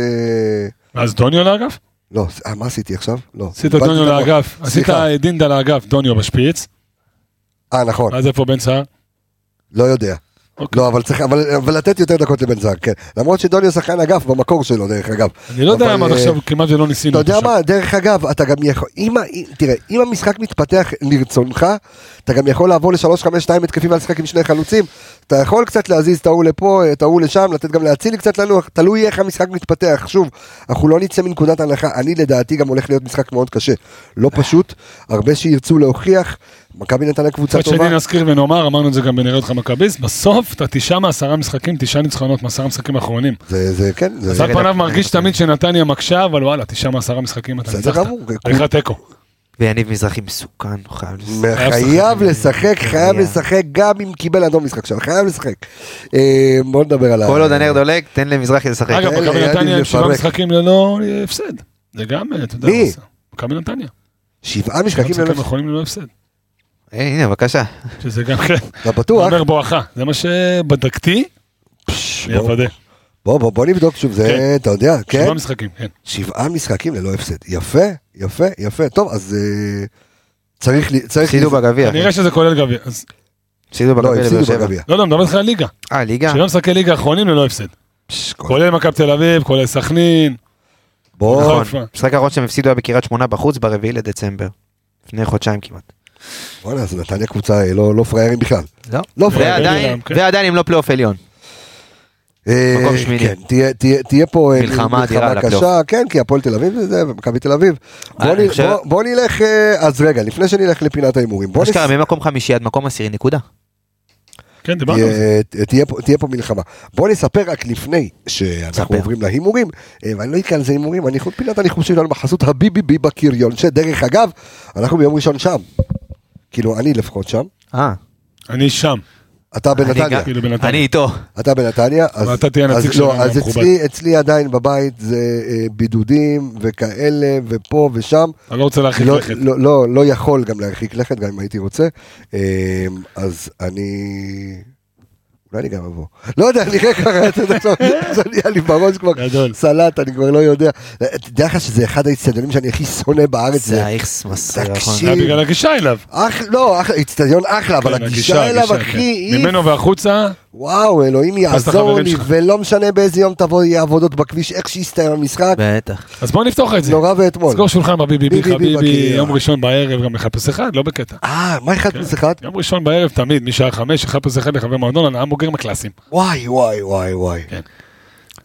[SPEAKER 1] אה,
[SPEAKER 5] אז דוניו לאגף?
[SPEAKER 1] לא, אה, מה עשיתי עכשיו? לא.
[SPEAKER 5] עשית
[SPEAKER 1] איבדתי
[SPEAKER 5] דוניו
[SPEAKER 1] את הראש.
[SPEAKER 5] לאגף, עשית
[SPEAKER 1] סליחה. נכון.
[SPEAKER 5] דינדה לאגף, דוניו בשפיץ,
[SPEAKER 1] אה, נכון,
[SPEAKER 5] אז איפה בן סער?
[SPEAKER 1] לא יודע.
[SPEAKER 5] אוקיי.
[SPEAKER 1] לא, אבל צריך, אבל, אבל לתת יותר דקות לבן זר, כן. למרות שדוניו שחקן אגף במקור שלו, דרך אגב.
[SPEAKER 5] אני לא יודע
[SPEAKER 1] אבל,
[SPEAKER 5] למה עד
[SPEAKER 1] אה,
[SPEAKER 5] עכשיו כאילו כמעט ולא ניסינו.
[SPEAKER 1] אתה יודע
[SPEAKER 5] אותו שם.
[SPEAKER 1] מה, דרך אגב, אתה גם יכול, אם, ה- אם- תראה, אם המשחק מתפתח לרצונך, אתה גם יכול לעבור ל-3-5-2 התקפים ולשחק עם שני חלוצים. אתה יכול קצת להזיז את ההוא לפה, את ההוא לשם, לתת גם להצילי קצת לנוח, תלוי איך המשחק מתפתח. שוב, אנחנו לא נצא מנקודת הנחה, אני לדעתי גם הולך להיות משחק מאוד קשה. לא פשוט, הרבה שירצו להוכיח, מכבי נתנה קבוצה
[SPEAKER 5] מצד
[SPEAKER 1] טובה.
[SPEAKER 5] שני נזכיר ונאמר, אמרנו את זה גם בנראה אותך מכביסט, בסוף אתה תשעה מעשרה משחקים, תשעה ניצחונות מעשרה משחקים האחרונים.
[SPEAKER 1] זה, זה, כן,
[SPEAKER 5] אז
[SPEAKER 1] זה...
[SPEAKER 5] על פניו מרגיש תמיד שנתניה מקשה, אבל וואלה, תשעה מעשרה משחקים אתה
[SPEAKER 1] בסדר
[SPEAKER 5] ניצחת.
[SPEAKER 1] גמור,
[SPEAKER 5] עריכת תיקו.
[SPEAKER 6] ויניב מזרחי מסוכן, הוא חייב לסיים.
[SPEAKER 1] חייב לשחק, חייב לשחק, גם אם קיבל אדום משחק שם, חייב לשחק. אה, בוא נדבר על ה...
[SPEAKER 6] כל עוד הנר דולק, תן למזרחי לשחק.
[SPEAKER 5] אגב,
[SPEAKER 1] אלה,
[SPEAKER 5] מכבי
[SPEAKER 1] היה לי
[SPEAKER 5] נתניה עם שבעה
[SPEAKER 1] לפרק.
[SPEAKER 5] משחקים ללא הפסד. זה גם, אה, אתה יודע,
[SPEAKER 1] מי?
[SPEAKER 5] זה- מכבי נתניה.
[SPEAKER 1] שבעה
[SPEAKER 5] שבעה
[SPEAKER 1] משחקים
[SPEAKER 5] משחקים
[SPEAKER 1] ללא...
[SPEAKER 5] אחרונים ללא הפסד.
[SPEAKER 6] אה, הנה, בבקשה.
[SPEAKER 5] שזה גם כן,
[SPEAKER 1] אתה בטוח?
[SPEAKER 5] אומר בואכה. זה מה שבדקתי,
[SPEAKER 1] פש,
[SPEAKER 5] אני
[SPEAKER 1] בוא-
[SPEAKER 5] אוודא.
[SPEAKER 1] בוא, בוא, בוא נבדוק שוב, זה,
[SPEAKER 5] כן.
[SPEAKER 1] אתה יודע, כן?
[SPEAKER 5] שבעה משחקים, כן.
[SPEAKER 1] שבעה משחקים ללא הפסד. יפה, יפה, יפה. טוב, אז אה, צריך... ל- צריך
[SPEAKER 6] הפסידו
[SPEAKER 1] לזה-
[SPEAKER 6] בגביע. אחי.
[SPEAKER 5] כנראה שזה כולל גביע. אז-
[SPEAKER 6] הפסידו
[SPEAKER 1] לא,
[SPEAKER 6] בגביע לבאר
[SPEAKER 1] הפסידו
[SPEAKER 6] שבע.
[SPEAKER 1] בגביע.
[SPEAKER 5] לא, לא, מדבר איתך על ליגה.
[SPEAKER 6] אה, ליגה?
[SPEAKER 5] שבעה משחקי ליגה האחרונים ללא הפסד.
[SPEAKER 1] פש, כן. כל-
[SPEAKER 5] כולל מכבי תל אביב, כולל סכנין.
[SPEAKER 1] בוא,
[SPEAKER 5] נכון.
[SPEAKER 6] המשחק האחרון שהם הפסידו היה בקריית שמונה בחוץ ברביעי לדצמבר. לפני חודשיים כמעט.
[SPEAKER 1] בוא'נה, אז נתניה קבוצה אה, לא לא פראיירים בכלל.
[SPEAKER 6] לא.
[SPEAKER 1] לא פראיירים.
[SPEAKER 6] ועדיין,
[SPEAKER 5] כן.
[SPEAKER 6] ועדיין הם לא פלייאוף עליון.
[SPEAKER 1] אה,
[SPEAKER 6] מקום שמיני.
[SPEAKER 1] כן, תהיה- תהיה- תהיה פה אה,
[SPEAKER 6] מלחמה אדירה על הפלייאוף.
[SPEAKER 1] קשה, כן, כי הפועל תל אביב זה זה, ומכבי תל אביב.
[SPEAKER 6] אה,
[SPEAKER 1] בוא
[SPEAKER 6] אני
[SPEAKER 1] נ-
[SPEAKER 6] חושב-
[SPEAKER 1] בוא- בוא נלך, אה, אז רגע, לפני שנלך לפינת ההימורים, בוא נס-
[SPEAKER 6] אשכרה, ממקום חמישי עד מקום עשירי, נקודה.
[SPEAKER 5] כן, דיברנו על זה.
[SPEAKER 1] תהיה- אה, תהיה פה- תהיה פה מלחמה. בוא נספר רק לפני שאנחנו
[SPEAKER 6] ספר.
[SPEAKER 1] עוברים להימורים, אה, ואני לא אקרא לזה הימורים, אני חוץ פינת הניחום שלנו בחסות הביביבי בקריון, שדרך אגב, אנחנו ביום ראשון שם. כאילו, אני לפחות שם,
[SPEAKER 6] אה,
[SPEAKER 5] אני שם.
[SPEAKER 1] אתה
[SPEAKER 6] אני
[SPEAKER 1] בנתניה.
[SPEAKER 6] גם-
[SPEAKER 5] כאילו בנתניה.
[SPEAKER 6] אני איתו.
[SPEAKER 1] אתה בנתניה, אז,
[SPEAKER 5] ואתה תהיה הנציג
[SPEAKER 1] אז, לא,
[SPEAKER 5] שלנו
[SPEAKER 1] אז
[SPEAKER 5] המכובד.
[SPEAKER 1] אצלי, אצלי עדיין בבית זה אה, בידודים וכאלה ופה ושם.
[SPEAKER 5] אני לא רוצה להרחיק
[SPEAKER 1] לא,
[SPEAKER 5] לכת.
[SPEAKER 1] לא, לא, לא יכול גם להרחיק לכת, גם אם הייתי רוצה. אה, אז אני... אולי אני גם אבוא. לא יודע, אני רגע ככה, אתה יודע, עכשיו, זה נהיה לי בראש כבר
[SPEAKER 5] גדול.
[SPEAKER 1] סלט, אני כבר לא יודע. תדע לך שזה אחד האיצטדיונים שאני הכי שונא בארץ.
[SPEAKER 6] זה האיכס מסר, נכון.
[SPEAKER 1] תקשיב.
[SPEAKER 5] זה היה בגלל הגישה אליו.
[SPEAKER 1] אח, לא, אח- איצטדיון אחלה, אבל
[SPEAKER 5] כן,
[SPEAKER 1] הגישה אליו,
[SPEAKER 5] הגישה, כן.
[SPEAKER 1] אחי, אי
[SPEAKER 5] ממנו והחוצה,
[SPEAKER 1] וואו, אלוהים
[SPEAKER 5] אז את
[SPEAKER 1] יעזור
[SPEAKER 5] החברים
[SPEAKER 1] לי,
[SPEAKER 5] שלך.
[SPEAKER 1] ולא משנה באיזה יום תבוא, יהיה עבודות בכביש, איך שיסתיים המשחק,
[SPEAKER 6] בטח.
[SPEAKER 5] אז בואו נפתוח את זה.
[SPEAKER 1] נורא ואתמול.
[SPEAKER 5] סגור שולחן בביבי
[SPEAKER 1] ביבי, ביבי,
[SPEAKER 5] חביבי,
[SPEAKER 1] בקיר.
[SPEAKER 5] יום ראשון בערב גם לחפש אחד, לא בקטע.
[SPEAKER 1] אה, מה
[SPEAKER 5] כן.
[SPEAKER 1] אחד פלוס אחד?
[SPEAKER 5] יום ראשון בערב תמיד, משעה חמש, לחפש אחד לחבר מועדון, הנאה בוגרים הקלאסיים.
[SPEAKER 1] וואי, וואי, וואי, וואי.
[SPEAKER 5] כן.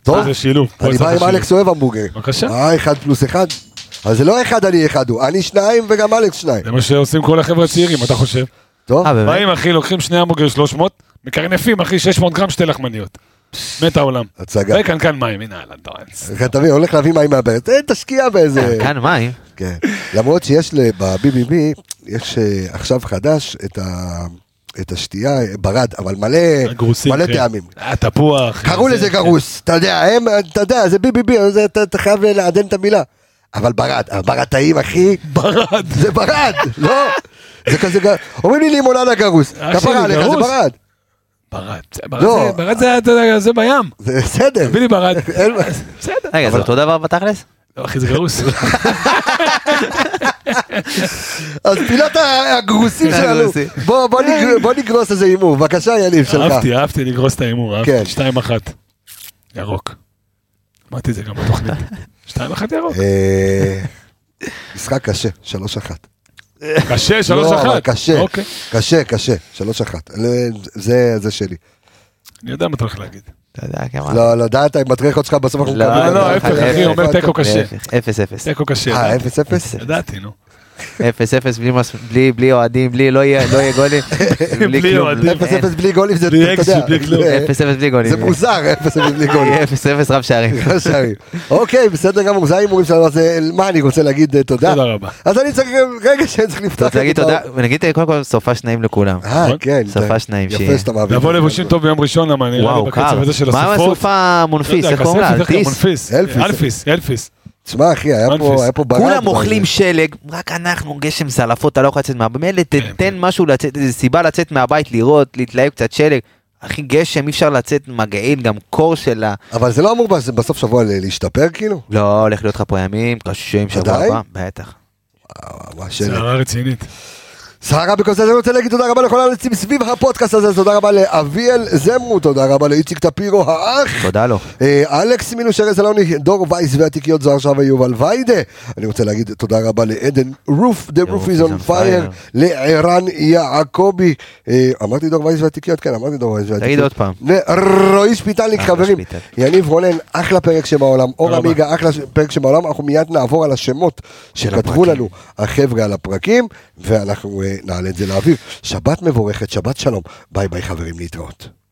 [SPEAKER 1] טוב,
[SPEAKER 5] פה זה שילוב. פה
[SPEAKER 1] אני
[SPEAKER 5] זה
[SPEAKER 1] בא עם
[SPEAKER 5] שילוב.
[SPEAKER 1] אלכס אוהב המבוגר.
[SPEAKER 5] בבקשה.
[SPEAKER 1] אה, אחד פלוס אחד? אז זה לא אחד אני אחד הוא, אני שניים וגם אלכס שניים.
[SPEAKER 5] זה מה שעושים כל החבר'ה הצעירים, אתה חושב?
[SPEAKER 1] טוב,
[SPEAKER 6] אה, באמת?
[SPEAKER 5] באים אחי, לוקחים שני המבוגרים 300, מקרנפים אחי 600 גרם שתי לחמניות. מת העולם.
[SPEAKER 1] הצגה. אה,
[SPEAKER 5] וקנקן מים, הנה אהלן טוענס.
[SPEAKER 1] אתה מבין, הולך להביא מים מהברז, אה, תשקיע באיזה...
[SPEAKER 6] כאן מים.
[SPEAKER 1] כן. למרות שיש ל- ב-BBB, יש אה, עכשיו חדש את ה... את השתייה, אה, ברד, אבל מלא,
[SPEAKER 5] הגרוסים.
[SPEAKER 1] מלא
[SPEAKER 5] כן.
[SPEAKER 1] טעמים.
[SPEAKER 5] אה, תפוח.
[SPEAKER 1] קראו
[SPEAKER 5] זה,
[SPEAKER 1] לזה
[SPEAKER 5] כן.
[SPEAKER 1] גרוס, אתה יודע, הם, אתה יודע, זה ביבי בי, זה- אתה אתה חייב לעדן את המילה. אבל ברד, ברד טעים אחי,
[SPEAKER 5] ברד.
[SPEAKER 1] זה ברד, לא? זה כזה, גר- אומרים לי לימונדה גרוס,
[SPEAKER 5] אח אה, שלי,
[SPEAKER 1] כפרה עליך, זה
[SPEAKER 5] גרוס?
[SPEAKER 1] ברד.
[SPEAKER 5] ברד. זה-
[SPEAKER 1] לא.
[SPEAKER 5] ברד זה- ברד זה- אתה יודע, זה בים.
[SPEAKER 1] זה בסדר.
[SPEAKER 5] תביא לי ברד.
[SPEAKER 1] אין מה-
[SPEAKER 5] בסדר.
[SPEAKER 6] רגע, זה אותו דבר בתכלס?
[SPEAKER 5] לא, אחי, זה גרוס.
[SPEAKER 1] אז פינת ה- הגרוסים שלנו,
[SPEAKER 6] הגרוסים.
[SPEAKER 1] בוא- בוא נגר- בוא נגרוס איזה הימור, בבקשה יניב שלך.
[SPEAKER 5] אה. אהבתי, אהבתי לגרוס את ההימור,
[SPEAKER 1] כן.
[SPEAKER 5] אהבתי. שתיים אחת. ירוק. אמרתי את זה גם בתוכנית. שתיים אחת ירוק.
[SPEAKER 1] אה, משחק קשה, שלוש אחת.
[SPEAKER 5] קשה, שלוש
[SPEAKER 1] לא, אבל
[SPEAKER 5] אחת.
[SPEAKER 1] קשה,
[SPEAKER 5] אוקיי.
[SPEAKER 1] קשה, קשה, שלוש אחת. ל- זה- זה שלי.
[SPEAKER 5] אני יודע מה אתה הולך להגיד.
[SPEAKER 6] אתה יודע כן, כמה.
[SPEAKER 1] לא, לא, דעת עם הטרחות שלך בסוף אנחנו מקבלים.
[SPEAKER 5] לא, לא,
[SPEAKER 1] אה,
[SPEAKER 5] ההפך, אחי,
[SPEAKER 1] אה,
[SPEAKER 5] אומר תיקו קשה.
[SPEAKER 6] להפך, אפס אפס.
[SPEAKER 5] תיקו קשה.
[SPEAKER 1] אה,
[SPEAKER 5] ידעתי.
[SPEAKER 1] אפס אפס?
[SPEAKER 5] ידעתי, נו.
[SPEAKER 6] אפס אפס בלי מס- בלי- בלי אוהדים, בלי לא יהיה לא יהיה גולים.
[SPEAKER 5] בלי
[SPEAKER 6] כלום.
[SPEAKER 5] אוהדים.
[SPEAKER 1] אפס אפס בלי גולים זה,
[SPEAKER 5] לא, בלי
[SPEAKER 1] אתה
[SPEAKER 5] אקשן,
[SPEAKER 1] יודע,
[SPEAKER 5] בלי כלום.
[SPEAKER 1] זה-
[SPEAKER 6] אפס אפס בלי גולים.
[SPEAKER 1] זה מוזר, אפס אפס בלי גולים.
[SPEAKER 6] יהיה אפס אפס רב שערים.
[SPEAKER 1] לא שערים. אוקיי, בסדר גמור, זה ההימורים שלנו, אז אה, מה אני רוצה להגיד אה, תודה?
[SPEAKER 5] תודה רבה.
[SPEAKER 1] אז אני צריך, אה, רגע שאני צריך לפתוח.
[SPEAKER 6] אתה רוצה להגיד
[SPEAKER 1] את ה-
[SPEAKER 6] תודה, ונגיד קודם כל סופה שניים לכולם.
[SPEAKER 1] אה, כן.
[SPEAKER 6] שפה
[SPEAKER 1] אתה-
[SPEAKER 6] שניים שיהיה.
[SPEAKER 1] יפה שאתה מעביר.
[SPEAKER 5] נכון. לבוא לבושים טוב ביום ראשון, למה נראה לי
[SPEAKER 6] וואו, קר.
[SPEAKER 5] לא בקצב הזה של
[SPEAKER 6] מה עם
[SPEAKER 5] הסופות.
[SPEAKER 6] הסופה
[SPEAKER 5] לא יודע,
[SPEAKER 6] המונפיס? איך קוראים
[SPEAKER 5] כספת,
[SPEAKER 6] לה?
[SPEAKER 5] איך קוראים לה?
[SPEAKER 6] אלטיס?
[SPEAKER 5] מונפיס.
[SPEAKER 1] אלפיס.
[SPEAKER 5] אלפיס, אלפיס.
[SPEAKER 1] תשמע, אחי, היה
[SPEAKER 5] מנפיס.
[SPEAKER 1] פה, היה פה ברד.
[SPEAKER 6] כולם אוכלים
[SPEAKER 1] ש...
[SPEAKER 6] שלג, רק אנחנו גשם זלעפות, אתה לא יכול לצאת מהבית. מילא תתן משהו לצאת, איזה סיבה לצאת מהבית, לראות, להתלהב קצת שלג. אחי, גשם, אי אפשר לצאת מגעיל, גם קור של ה...
[SPEAKER 1] אבל זה לא אמור בס- בסוף שבוע ל- להשתפר, כאילו?
[SPEAKER 6] לא, הולך להיות לך פה ימים קשים, שבוע
[SPEAKER 1] עדיין?
[SPEAKER 6] הבא, בטח.
[SPEAKER 1] וואו, וואו,
[SPEAKER 5] זה לא-
[SPEAKER 1] שלג.
[SPEAKER 5] הערה רצינית.
[SPEAKER 1] סערה בכל זה, אני רוצה להגיד תודה רבה לכל הנצים סביב הפודקאסט הזה, תודה רבה לאביאל זמרו, תודה רבה לאיציק טפירו האח.
[SPEAKER 6] תודה לו.
[SPEAKER 1] אה, אלכס מינוס ארז אלוני, דור וייס והתיקיות זוהר שווה יובל ויידה. אני רוצה להגיד תודה רבה לעדן רוף, The roof is on fire, לערן יעקבי. אה, אמרתי דור וייס והתיקיות? כן, אמרתי דור וייס והתיקיות.
[SPEAKER 6] תגיד עוד פעם.
[SPEAKER 1] לרועי שפיטלניק,
[SPEAKER 6] אחלה
[SPEAKER 1] חברים.
[SPEAKER 6] שפיטל.
[SPEAKER 1] יניב רונן, אחלה פרק שבעולם. אור
[SPEAKER 5] רבה.
[SPEAKER 1] עמיגה, אחלה ש- פרק שבעולם. אנחנו מיד נעבור על השמות שכתבו
[SPEAKER 6] הפרקים.
[SPEAKER 1] לנו החבר'ה על הפרקים, ואנחנו אה, נעלה את זה לאוויר. שבת מבורכת, שבת שלום. ביי ביי חברים, להתראות.